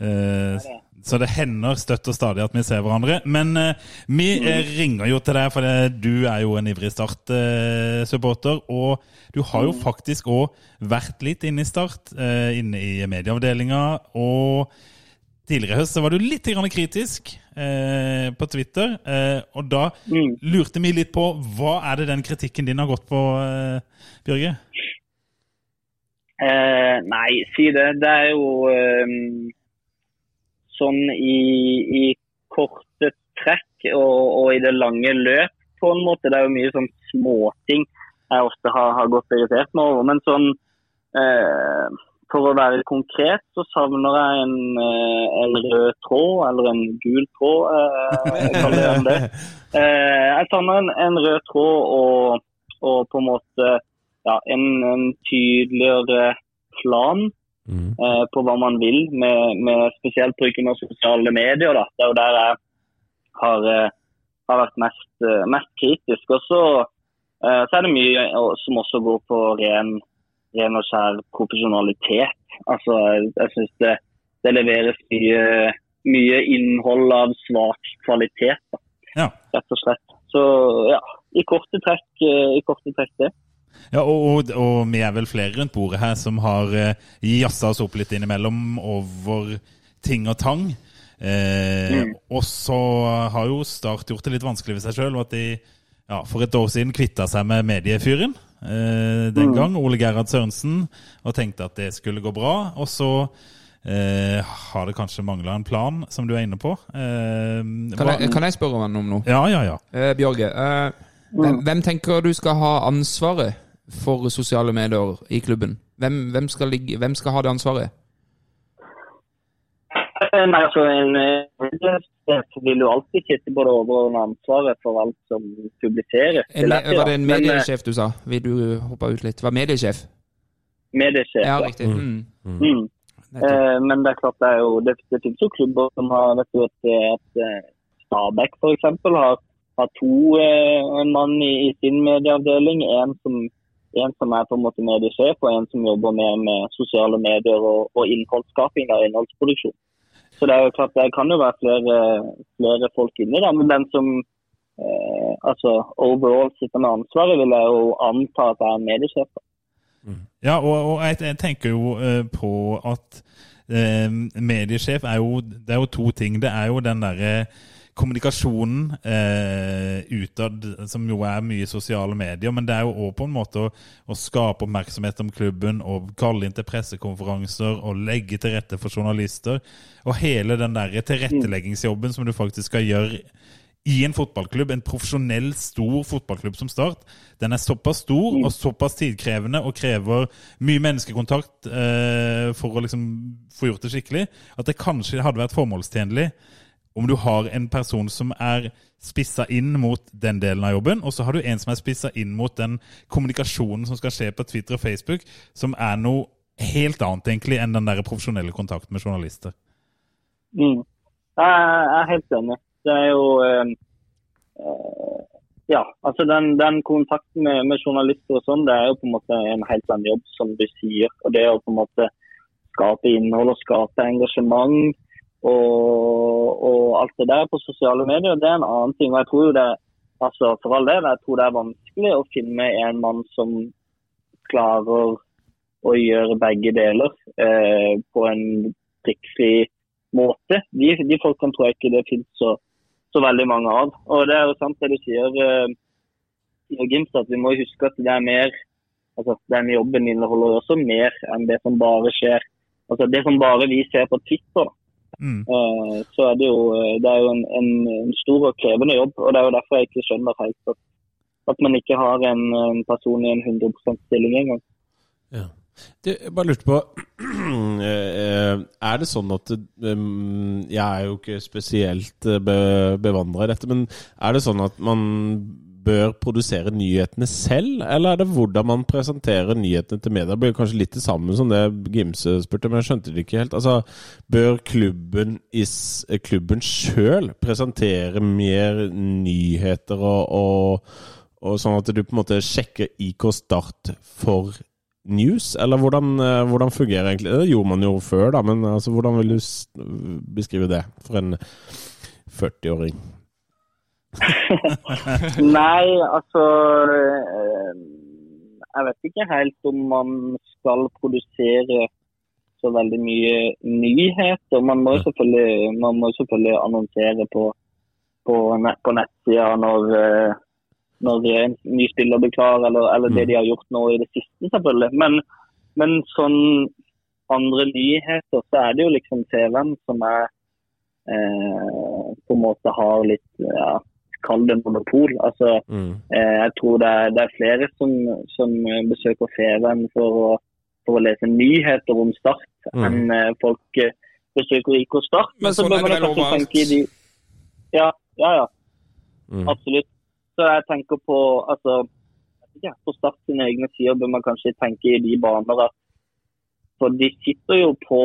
Eh, så det hender støtt og stadig at vi ser hverandre. Men eh, vi eh, ringer jo til deg, for det, du er jo en ivrig Start-supporter. og du har jo faktisk òg vært litt inne i Start, eh, inne i medieavdelinga. Og tidligere i høst så var du litt grann kritisk eh, på Twitter. Eh, og da lurte vi litt på hva er det den kritikken din har gått på, eh, Bjørge? Eh, nei, si det. Det er jo eh, sånn i, i korte trekk og, og i det lange løp, på en måte. Det er jo mye sånn småting jeg ofte har, har gått og irritert meg over. Men sånn eh, For å være konkret, så savner jeg en, eh, en rød tråd, eller en gul tråd, eh, kaller jeg det. Eh, jeg savner en, en rød tråd og, og på en måte ja, en, en tydeligere plan Mm. eh, på hva man vil, med, med spesielt bruken av sosiale medier. Da. Det er jo der jeg har, eh, har vært mest, eh, mest kritisk. Og så, eh, så er det mye å- som også går på ren, ren og skjær profesjonalitet. Altså, jeg, jeg syns det, det leveres mye, mye innhold av svak kvalitet, da. Ja. rett og slett. Så ja, i korte trekk, eh, i korte trekk det. Ja, og, og, og vi er vel flere rundt bordet her som har eh, jazza oss opp litt innimellom over ting og tang. Eh, Og så har jo Start gjort det litt vanskelig ved seg sjøl, og at de ja, for et år siden kvitta seg med mediefyren eh, den gang, Ole Gerhard Sørensen, og tenkte at det skulle gå bra. Og så eh, har det kanskje mangla en plan, som du er inne på. Eh, Kan hva- jeg, kan jeg spørre om noe? Ja, ja, ja. Eh, Bjørge, eh, hvem, hvem tenker du skal ha ansvaret for sosiale medier i klubben? Hvem, hvem, skal, ligge, hvem skal ha det ansvaret? Eh, Nei, altså, en medieminister vil jo alltid sitte på det overordnede ansvaret for alt som publiseres. En, lærte jeg, var det en da. Men, eh, mediesjef du sa? Vil du hoppe ut litt? Var mediesjef? mediesjef, Ja, ja. riktig. Mm. Mm. Nettopp. Eh, men det er klart det er jo det, det finnes jo klubber som har vet du, at, at eh, Stabæk f.eks. har, har to eh, en mann i, i sin medieavdeling. En som, en som er på en måte mediesjef, og en som jobber mer med sosiale medier og, og innholdsskaping. Da, innholdsproduksjon. Så det er jo klart det kan jo være flere, flere folk inni, da, men den som eh, altså overall sitter med ansvaret, vil jeg jo anta at er mediesjef. da. Ja, og, og jeg, jeg tenker jo eh, på at eh, mediesjef er jo Det er jo to ting. Det er jo den derre kommunikasjonen eh, utad, som jo er mye sosiale medier, men det er jo òg på en måte å, å skape oppmerksomhet om klubben og kalle inn til pressekonferanser og legge til rette for journalister. Og hele den der tilretteleggingsjobben som du faktisk skal gjøre i en fotballklubb, en profesjonell, stor fotballklubb som Start. Den er såpass stor og såpass tidkrevende og krever mye menneskekontakt eh, for å liksom få gjort det skikkelig, at det kanskje hadde vært formålstjenlig om du har en person som er spissa inn mot den delen av jobben, og så har du en som er spissa inn mot den kommunikasjonen som skal skje på Twitter og Facebook, som er noe helt annet egentlig enn den der profesjonelle kontakten med journalister. Mm. Jeg jeg er helt enig. Det er jo eh, eh, Ja, altså den, den kontakten med, med journalister og sånn, det er jo på en måte en helt annen jobb, som du sier. Og det å på en måte skape innhold og skape engasjement og, og alt det der på sosiale medier, det er en annen ting. Og jeg tror jo det Altså for all del, jeg tror det er vanskelig å finne en mann som klarer å gjøre begge deler eh, på en prikkfri måte. De, de folkene tror jeg ikke det finnes så, så veldig mange av. Og det er jo sant det du sier, eh, Gims, at vi må huske at det er mer altså Den jobben inneholder også mer enn det som bare skjer. Altså Det som bare vi ser på Twitter, Mm. eh, så er det jo, eh, det er jo en, en, en stor og krevende jobb. og Det er jo derfor jeg ikke skjønner helt at, at man ikke har en, en person i en 100 %-stilling engang. Du, jeg bare lurte på (clears throat) eh, Er det sånn at um, Jeg er jo ikke spesielt eh, be bevandra i dette, men er det sånn at man bør produsere nyhetene selv, eller er det hvordan man presenterer nyhetene til media? Det blir kanskje litt det samme som det Gimse spurte, men jeg skjønte det ikke helt. Altså, Bør klubben, is, klubben sjøl presentere mer nyheter og, og, og sånn at du på en måte sjekker IK Start for news, eller hvordan, eh, hvordan fungerer egentlig Det gjorde man jo før, da, men altså, hvordan vil du s- beskrive det for en 40-åring? Nei, altså eh, Jeg vet ikke helt om man skal produsere så veldig mye nyheter. Man må jo selvfølgelig, man må jo selvfølgelig annonsere på, på, nett, på nettsida når, eh, når en ny spiller blir klar, eller, eller det de har gjort nå i det siste, selvfølgelig. Men, men sånn andre nyheter, så er det jo liksom TV-en som er eh, på en måte har litt ja, kall det monopol. Altså, eh, jeg tror det er, det er flere som, som eh, besøker Feven for å, for å lese nyheter om Start, enn eh, folk eh, besøker IK Start. Men sånn er bør det man vel kanskje overalt. tenke i de- Ja, ja. ja. Absolutt. Så jeg tenker på altså, ja, På Start sine egne sider bør man kanskje tenke i de baner at For de sitter jo på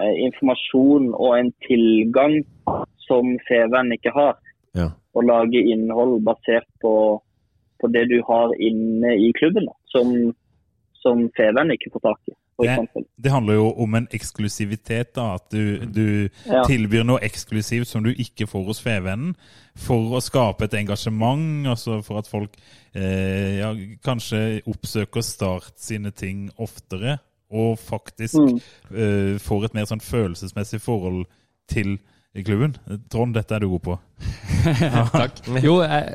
eh, informasjon og en tilgang som Feven ikke har Ja. å lage innhold basert på, på det du har inne i klubben, da, som, som Feven ikke får tak i. For Det, eksempel. det handler jo om en eksklusivitet, da. At du, du Ja. tilbyr noe eksklusivt som du ikke får hos Fevennen, for å skape et engasjement, altså for at folk eh, ja, kanskje oppsøker Start sine ting oftere, og faktisk Mm. eh, får et mer sånn følelsesmessig forhold til klubben. Trond, dette er du god på. (laughs) Takk. Jo, eh,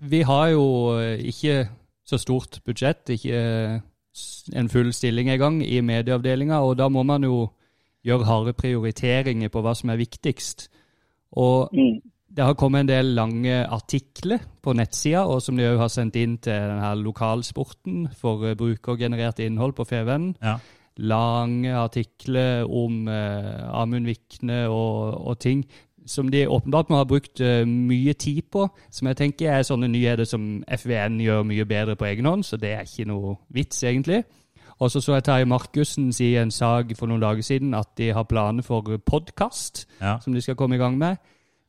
vi har jo eh, ikke så stort budsjett, ikke eh, s- en full stilling engang i medieavdelinga, og da må man jo gjøre harde prioriteringer på hva som er viktigst. Og Mm. det har kommet en del lange artikler på nettsida, og som de òg har sendt inn til den her lokalsporten for eh, brukergenerert innhold på Fevennen. Ja. Lange artikler om eh, Amund Vikne og, og ting som de åpenbart må ha brukt eh, mye tid på, som jeg tenker er sånne nyheter som FVN gjør mye bedre på egen hånd, så det er ikke noe vits, egentlig. Og så så jeg Terje Markussen si i en sag for noen dager siden at de har planer for podkast, Ja. som de skal komme i gang med.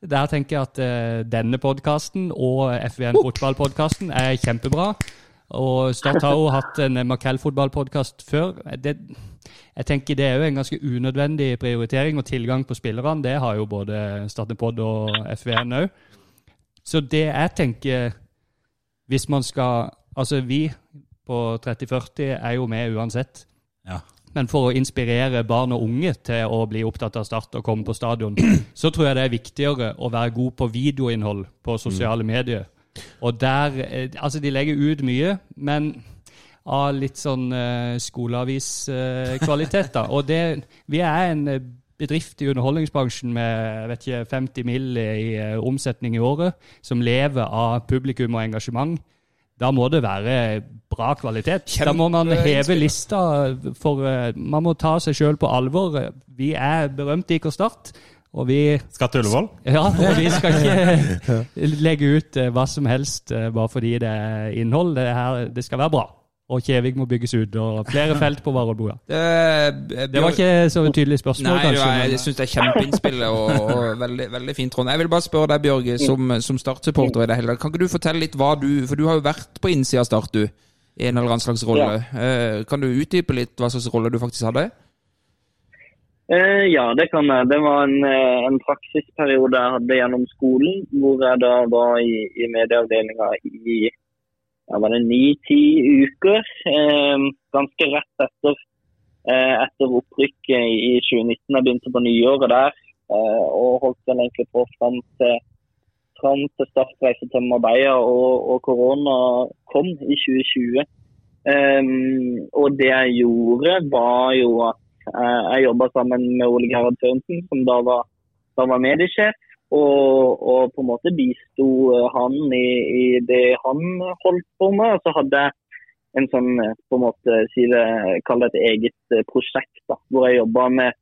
Der tenker jeg at eh, denne podkasten og FVN fotballpodkasten er kjempebra. Og Start har jo hatt en Markell-fotballpodkast før. Det, jeg tenker det er jo en ganske unødvendig prioritering, og tilgang på spillerne, det har jo både Statnepod og FVN òg. Så det jeg tenker, hvis man skal Altså, vi på 3040 er jo med uansett. Ja. Men for å inspirere barn og unge til å bli opptatt av Start og komme på stadion, (clears throat) så tror jeg det er viktigere å være god på videoinnhold på sosiale medier. Og der eh, Altså, de legger ut mye, men av litt sånn eh, skoleaviskvalitet, da. Og det Vi er en eh, bedrift i underholdningsbransjen med jeg vet ikke, 50 mill. i eh, omsetning i året, som lever av publikum og engasjement, da må det være bra kvalitet. da må man heve lista. for eh, Man må ta seg sjøl på alvor. Vi er berømte i Start, og vi Skal til Ullevål? ja, og vi skal ikke legge ut eh, hva som helst eh, bare fordi det er innhold. Det, her, det skal være bra. Og Kjevik må bygges ut, og flere felt på Varoddboa. Det var ikke så tydelig spørsmål, eh, Nei, det kanskje. var, men- jeg syns det er kjempeinnspill og, og (laughs) veldig, veldig fint, Trond. Jeg vil bare spørre deg, Mm. Bjørg, som, som Start-supporter i det hele tatt. Kan ikke du fortelle litt hva du For du har jo vært på innsida av Start, du. I en eller annen slags rolle. Eh, Kan du utdype litt hva slags rolle du faktisk hadde? Eh, ja, det kan jeg. Det var en, eh, en praksisperiode jeg hadde gjennom skolen, hvor jeg da var i, i medieavdelinga i ja, var det ni-ti uker. Eh, ganske rett etter, eh, etter opprykket i 2019. Jeg begynte på nyåret der, eh, og holdt den egentlig på fram til, fram til startreise til Marbella og, og korona kom i 2020. Eh, og det jeg gjorde, var jo at Eh, Jeg jobba sammen med Ole Gerhard Sørensen, som da var, da var mediesjef. Og, og på en måte bisto eh, han i, i det han holdt på med. Og så hadde jeg en sånn, eh, på en måte, si det, kall det et eget eh, prosjekt, da, hvor jeg jobba med,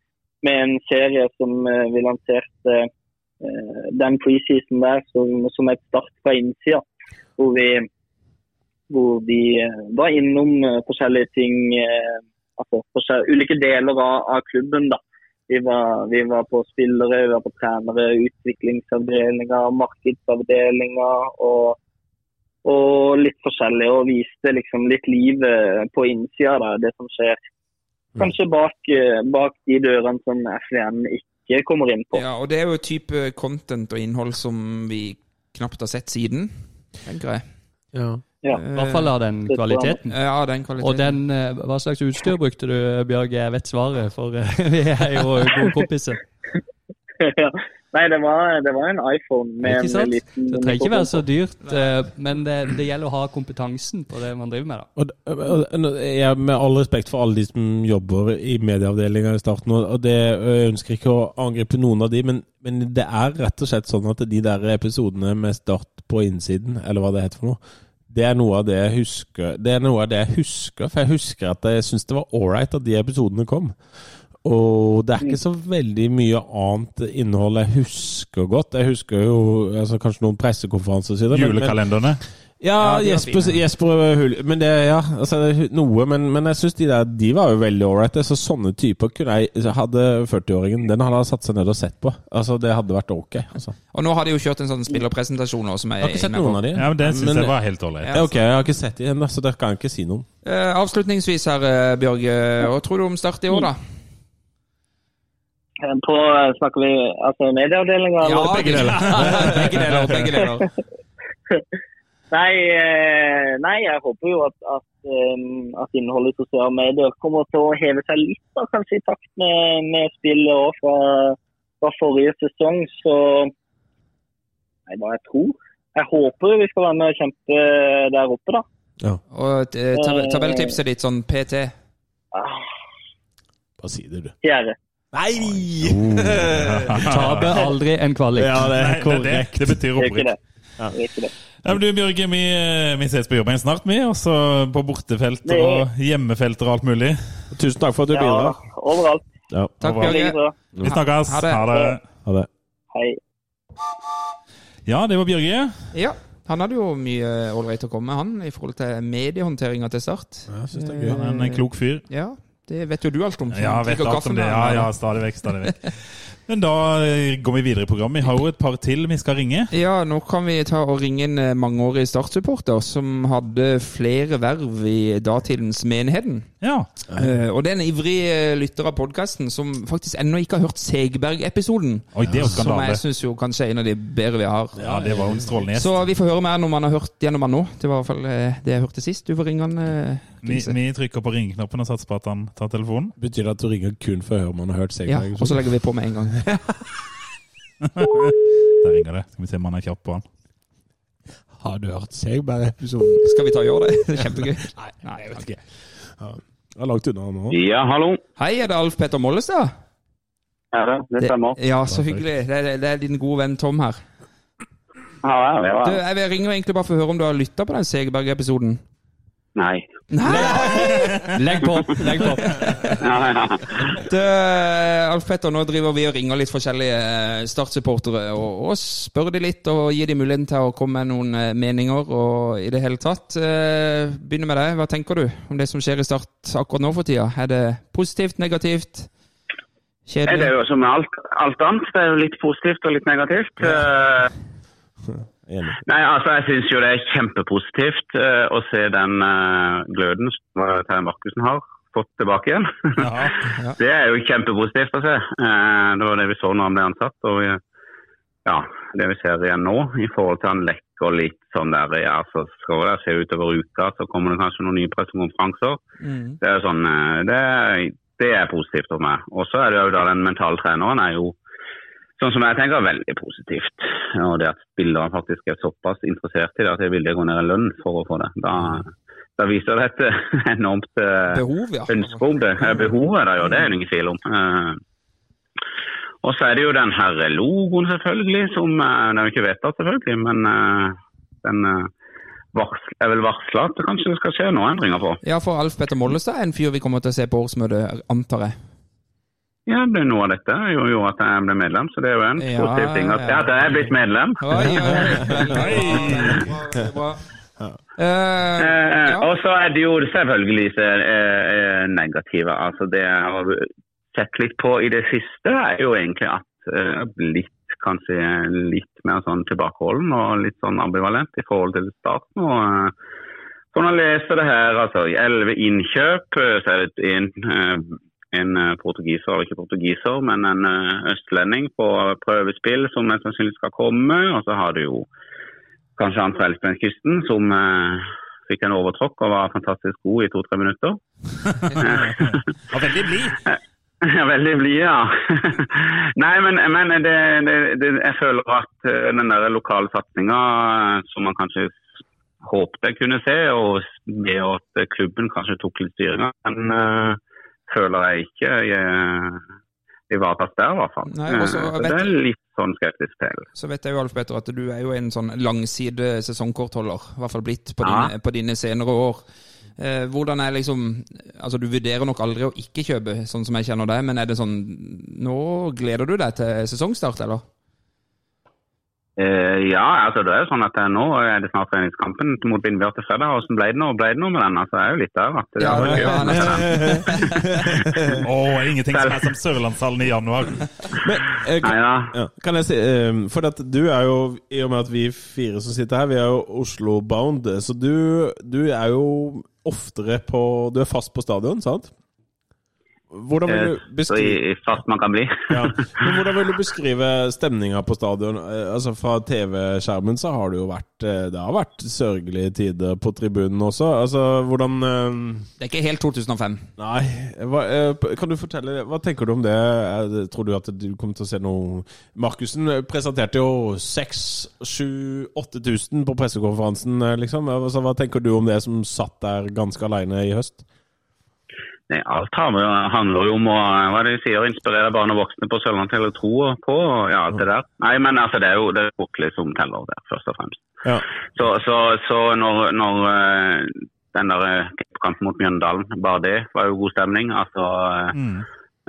med en serie som eh, vi lanserte eh, den preseason der som, som et start fra innsida. Hvor vi, hvor vi eh, var innom eh, forskjellige ting. eh, altså, forskjell- ulike deler av, av klubben. da. Vi var, vi var på spillere, vi var på trenere, utviklingsavdelinger, markedsavdelinger og, og litt forskjellig. Og viste liksom litt livet på innsida der, det som skjer. Kanskje bak, eh, bak de dørene som FVN ikke kommer inn på. Ja, og det er jo type content og innhold som vi knapt har sett siden, tenker jeg. Eh, I hvert fall av den kvaliteten. Ja, den Og kvaliteten. den, eh, hva slags utstyr brukte du, Bjørg? Jeg vet svaret, for eh, (laughs) vi er jo gode kompiser. Ja. Nei, det var, det var en iPhone med Ikke sant? en liten Det trenger ikke være så dyrt, eh, men det, det gjelder å ha kompetansen på det man driver med. da. Og, d- og, og jeg, med all respekt for alle de som jobber i medieavdelinga i starten, og og det, jeg ønsker ikke å angripe noen av de, men, men det er rett og slett sånn at de der episodene med Start på innsiden, eller hva det heter for noe, det er noe av det jeg husker. Det er noe av det jeg husker, for jeg husker at jeg syns det var ålreit at de episodene kom. Og det er ikke så veldig mye annet innhold jeg husker godt. Jeg husker jo altså, kanskje noen pressekonferanser og så videre, men- men- Julekalenderne. ja, Ja, de var Jesper, fine. Jesper Hul Men det, ja, altså, det er noe Men, men jeg syns de der De var jo veldig ålreite. Så sånne typer kunne jeg så Hadde 40-åringen Den hadde han satt seg ned og sett på. Altså, Det hadde vært ok. Altså. Og nå har de jo kjørt en sånn spillerpresentasjon nå som jeg Jeg har ikke sett inne på. noen av de. Ja, men Den syns Men- jeg var helt ålreit. Ja. Ja, ok, jeg har ikke sett de ennå, så der kan jeg ikke si noe. Eh, avslutningsvis her, eh, Bjørg. eh, Hva tror du om Start i år, da? På, eh, snakker vi altså medieavdelinga? eller? begge deler. (laughs) begge deler, begge deler. (laughs) Nei, eh, nei, jeg håper jo at, at, eh, at innholdet i sosiale medier kommer til å heve seg litt, da, kanskje i takt med, med spillet også fra, fra forrige sesong. Så Nei, hva jeg tror. Jeg håper vi skal være med og kjempe eh, der oppe, da. Og eh, tab tabelltipset ditt sånn PT? Ah, Bare si det, du. Oh. Fjerde. Nei! Taper aldri en kvalik. Ja, det Nei, er det, er det, korrekt. det betyr Det er ikke opprykk. det. Det er ikke det. Ja, men du, Bjørge, vi, vi ses på jobben snart, vi. Og så på bortefelter Det- og hjemmefelter og alt mulig. Tusen takk for at du Ja, bidrar. overalt. Ja. Takk, Overalt. Ligger Bjørge. så. Vi snakkes. Ha det. Ha det. Ha det. Hei. Ja, det var Bjørge. Ja, han hadde jo mye ålreit å komme med, han, i forhold til mediehåndteringa til Start. Jeg synes det er gøy. Han er en klok fyr. Ja, det vet jo du alt om. så Ja, han vet drikker alt om kaffen det. der, Ja, han. ja, stadig vekk, stadig vekk. Men da eh, går vi videre i programmet. Vi har jo et par til vi skal ringe. Ja, nå kan vi ta og ringe en eh, mangeårig Start-supporter som hadde flere verv i datidens Menheden. Ja. Eh, og det er en ivrig eh, lytter av podkasten som faktisk ennå ikke har hørt Segberg-episoden. Oi, det er jo Som skandale. jeg syns jo kanskje er en av de bedre vi har. Ja, det var jo en strålende gjest. Så vi får høre mer når man har hørt gjennom han nå. Det var i hvert fall eh, det jeg hørte sist. Du får ringe han. eh, Vi, vi trykker på ringeknappen og satser på at han tar telefonen. Betyr det at du ringer kun for å høre om han har hørt seg? Ja, og så legger vi på med en gang. (laughs) Der ringer det. Skal vi se om han er kjapp på han. Har du hørt seg bare episoden? Skal vi ta og gjøre det? (laughs) Det er (laughs) Kjempegøy. Nei, jeg vet ikke. Jeg er langt unna nå. Ja, hallo. Hei, er det Alf Petter Mollestad? Ja, det, det stemmer. Ja, så hyggelig. Det er, det er din gode venn Tom her. Ja, ja, ja, Du, ja. jeg vil- ringer egentlig bare for å høre om du har lytta på den Segerberg-episoden. Nei. Nei! Legg på! legg på. Ja, ja. Du, eh, Alf Petter, nå driver vi og ringer litt forskjellige eh, Start-supportere og, og spør de litt og gir de muligheten til å komme med noen eh, meninger og i det hele tatt. Eh, Begynner med deg. Hva tenker du om det som skjer i Start akkurat nå for tida? Er det positivt, negativt? Nei, Det er Kjedelig? jo som med alt, alt annet. Det er jo litt positivt og litt negativt. Eh, Enig. Nei, altså jeg syns jo det er kjempepositivt eh, å se den eh, gløden som eh, Terje Markussen har fått tilbake igjen. Ja. (laughs) det er jo kjempepositivt å se. Eh, det var det vi så når han ble ansatt. og vi, ja, Det vi ser igjen nå, i forhold til han lekker litt sånn der ja, så skal det se utover uka, så kommer det kanskje noen nye pressekonferanser. Mm. Det er jo sånn, eh, det, er- det er positivt for meg. Og så er det jo da den mentale treneren er jo, sånn som jeg tenker, veldig positivt. Og det at spillerne faktisk er såpass interessert i det at de er villige til å gå ned i lønn for å få det. Da, da viser det et (laughs) eh, enormt eh, Behov, ja. ønske om det. Eh, Behovet er der jo, det er det ingen tvil om. Eh, Og så er det jo den her logoen selvfølgelig, som eh, den vi ikke vet av selvfølgelig, men eh, den eh, varsl, er vel varslet at det kanskje skal skje noen endringer på. Ja, for Alf Petter Mollestad er en fyr vi kommer til å se på årsmøtet, antar jeg. Ja, det er noe av dette gjorde jo at jeg ble medlem, så det er jo en Ja, positiv ting. At, ja. at jeg er blitt medlem. Oi, oi, oi. Veldig bra, veldig bra, veldig bra. Eh, Eh, ja. og så er det jo selvfølgelig det eh, eh, negative. Altså det jeg har sett litt på i det siste, er jo egentlig at eh, litt kanskje litt mer sånn tilbakeholden og litt sånn ambivalent i forhold til starten. og eh, for når jeg leser det her, altså i 11 innkjøp, eh, så er det en, eh, en eh, portugiser, eller ikke portugiser, men en eh, østlending på prøvespill som mest sannsynlig skal komme. Og så har du jo kanskje han fra Elfenbenskysten som eh, fikk en overtråkk og var fantastisk god i to-tre (laughs) minutter. Og veldig blid. Ja, veldig blid, ja. (laughs) Nei, men, men det, det, det, jeg føler at eh, den der lokale satsinga eh, som man kanskje håpte jeg kunne se, og det at klubben kanskje tok litt styringa, den eh, føler jeg ikke eh, ivaretas der, i hvert fall. Nei, og så Eh, så vet- det er litt sånn skeptisk til. Så vet jeg jo, Alf Petter, at du er jo en sånn langside sesongkortholder. I hvert fall blitt på, Ja. dine, på dine senere år. Eh, hvordan er liksom Altså, du vurderer nok aldri å ikke kjøpe, sånn som jeg kjenner deg, men er det sånn Nå gleder du deg til sesongstart, eller? Eh, ja, altså det er jo sånn at eh, nå er det snart treningskampen mot Vindbjørn til fredag. Hvordan ble det nå? Ble det noe med den? Altså, jeg er jo litt der. At det er jo gøy. ja, nettopp. Å, ingenting som er som Sørlandshallen i januar. Men eh, Nei, kan, ja. ja, kan jeg si eh, For at du er jo, i og med at vi fire som sitter her, vi er jo Oslo-bound, eh, så du, du er jo oftere på Du er fast på stadion, sant? Hvordan vil Eh, du Så beskrive i- i fast man kan bli. Ja. Men hvordan vil du beskrive stemninga på stadion? Eh, Altså Fra TV-skjermen så har det jo vært eh, Det har vært sørgelige tider på tribunen også. Altså hvordan eh, Det er ikke helt 2005. Nei. Hva, eh, p- kan du fortelle Hva tenker du om det? Er det- Tror du at du kommer til å se noe Markussen eh, presenterte jo 6000-8000 på pressekonferansen, eh, liksom. Altså, hva tenker du om det som satt der ganske aleine i høst? (laughs) Nei, alt har med- handler jo om å hva er det de sier, inspirere barn og voksne på Sørlandet til å tro og på og ja, alt det der. Nei, men altså, det er jo det er Oakley som teller der, først og fremst. Ja. Så, så, så når, når eh, den der eh, kampen mot Mjøndalen, bare det var jo god stemning. Altså, eh, Mm.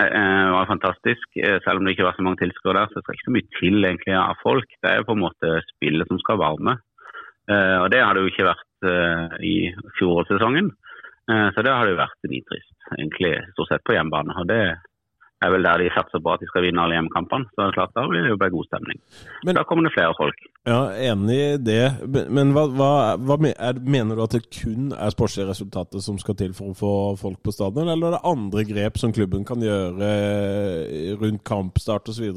Eh, eh, var fantastisk. Eh, Selv om det ikke var så mange tilskuere der, så skal det ikke så mye til egentlig av folk. Det er jo på en måte spillet som skal varme. Eh, Og det har det jo ikke vært eh, i fjorårssesongen. Eh, Så det har det jo vært nitrist, egentlig stort sett på hjemmebane. Og det er vel der de satser på at de skal vinne alle hjemmekampene. Så det er klart da blir det jo bare god stemning. Men- da kommer det flere folk. Ja, enig i det. Men- Men hva, hva, hva me- er, mener du at det kun er sportslige resultater som skal til for å få folk på stadion, eller er det andre grep som klubben kan gjøre rundt kampstart osv.?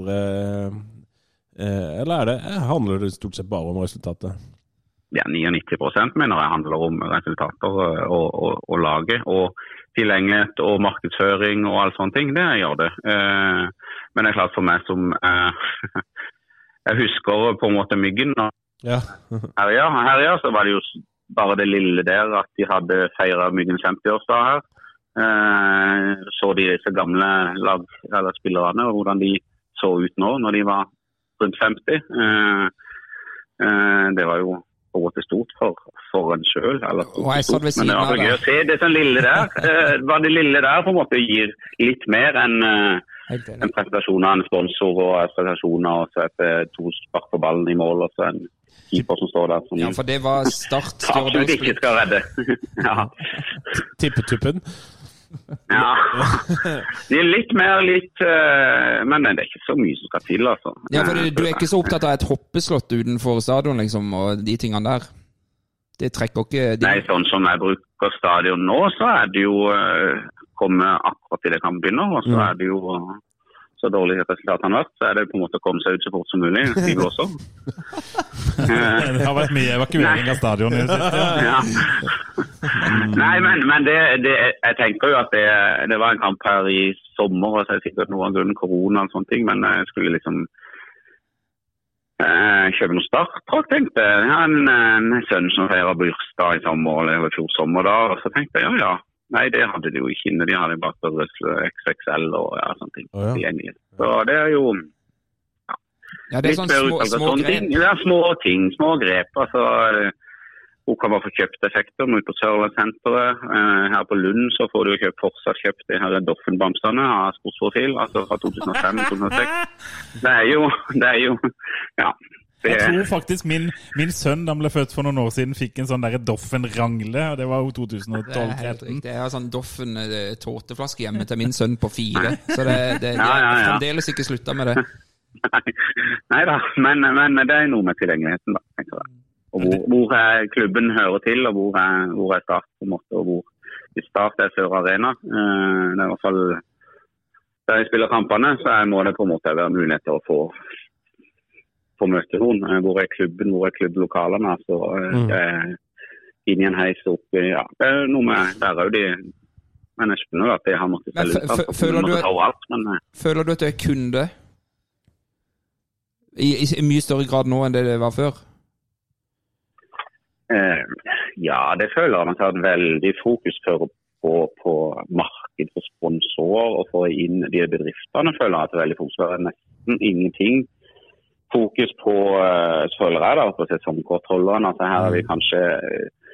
Eller er det, eh, handler det stort sett bare om resultatet? ja, 99 mener jeg handler om resultater eh, og, og, og laget. Og tilgjengelighet og markedsføring og alle sånne ting. Det gjør det. Eh, Men det er klart for meg som eh, (laughs) Jeg husker på en måte myggen. og Ja. Herja, eh, herja så var det jo bare det lille der at de hadde feira myggens 50-årsdag her. Eh, så de disse gamle lag, eller spillerne, og hvordan de så ut nå når de var rundt 50. Eh, eh, det var jo råd til stort for, for en sjøl. eller Og jeg satt ved Men det siden var av så gøy der. å se det som lille der. Eh, hva det lille der på en måte gir litt mer enn eh, Helt enig. en prestasjon av en sponsor og en prestasjon av så et, eh, to spark på ballen i mål og så en keeper som står der som Ja, for det var Start. absolutt ikke skal redde. (laughs) ja. Tippetuppen. (laughs) ja. Det er litt mer litt eh, Men det er ikke så mye som skal til, altså. Ja, for du, du er ikke så opptatt av et hoppeslott utenfor stadion, liksom, og de tingene der? Det trekker ikke de, Nei, sånn som jeg bruker stadion nå, så er det jo eh, kommet akkurat til det kan begynne. Og Mm. så er det jo eh, så dårlig resultat han har vært, så er det på en måte å komme seg ut så fort som mulig. (laughs) De også. Eh, Det har vært mye evakuering av stadion i det siste. Ja. Nei, men, men det, det, jeg tenker jo at det, det var en kamp her i sommer, og så er det sikkert noe av grunnen korona og sånne ting, men jeg skulle liksom eh, kjøpe noe startdrakt, tenkte jeg. Jeg har en, en sønn som feirer bursdag i sommer, eller det var i fjor sommer da, og så tenkte jeg ja, ja. Nei, det hadde de jo ikke inne. De hadde bare størrelse XXL og ja, sånne ting. Å, ja. tilgjengelig. Så det er jo Ja, det er sånn små, utenfor små sånne grep. ting. Ja, små ting, små grep. Altså, eh, hun kan bare få kjøpt effekter nå på Sørlandssenteret. Eh, Her på Lund så får du jo kjøpt, fortsatt kjøpt de her Doffen-bamsene av sportsprofil, altså (laughs) fra 2005-2006. Det er jo Det er jo Ja. Det, Jeg tror faktisk min, min sønn da han ble født for noen år siden, fikk en sånn derre Doffen-rangle. og Det var jo Det er helt 2012-13. riktig. Jeg har sånn Doffen eh, tåteflaske hjemme til min sønn på fire, så det, det, det, Ja, ja, har ja. fremdeles ikke slutta med det. nei da, men, men det er noe med tilgjengeligheten, da. tenker jeg. Og hvor, hvor er klubben hører til, og hvor er, hvor er Start på en måte, og hvor hvis Start er Sør Arena. eh, Det er i hvert fall der jeg spiller kampene, så er- må det på en måte være mulighet til å få, få møte noen. Eh, Hvor er klubben, hvor er klubblokalene? Altså, eh, Mm. det er inn i en heis opp i- ja, Det er noe med Der er jo de Men jeg skjønner jo at de har måttet Men selge ut. fø- altså, fø- føler de måtte du- ta over alt, men, eh, Føler du at du er kunde? I, i, I mye større grad nå enn det det var før? Eh, ja, det føler jeg. Man har et veldig fokus på, på, på marked for sponsorer og få inn de bedriftene. føler jeg at det er veldig fokus på. Det er nesten ingenting fokus på eh, føler jeg da, på sesongkortholderne. Altså, her er vi kanskje eh,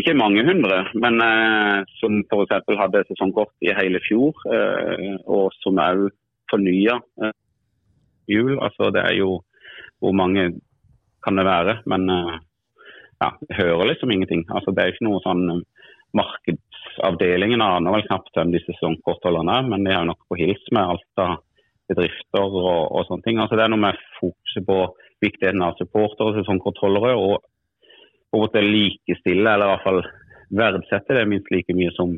ikke mange hundre, men eh, som f.eks. hadde sesongkort i hele fjor, eh, og som òg fornya eh, jul. Altså, det er jo Hvor mange kan det være? Men eh, ja, jeg hører liksom ingenting. Altså, det er jo ikke noe sånn um, Markedsavdelingen aner vel knapt hvem disse sesongkortholderne er, men de er jo nok på hils med alt av bedrifter og, og sånne ting. Altså, det er noe med fokuset på viktigheten av supportere og sesongkortholdere, og på en måte likestille, eller i hvert fall verdsette det minst like mye som,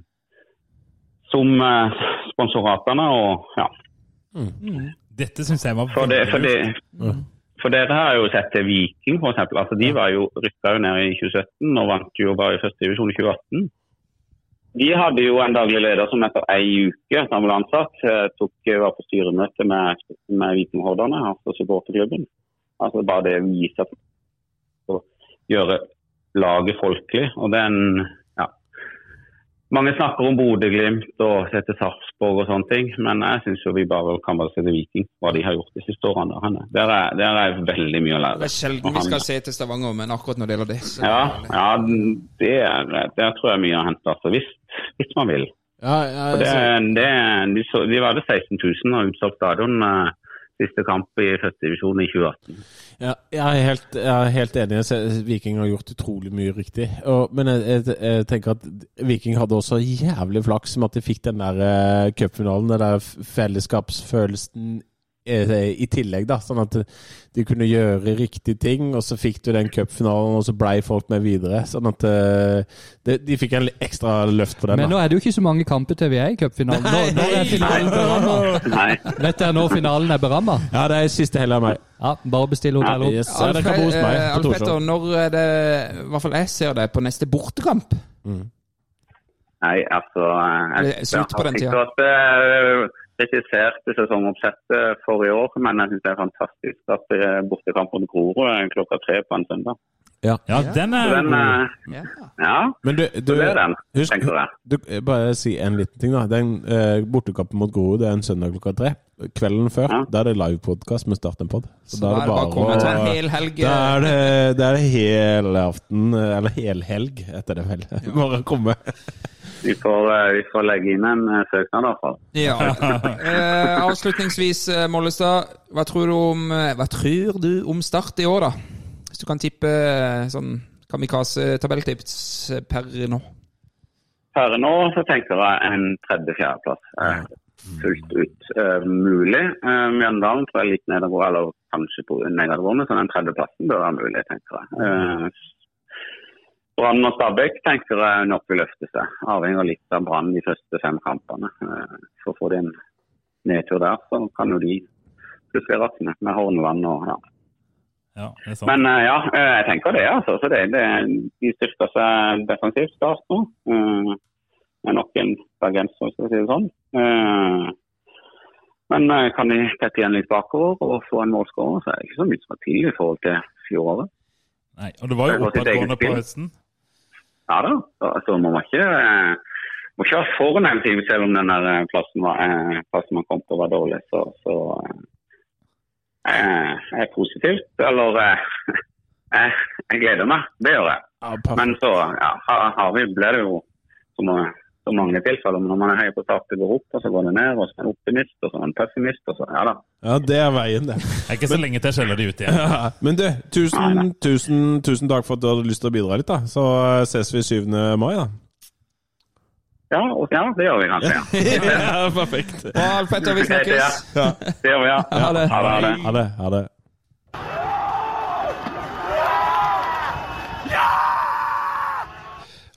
som eh, sponsoratene. og ja, Dette syns jeg var for, det, for, veldig det, for dere har jo sett til Viking, for eksempel. Altså, de var jo, rykka jo ned i 2017 og vant jo bare i første divisjon i 2018. De hadde jo en daglig leder som etter ei uke som ble ansatt, eh, tok, var på styremøte med, med Vikinghordene, altså supporterklubben. Altså bare det viser at å gjøre laget folkelig. Og det er en ja. Mange snakker om Bodø-Glimt og setter Sarpsborg og sånne ting, men jeg syns vi bare kan bare se til Viking, hva de har gjort de siste årene. der henne. Der er, der er veldig mye å Det lære. er sjelden vi skal se til Stavanger, men akkurat når det gjelder det så Ja, ja det er, der tror jeg mye er hentet, altså, hvis, hvis man vil. Ja, Og jeg, Det, jeg, det, de, så, de var det 16 000 og utsolgt stadion eh, siste kamp i første divisjon i 2018. ja, jeg, er helt, jeg er helt enig. Jeg ser- Viking har gjort utrolig mye riktig. Og, men jeg, jeg, jeg tenker at Viking hadde også jævlig flaks med at de fikk den der eh, cupfinalen, den der f- fellesskapsfølelsen eh, i tillegg, da. Sånn at de kunne gjøre riktige ting, og så fikk du den cupfinalen, og så blei folk med videre. Sånn at eh, de, de fikk en ekstra løft på den. Men da. nå er det jo ikke så mange kamper til vi er i cupfinalen. Nå, nå er finalen beramma. (laughs) Nei, Vet dere når finalen er beramma? Ja, det er siste helga av meg. Ja, bare bestill hotell opp. Yes, ja, det kan bo hos meg eh, på Alf Petter, Torshov. når er det I hvert fall jeg ser det på neste bortekamp. nei altså eh, Det er slutt på den Jeg tida. har sikkert eh, kritisert sesongoppsettet for i år, men jeg syns det er fantastisk at eh, bortekamp mot Grorud er klokka tre på en søndag. Ja. Ja, den er Den, eh, ja, Men du, du det er den, husk, tenker jeg. du, eh, bare si en liten ting, da. Den eh, Bortekampen mot Grorud det er en søndag klokka tre. Kvelden før Ja. da er det livepodkast med Start en pod. Så, da er det bare, å komme til en å hel helg. da er det, da er det helaften, eller helhelg, heter det vel. (laughs) Bare å komme. Vi får, eh, vi får legge inn en eh, søknad, i hvert fall. Ja. (laughs) Eh, avslutningsvis, eh, Mollestad. Hva tror, du om, eh, hva tror du om Start i år, da? Hvis du kan tippe eh, sånn kamikaze-tabelltips eh, per nå. Per nå så tenker jeg en tredje-fjerdeplass. Fullt ut eh, mulig. Eh, Mjøndalen tror jeg litt nedover, eller kanskje på nedadgående, så den tredjeplassen bør være mulig, tenker jeg. Eh, Brann og Stabæk tenker jeg nok vil løfte seg, avhenger litt av Brann de første fem kampene. Eh, så får de en nedtur der, så kan jo de plutselig rakne med Horneland og ja. Ja, det er sant. Men eh, ja, eh, jeg tenker det. altså. Så det, det, de styrker seg defensivt start nå. Eh, Med nok en bergenser, skal vi si det sånn. Eh, Men eh, kan de tette igjen litt bakover og få en målskårer, så er det ikke så mye som er til i forhold til fjoråret. Nei, og det var Det jo var sitt eget oppadgående på spill. høsten. Ja da, så altså, man må ikke, eh, må ikke være for negativ selv om den der eh, plassen, var, eh, plassen man kom på var dårlig. Så, så eh, eh, er positivt. Eller eh, (laughs) eh, jeg gleder meg. Det gjør jeg. Ja, perfekt. Men så ja, har, har vi, blir det jo så, må, så mange tilfeller. Men når man er høy på start, det går opp, og så går det ned, og så er man optimist, og så er man pessimist, og så ja da. Ja, det er veien, det. Det er ikke så lenge til jeg skjeller de ut igjen. Ja, Men du, Nei, tusen, tusen, tusen takk for at du hadde lyst til å bidra litt, da. Så eh, ses vi 7. mai, da. Ja, og, ja det gjør vi kanskje, ja. Ja, perfekt. Bra, Alf Petter, vi snakkes! Ja. Det gjør vi, ja. Ha det. Ha det, ha det. Ha det. Ha det.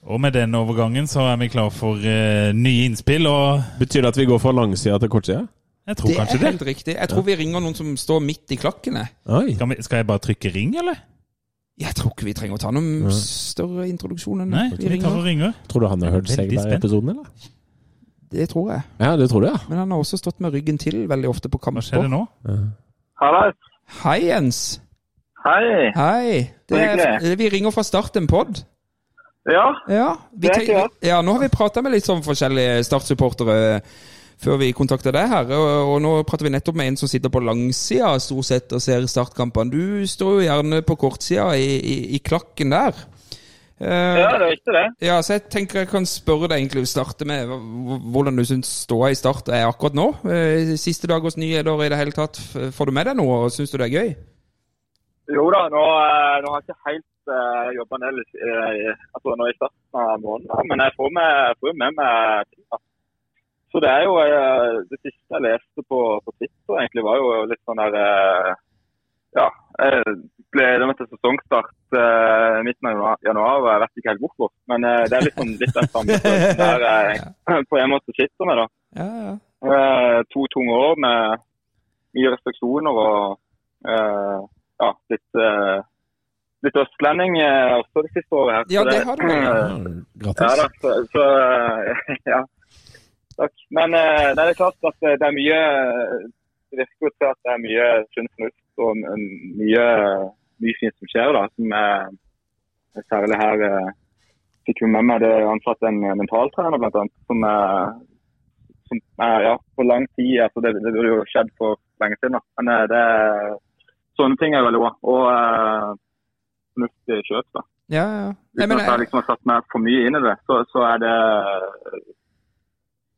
Og med den overgangen så er vi klar for eh, nye innspill, og Betyr det at vi går fra langsida til kortsida? jeg tror Det er kanskje det. helt riktig. Jeg tror vi ringer noen som står midt i klakkene. Oi. Skal, vi, skal jeg bare trykke ring, eller? Jeg tror ikke vi trenger å ta noen større introduksjon enn Nei, vi vi tar ringer. og ringer. Tror du han har hørt Veldig Segberg-episoden, eller? Det tror jeg. Ja, det tror du, ja. Men han har også stått med ryggen til veldig ofte på Hva skjer det kamper. nå? Hallais. Hei, Jens. Hei. Hei. Det er, vi ringer fra start en pod. Ja, Ja, vi Det er tenk- klart. ja, nå har vi prata med litt sånn forskjellige Start-supportere eh, før vi kontakta deg her. Og, og nå prater vi nettopp med en som sitter på langsida stort sett og ser startkampene. Du står jo gjerne på kortsida i, i, i klakken der. Eh, ja det er ikke det. ja, så jeg tenker jeg kan spørre deg egentlig å starte med hv- hvordan du syns ståa i Start er akkurat nå. Eh, Siste dag hos nyheter i det hele tatt. F- Får du med deg noe, og syns du det er gøy? Jo da, nå, eh, nå har jeg ikke helt uh, jobba ned litt, eh, altså nå i starten av måneden, men jeg får med, får jo med meg ting. da. Så det er jo eh, Det siste jeg leste på, på Twitter, egentlig var jo litt sånn der eh, Ja. eh, Jeg gleder meg til sesongstart eh, midten av januar- januar. og Jeg vet ikke helt hvorfor, men eh, det er litt, sånn, litt den samme følelsen der jeg på en måte sitter med. da. Ja, ja. Eh, to tunge år med mye restriksjoner og eh, ja, litt, eh, litt østlending eh, også det siste året her. Ja, Så det har du. eh, ja, Grattis. da, så, så eh, (laughs) ja. Takk. Men eh, det er klart at det er mye eh, Det virker jo til at det er mye sunn fornuft og m- mye, mye fint som skjer, da. Som er, særlig her eh, fikk vi med meg det er ansatt en eh, mentaltrener, blant annet, som, er, som er, ja, på lang tid altså det, det burde jo skjedd for lenge siden. da. Men eh, det er, sånne ting er veldig bra. Og eh, fornuftig kjøp, da. ja, ja. Nei, Uten men, at jeg jeg, liksom har satt meg for mye inn i det, så, så er det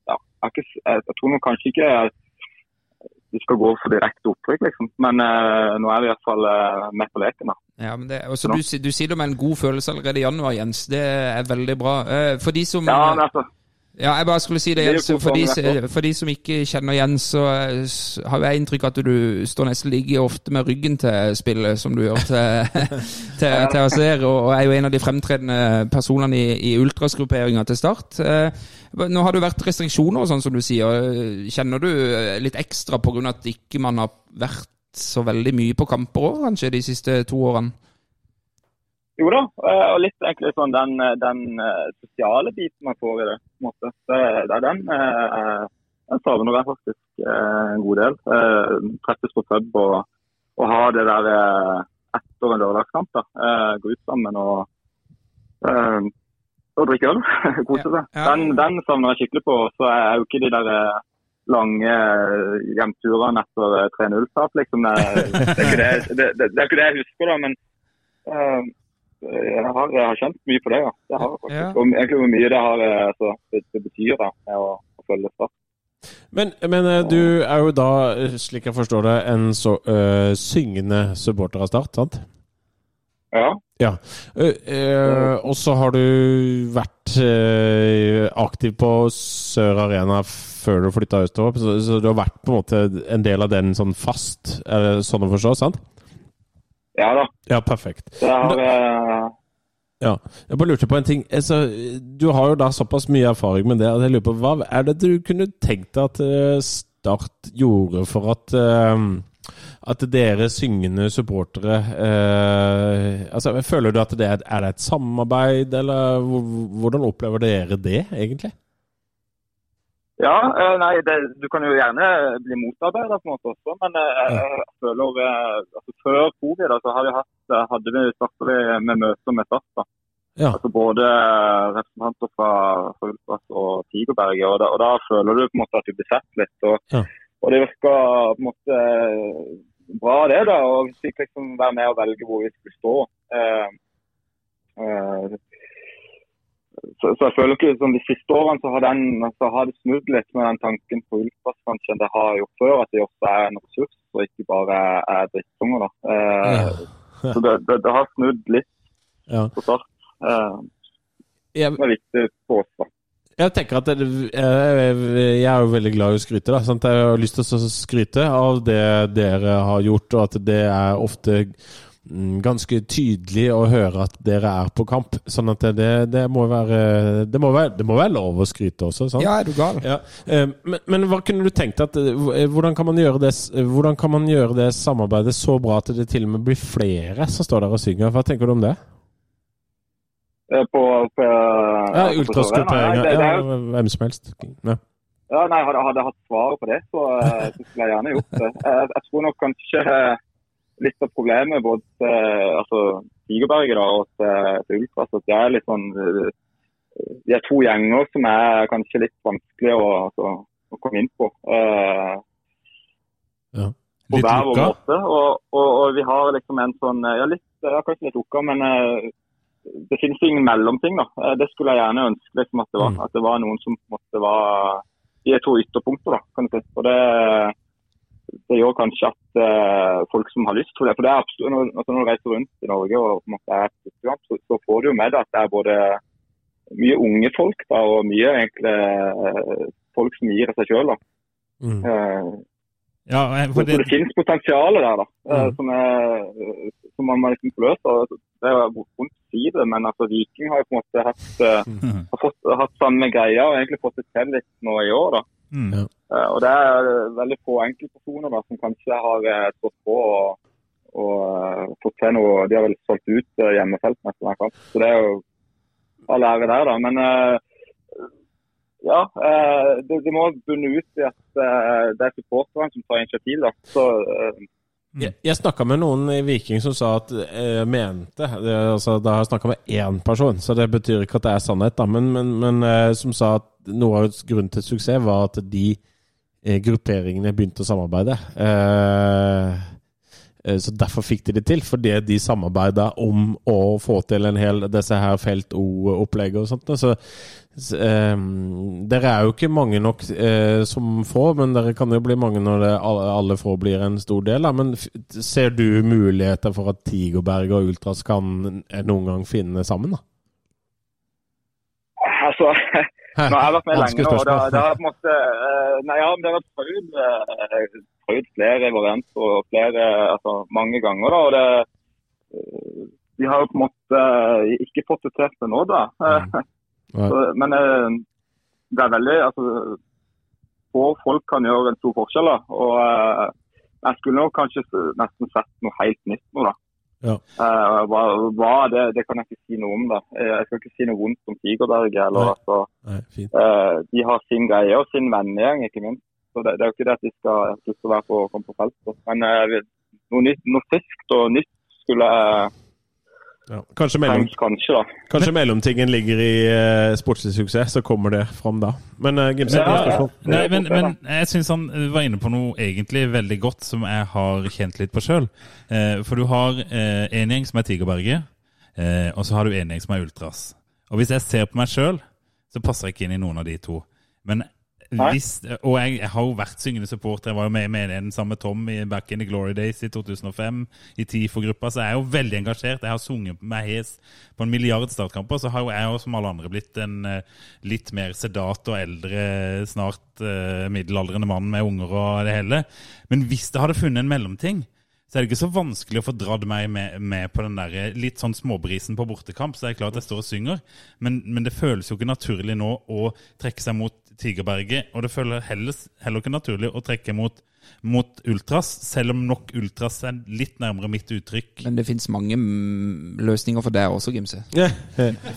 Ja, jeg, har ikke, s- jeg, jeg tror nok kanskje ikke vi skal gå for direkte opprykk, liksom. Men eh, nå er vi i hvert fall eh, med på leken, da. ja, men det, også, du, si- du sier det med en god følelse allerede i januar, Jens. Det er veldig bra. Eh, For de som Ja, men altså, Ja, jeg bare skulle si det, Det er jo Jens. god For de, form, rett for de som ikke kjenner Jens, så eh, s- har jo jeg inntrykk av at du står nesten like ofte med ryggen til spillet som du gjør til, (laughs) til, til Aser, og og er jo en av de fremtredende personene i, i ultrasgrupperinga til start. Eh, Nå har det jo vært restriksjoner og sånn, som du sier. Kjenner du eh, litt ekstra pga. at ikke man har vært så veldig mye på kamper òg, kanskje, de siste to årene? Jo da, eh, og litt egentlig sånn den, eh, den eh, sosiale biten man får i det. på en måte. Det, det er den eh, den savner jeg faktisk eh, en god del. Eh, Treffes på pub og, og ha det der eh, etter en lørdagskamp. da. Eh, Gå ut sammen og, eh, og drikke øl. (laughs) Kose seg. Ja, ja. Den, den savner jeg skikkelig på. Så er jo ikke de der eh, lange eh, hjemturene etter eh, 3-0-tap, liksom. Det, det, er ikke det, det, det, det er ikke det jeg husker, da. Men eh, jeg, har, jeg har kjent mye på det, ja. Det har jeg faktisk. Ja. Og egentlig hvor mye det, har, eh, altså, det, det betyr da, med å, å følge Start. Men, men eh, du er jo da, eh, slik jeg forstår det, en så, eh, syngende supporter av Start, sant? Ja. Eh, eh, og så har du vært eh, aktiv på Sør Arena før du flytta østover, så, så du har vært på en måte en del av den sånn fast, er det sånn å forstå, sant? ja da. Ja, perfekt. Det har... eh, Ja. Jeg bare lurte på en ting. Altså, du har jo da såpass mye erfaring med det. at jeg lurer på, Hva er det du kunne tenkt deg at eh, Start gjorde for at eh, at dere syngende supportere eh, altså, Føler du at det er, er det et samarbeid, eller hvor- hvordan opplever dere det, egentlig? Ja, eh, nei, det, du kan jo gjerne bli motarbeidet på en måte også, men eh, jeg føler eh, altså, Før covid da, så har vi hatt, eh, hadde vi startet vi med møter med SAS. da. Ja. Altså Både eh, representanter fra fra Ultras og Tigerberget. Og da, og da føler du på en måte at du blir sett litt. Og, Ja. og det virka på en måte eh, bra, det. da, og Vi fikk liksom være med og velge hvor vi skulle stå. Eh, eh, så, så jeg føler ikke som De siste årene så har, den, så har det snudd litt med den tanken på Ulfas kanskje enn det har gjort før. At de også er en ressurs og ikke bare er drittunger. da. Eh, Ja. Så det, det, det har snudd litt Ja. på start. Eh, Jeg, det er viktig for oss. da. Jeg tenker at det, jeg, jeg er jo veldig glad i å skryte. Da, sant? Jeg har lyst til å skryte av det dere har gjort, og at det er ofte mm, ganske tydelig å høre at dere er på kamp. Sånn at det, det, må, være, det, må, være, det må være lov å skryte også, sant? Ja, er du gal? Ja, eh, men, men hva kunne du tenkt at eh, hvordan kan, man gjøre det, hvordan kan man gjøre det samarbeidet så bra at det til og med blir flere som står der og synger? Hva tenker du om det? Eh, På, på, på Ja, Sørlandet. Nei, Ultrasgrupperinger. det- det er jo- Ja, hvem som helst. Ja. Ja, nei, hadde, hadde jeg hatt svaret på det, så, eh, så skulle jeg gjerne gjort det. Jeg, jeg tror nok kanskje eh, litt av problemet både til altså, Tigerberget da, og eh, til, til Ultras, at det er litt sånn eh, De er to gjenger som er kanskje litt vanskelig å, altså, å komme inn på. Eh, på Litt hver vår lukka. måte. Og, og, og vi har liksom en sånn Ja, litt, ja kanskje litt lukka, men eh, det finnes ingen mellomting, da. Eh, Det skulle jeg gjerne ønske liksom, at det var. Mm. At det var noen som på en måte var De er to ytterpunkter, da, kan du si. Og det, det gjør kanskje at eh, folk som har lyst til det For det er absolutt, når, altså, når du reiser rundt i Norge og på en måte er på fotballkamp, så, så får du jo med deg at det er både mye unge folk da, og mye egentlig eh, folk som gir av seg sjøl. Mm. Ja, eh, for Så det, Mm. det finnes potensial der, da. eh, Som, er, som man må liksom forløse. Og Det er jo vondt å si det, men altså, Viking har jo på en måte hatt, (laughs) eh, har fått, har hatt samme greia og egentlig fått det til litt nå i år. da. Mm. Ja. Eh, Og det er veldig få enkeltpersoner da, som kanskje har eh, stått på og, og eh, fått til noe. De har vel solgt ut eh, hjemmefeltene etter hver kamp. Så det er jo all ære der, da. Men eh, ja, eh, det, det må bunne ut i at eh, det er supporterne som tar initiativ. da. Så eh, Jeg, jeg snakka med noen i Viking som sa at eh, mente det, altså, Da har jeg snakka med én person, så det betyr ikke at det er sannhet, da, men, men, men eh, som sa at noe av grunnen til suksess var at de eh, grupperingene begynte å samarbeide. Eh, eh, så derfor fikk de det til, fordi de samarbeida om å få til en hel disse her Felt O-opplegget og sånt. da. Så, s- eh, dere er jo ikke mange nok eh, som få, men dere kan jo bli mange når det, alle, alle få blir en stor del. Da. Men f ser du muligheter for at Tigerberg og Ultras kan eh, noen gang finne sammen? da? Altså, nå har jeg vært med Vanskelig lenge, og det, spørsmål. det har på en måte eh, Nei, ja, men det har prøvd, eh, prøvd flere varianter og flere Altså mange ganger, da. Og det eh, De har jo på en måte eh, ikke fått det til til nå, da. (laughs) Eh, Mm. Nei. Så, men eh, det er veldig Altså få folk kan gjøre en stor forskjell, da. Og eh, jeg skulle nok kanskje s- nesten sett noe helt nytt nå, da. Ja. Eh, hva, hva det, det kan jeg ikke si noe om. da. Eh, Jeg skal ikke si noe vondt om Tigerberget. eller Nei. altså, Nei, fint. Eh, de har sin greie og sin vennegjeng, ikke minst. Så det, det er jo ikke det at de skal slutte å være på, komme på feltet. Men eh, vi- noe, nytt, noe friskt og nytt skulle jeg Ja. Kanskje, mellom, tenkt kanskje, da. kanskje mellomtingen ligger i eh, sportslig suksess, så kommer det fram da. Men uh, Gimse, Ja, ja. spørsmål? Nei, men, Det er men jeg syns han eh, var inne på noe egentlig veldig godt som jeg har kjent litt på sjøl. For du har eh, en gjeng som er Tigerberget, eh, og så har du en gjeng som er Ultras. Og hvis jeg ser på meg sjøl, så passer jeg ikke inn i noen av de to. Men hvis, og jeg, jeg har jo vært syngende supporter. Jeg var jo med, med i den samme Tom i Back in the Glory Days i 2005, i TIFO-gruppa, så jeg er jo veldig engasjert. Jeg har sunget meg hes på en milliard startkamper. Så har jo jeg, også, som alle andre, blitt en eh, litt mer sedat og eldre, snart eh, middelaldrende mann med unger og det hele. Men hvis det hadde funnet en mellomting, så er det ikke så vanskelig å få dratt meg med, med på den der litt sånn småbrisen på bortekamp. Så er det klart at jeg står og synger, men, men det føles jo ikke naturlig nå å trekke seg mot Tigerberget. Og det føles heller, heller ikke naturlig å trekke mot, mot Ultras, selv om nok Ultras er litt nærmere mitt uttrykk. Men det fins mange mm, løsninger for deg også, Gimse.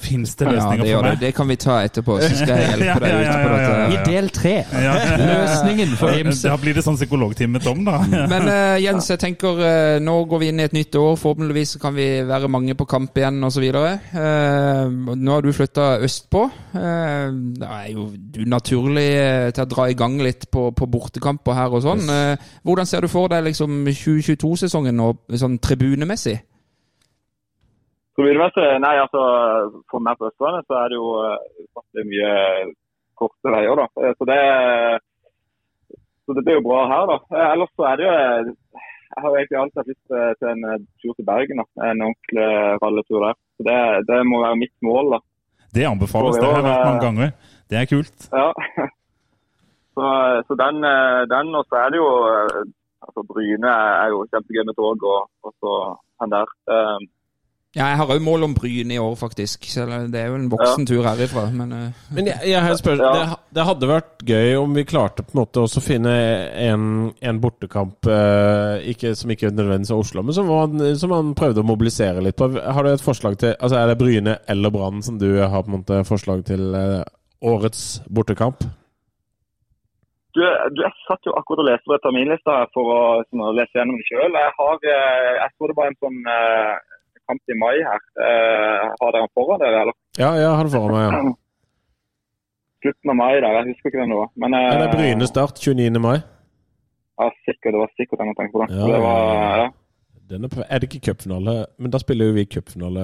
Fins det Ja, det, løsninger gjør for det. meg? det kan vi ta etterpå, så skal (laughs) jeg hjelpe deg Ja, ja, ut ja, på ja, ja, ja. dette. I del tre. Ja. Løsningen (laughs) for Da blir det sånn psykologtime med Tom, da. Men eh, Jens, jeg tenker eh, nå går vi inn i et nytt år. Forhåpentligvis så kan vi være mange på kamp igjen osv. Uh, nå har du flytta østpå. Eh, da er jo du naturlig eh, til å dra i gang litt på, på bortekamper her og sånn. Eh, hvordan ser du for deg liksom 2022-sesongen nå, sånn tribunemessig? Tribunemessig? Nei, altså for meg på Østlandet så er det jo eh, ufattelig mye korte veier, da. Eh, Så det, så det blir jo bra her, da. Eh, Ellers så er det jo eh, Jeg har jo egentlig alltid hatt lyst eh, til en eh, tur til Bergen, da. En ordentlig eh, ralletur der. Så det, det må være mitt mål, da. Det anbefales, det har jeg vært mange ganger. Det er kult. Ja. (laughs) Så, så den, eh, den, og så er det jo eh, altså Bryne er jo kjempegøy med tog, og, og så han der. Eh, Ja, jeg har òg mål om Bryne i år, faktisk. Selv om det er jo en voksen tur herifra. Men eh, Men jeg, jeg har et spørsmål. Ja. Det, ha- det hadde vært gøy om vi klarte på en måte også å finne en, en bortekamp eh, ikke, som ikke nødvendigvis er Oslo, men som han, som han prøvde å mobilisere litt på. Har du et forslag til Altså Er det Bryne eller Brann som du har på en måte forslag til eh, årets bortekamp? Du, du, jeg satt jo akkurat og leste på terminlista her for å, sånn, å lese gjennom det sjøl. Jeg, har, eh, jeg så det var en sånn eh, kamp i mai her. Eh, har dere den foran dere? Eller Ja, jeg har det foran meg. Ja. (clears throat) slutten av mai der? Jeg husker ikke hvem det var. Men eh, Ja, det er Bryne start 29. mai. Ja, sikkert, det var sikkert den jeg tenkte på. da. Ja. Det var, ja. Den er, på, er det ikke cupfinale? Men da spiller jo vi (laughs) cupfinale.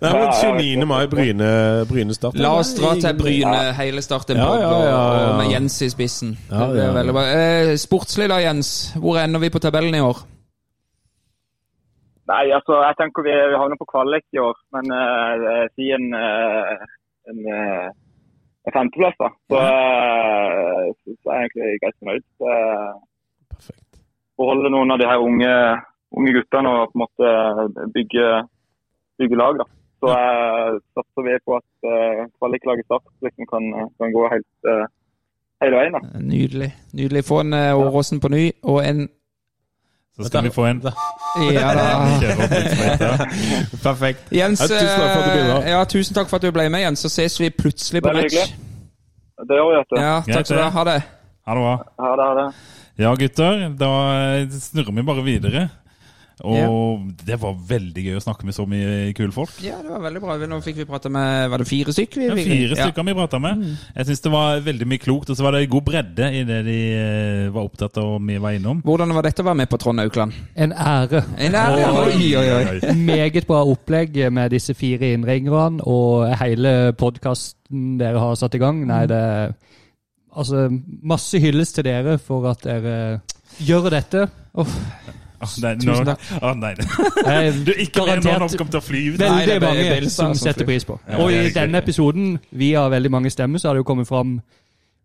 Nei, men 29. mai, Bryne, Bryne start. La oss dra til Bryne, hele starten Ja, på, ja, ja, ja. og med Jens i spissen. det Ja, ja, blir ja. veldig bra. Eh, sportslig da, Jens. Hvor ender vi på tabellen i år? Nei, altså, jeg tenker vi, vi havner på kvalik i år, men eh, eh, si en, eh, en, eh, en femteplass, da. Så, eh, så så er jeg egentlig greit fornøyd. Eh, Perfekt. beholde noen av de her unge, unge guttene og på en måte eh, bygge, bygge lag. da. Så eh, satser vi på at eh, kvaliklaget Start liksom kan, kan gå helt, eh, hele veien. da. Eh, Nydelig. Nydelig. Få en eh, Åråsen på ny, og en Så skal vi få en Ja (laughs) da. kjøre opp litt sprøyte. Perfekt. Jens, Ja, tusen takk for at du eh, bidrar. ja, tusen takk for at du ble med, Jens. Så ses vi plutselig på Veldig match. Det gjør vi, vet du. Ja, Greit, takk skal du ha. Ha det. Ha det bra. Ha det, ha det. Ja, gutter. Da eh, snurrer vi bare videre. Og det var veldig gøy å snakke med så mye kule folk. Ja, det var veldig bra. Nå fikk vi prate med Var det fire stykker? vi Det var fikk? fire Ja. Mm. stykker vi prata med. Jeg syns det var veldig mye klokt, og så var det god bredde i det de eh, var opptatt av og vi var innom. Hvordan var dette å være med på Trond Aukland? En ære. En ære. Oi, oi, oi. Meget bra opplegg med disse fire innringerne og hele podkasten dere har satt i gang. Nei, det er Altså, masse hyllest til dere for at dere eh, gjør dette. Ah, nei, nå, Tusen ah, nei. Jeg er Du, ikke mer når noen garantert kommer til å fly ut. Nei, det veldig er bare mange Belsa som som setter flyr. pris på. Ja, Og det er i riktig. denne episoden, via veldig mange stemmer, så har det jo kommet fram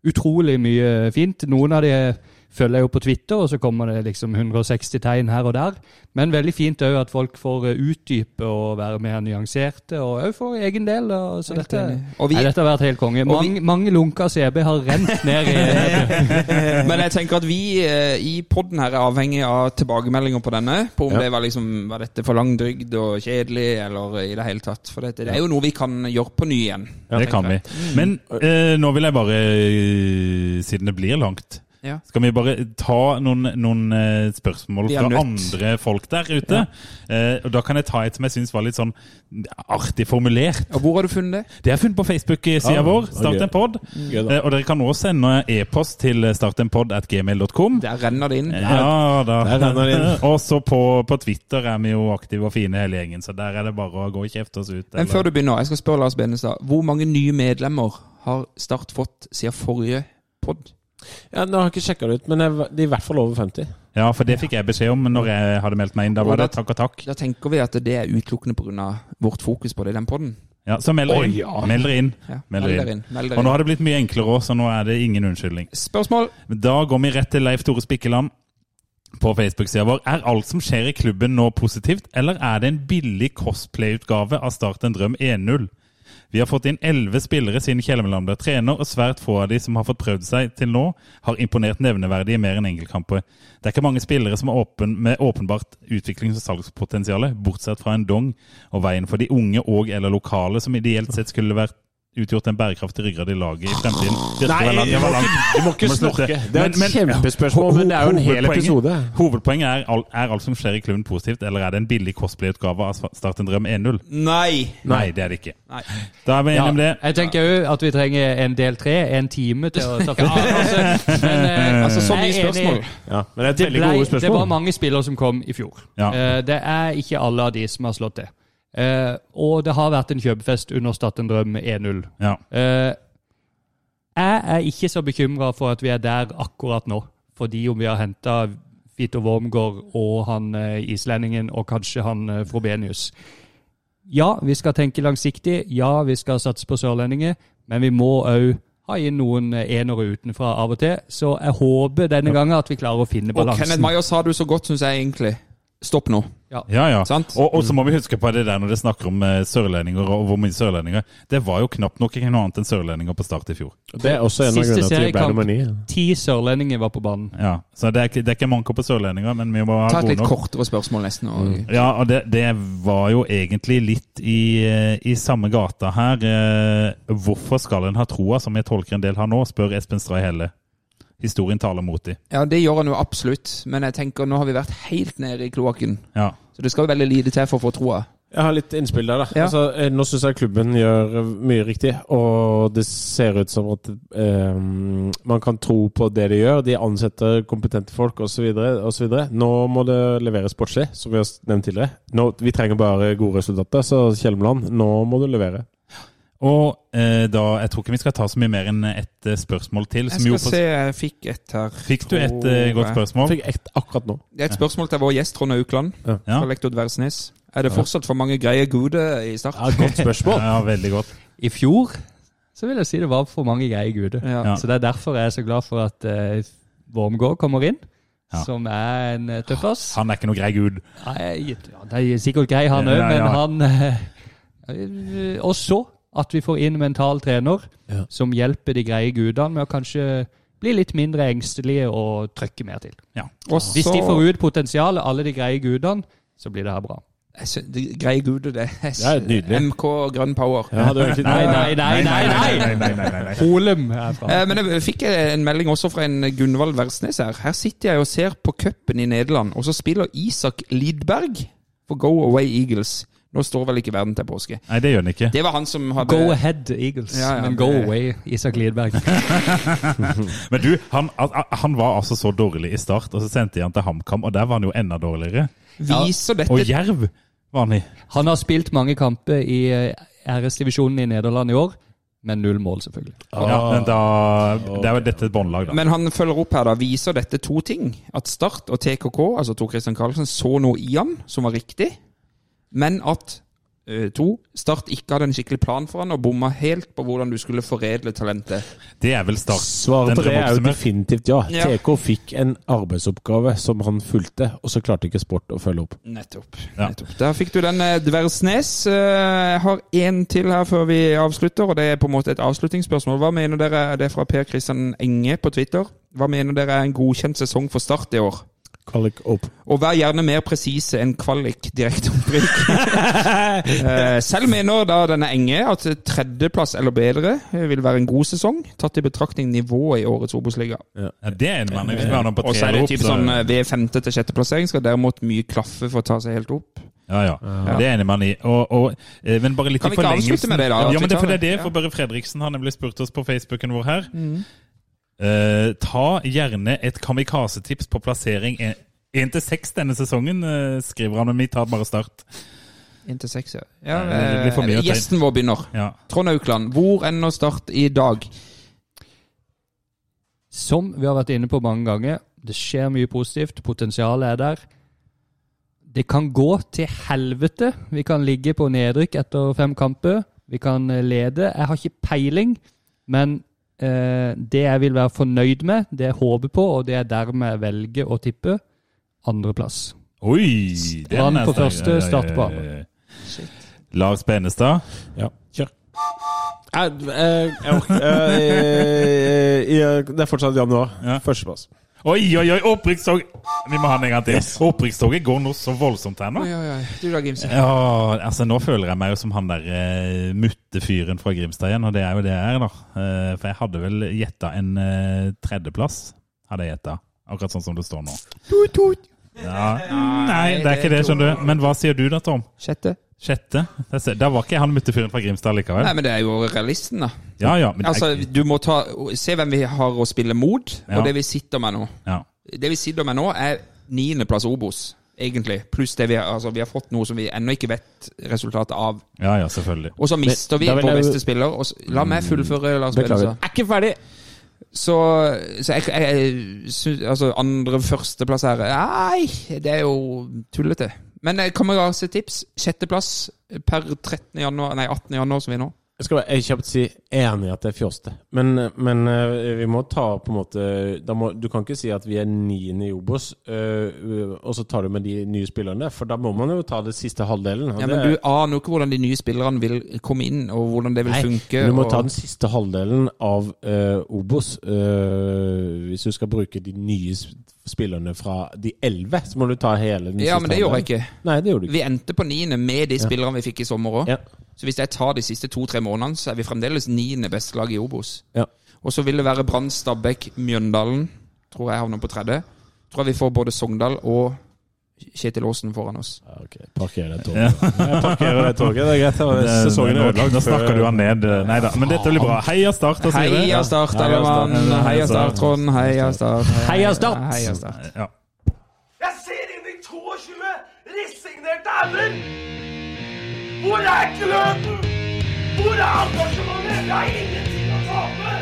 utrolig mye fint. Noen av de følger jeg jo på Twitter, og så kommer det liksom 160 tegn her og der. Men veldig fint òg at folk får eh, utdype og være mer nyanserte, og òg for egen del. og Så Helt dette, enig. Og vi- nei, dette har vært helt konge. og vi- Mange, mange lunker CB har (laughs) rent ned i Men jeg tenker at vi eh, i podden her er avhengig av tilbakemeldinger på denne. På om Ja. det var, liksom, var dette for langdrygd og kjedelig, eller i det hele tatt. For dette, det er jo noe vi kan gjøre på ny igjen. Mm. Det kan vi. Men eh, nå vil jeg bare, eh, siden det blir langt Ja. Skal vi bare ta noen, noen eh, spørsmål Vi er fra nødt. andre folk der ute? Eh, og Da kan jeg ta et som jeg syns var litt sånn artig formulert. Og hvor har du funnet det? Det er funnet på Facebook-sida Ah, vår, ok. Start en pod. Gøy da. Eh, Og dere kan også sende e-post til startenpod.gmail.com. Der renner det inn. Eh, Ja da. Der renner det inn. (laughs) Og så på, på Twitter er vi jo aktive og fine hele gjengen, så der er det bare å gå og kjefte oss ut. Men eller- før du begynner, jeg skal spørre Lars Benestad. Hvor mange nye medlemmer har Start fått siden forrige pod? Ja, nå har jeg ikke sjekka det ut, men jeg, de er i hvert fall over 50. Ja, for det fikk jeg beskjed om når jeg hadde meldt meg inn. Da var det takk og takk. Da tenker vi at det er utelukkende pga. vårt fokus på det i den poden. Ja, så meld dere inn. Meld dere inn. Ja. Meld Meld dere dere inn. inn, meld dere Og nå inn. har det blitt mye enklere òg, så nå er det ingen unnskyldning. Spørsmål? Da går vi rett til Leif Tore Spikkeland på Facebook-sida vår. Er alt som skjer i klubben nå positivt, eller er det en billig cosplay-utgave av Start en drøm 1-0? Vi har fått inn elleve spillere siden Kjelmeland ble trener, og svært få av de som har fått prøvd seg til nå, har imponert nevneverdig i mer enn enkeltkamper. Det er ikke mange spillere som er åpen, med åpenbart utviklings- og salgspotensial, bortsett fra en dong, og veien for de unge og eller lokale som ideelt sett skulle vært utgjort en bærekraftig ryggrad i laget i fremtiden. Dette var langt, det var langt. Du må ikke Må slutte. snorke. Det er Men- et men- kjempespørsmål, men det er jo en hel episode. Hovedpoenget er, all- er alt som skjer i klubben positivt, eller er det en billig cosplay-utgave av Start en drøm 1-0? Nei. Nei, det er det ikke. Nei. Da er vi enige Ja, om det. jeg tenker jo at vi trenger en del tre, en time til å ta (laughs) for altså, (laughs) Men eh, Altså, så jeg mye er enig. spørsmål. Ja, men det er et veldig Blei- gode Det var spørsmål. mange spillere som kom i fjor. Ja. Eh, det er ikke alle av de som har slått det. Eh, og det har vært en kjøpefest under Staten Drøm 1-0. Ja. Eh, jeg er ikke så bekymra for at vi er der akkurat nå, fordi om vi har henta Vito Wormgård og han eh, islendingen og kanskje han eh, Frobenius. Ja, vi skal tenke langsiktig. Ja, vi skal satse på sørlendinger. Men vi må òg ha inn noen eh, enere utenfra av og til. Så jeg håper denne gangen at vi klarer å finne Og Kenneth balansen. Meyer sa du så godt, syns jeg egentlig. Stopp nå. Ja, ja. Sant? Og, og så må vi huske på det der når dere snakker om eh, sørlendinger og hvor mye sørlendinger. Det var jo knapt nok ikke noe annet enn sørlendinger på start i fjor. Det er også en av Siste grunnene til at vi ble seriekamp. nummer ni. Ti sørlendinger var på banen. Ja, Så det er, ikke- det er ikke manko på sørlendinger, men vi må ha Ta et gode litt nok. Mm. kortere spørsmål nesten. Og... Ja, og det, det var jo egentlig litt i, eh, i samme gata her. Eh, Hvorfor skal en ha troa, som jeg tolker en del har nå, spør Espen Stray Helle. Historien taler mot dem. Ja, det gjør han jo absolutt, men jeg tenker nå har vi vært helt nede i kloakken. Ja. Så det skal veldig lite til for å få troa. Jeg har litt innspill der, da. Ja. Altså, eh, nå syns jeg klubben gjør eh, mye riktig, og det ser ut som at eh, man kan tro på det de gjør. De ansetter kompetente folk osv. Nå må det leveres sportslig, som vi har nevnt tidligere. Nå, vi trenger bare gode resultater, så Kjelmeland, nå må du levere. Og eh, da, jeg tror ikke vi skal ta så mye mer enn ett eh, spørsmål til. Jeg Som jo skal for- se, jeg fikk et her. Fikk du et tror eh, jeg. godt spørsmål? Fikk ett akkurat nå. Det er et spørsmål til vår gjest Trond Aukland Ja. fra Lektor Dversnes. Er det fortsatt for mange greie gode i Start? Ja, (laughs) godt spørsmål. (laughs) Ja, veldig godt. I fjor så vil jeg si det var for mange greie guder. Ja. Ja. Så det er derfor jeg er så glad for at uh, Wormgård kommer inn. Ja. Som er en eh, tøffass. Han er ikke noe grei gud. Nei, ja, det er sikkert grei, han òg, Ja, ja. men han eh, eh, Også at vi får inn mental trener Ja. som hjelper de greie gudene med å kanskje bli litt mindre engstelige og trøkke mer til. Og Hvis så- de får ut potensialet, alle de greie gudene, så blir det her bra. Jeg sy- de Greie gude, det. Jeg sy- Ja, nydelig. MK Grønn Power. Jeg hadde jo egentlig Nei, nei, nei, nei! nei, nei, nei, nei, nei, nei. Holum herfra. Eh, Men jeg fikk en melding også fra en Gunvald Versnes her. Her sitter jeg og ser på cupen i Nederland, og så spiller Isak Lidberg for Go Away Eagles. Nå står vel ikke verden til påske. Nei, det gjør han ikke. Det var han som hadde Go ahead, Eagles. Ja, ja, men det- go away, Isak Lidberg. Men du, han, al- han var altså så dårlig i start, og så sendte jeg han til HamKam, og der var han jo enda dårligere. Viser dette Og Jerv var han i. Han har spilt mange kamper i eh, RS-divisjonen i Nederland i år, men null mål, selvfølgelig. Ja, Ah. men da, det er jo dette et båndlag, da. Men han følger opp her, da. Viser dette to ting? At Start og TKK, altså Tor Christian Karlsen, så noe i han som var riktig, men at eh, to, Start ikke hadde en skikkelig plan for han og bomma helt på hvordan du skulle foredle talentet. Det er vel start. Svaret Den på det er jo drømmeoppsummert. definitivt ja. Ja. TK fikk en arbeidsoppgave som han fulgte, og så klarte ikke Sport å følge opp. Nettopp. Ja. nettopp. Der fikk du den eh, Dversnes. Eh, Jeg har én til her før vi avslutter, og det er på en måte et avslutningsspørsmål. Hva mener dere, Det er fra Per Kristian Enge på Twitter. Hva mener dere er en godkjent sesong for Start i år? Kvalik opp. Og vær gjerne mer presise enn kvalik direkte (laughs) opprykk. Eh, Selv mener da denne Enge at tredjeplass eller bedre eh, vil være en god sesong, tatt i betraktning nivået i årets Obos-liga. Ja, det er en mann. Hvis vi har noen på Og så tre er det eller typ opp, så- sånn eh, ved femte til sjette plassering skal derimot mye klaffe for å ta seg helt opp. Ja, ja. Det er enig man i. Og, og, eh, men bare litt Kan i vi ikke forlengelsen avslutte med det da, at vi Ja, men det, tar for det er det, det? for Ja. Børre Fredriksen han er blitt spurt oss på Facebooken vår her. Mm. Eh, ta gjerne et kamikaze-tips på plassering 1 til 6 denne sesongen, eh, skriver han. Men vi tar bare start. Inntil seks, ja. ja Nei, det blir for mye eh, å ta inn. gjesten vår begynner. Ja. Trond Aukland, hvor enn å starte i dag? Som vi har vært inne på mange ganger, det skjer mye positivt. Potensialet er der. Det kan gå til helvete. Vi kan ligge på nedrykk etter fem kamper. Vi kan eh, lede. Jeg har ikke peiling, men eh, det jeg vil være fornøyd med, det jeg håper på, og det jeg dermed velger å tippe, andreplass. Oi! det er Brann på nesten- første, ja, ja, ja, start på ja, ja, ja. andre. Lars Benestad. Ja, kjør. Jeg, jeg, jeg, orker- eh, jeg- det er fortsatt januar. Ja. Førsteplass. Oi, oi, oi! Opprykkstog! Vi må ha den en gang til. Opprykkstoget går nå så voldsomt her nå. Oi, oi, oi. Du da, Gimse. Ja, altså nå føler jeg meg jo som han der eh, muttefyren fra Grimstad igjen, og det er jo det jeg er, da. Eh, for jeg hadde vel gjetta en eh, tredjeplass, hadde jeg gjetta. Akkurat sånn som det står nå. Ja. Nei, det er ikke det, skjønner du. Men hva sier du da, Tom? Sjette? Sjette? Der ser- Der var ikke han muttefyren fra Grimstad likevel. Nei, men det er jo realisten, da. Ja, ja. Men Altså, det er, du må ta, se hvem vi har å spille mot, Ja. og det vi sitter med nå. ja. Det vi sitter med nå, er niendeplass Obos, egentlig. Pluss det vi har, altså, vi har fått noe som vi ennå ikke vet resultatet av. ja, ja, selvfølgelig. Og så mister vi da vil vår jeg jo- beste spiller. Og så, la meg fullføre, Lars Beklager. Benestad. Er ikke ferdig! Så, så jeg, jeg, jeg sy- Altså, andre førsteplass her Nei, det er jo tullete. Men eh, kamerasetips. Sjetteplass per 13. Januar, nei, 18. januar, som vi er nå. Jeg skal bare jeg kjapt si enig i at det er fjoste, men, men eh, vi må ta på en måte da må, Du kan ikke si at vi er niende i Obos, eh, og så tar du med de nye spillerne, for da må man jo ta det siste halvdelen. og Ja, det men er- du aner jo ikke hvordan de nye spillerne vil komme inn, og hvordan det vil Nei, funke. Du må og... ta den siste halvdelen av eh, Obos. eh, hvis du skal bruke de nye s- spillerne fra de elleve, så må du ta hele den Ja, siste men det gjorde jeg ikke. Nei, det gjorde du ikke. Vi endte på niende med de spillerne vi fikk i sommer òg. Ja. Så hvis jeg tar de siste to-tre månedene, så er vi fremdeles niende beste lag i Obos. Ja. Og så vil det være Brann, Stabæk, Mjøndalen. Tror jeg havner på tredje. Tror jeg vi får både Sogndal og Kjetil Aasen foran oss. Ja, ok. Parker det toget. Jeg parkerer det toget, det er greit. det var- Sesongen er Nå- ødelagt. Nå snakker du han ned. Nei da, men dette blir bra. Heia Start, da, sier vi. Heia Start, alle mann! Heia Start, Trond! Heia Start! Heia Start! Heia Start. Ja. Jeg ser inn i 22 resignerte ender! Hvor er gløden? Hvor er engasjementet? Vi har ingenting å tape!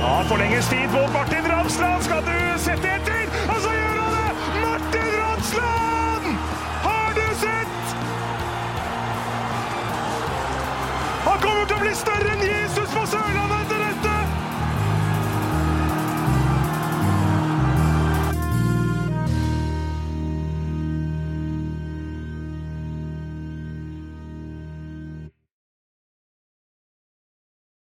Ja, forlenges tid på Martin Ramsland. Skal du sette etter? Og så gjør han det! Martin Ramsland! Har du sett? Han kommer til å bli større enn Jesus på Sørlandet!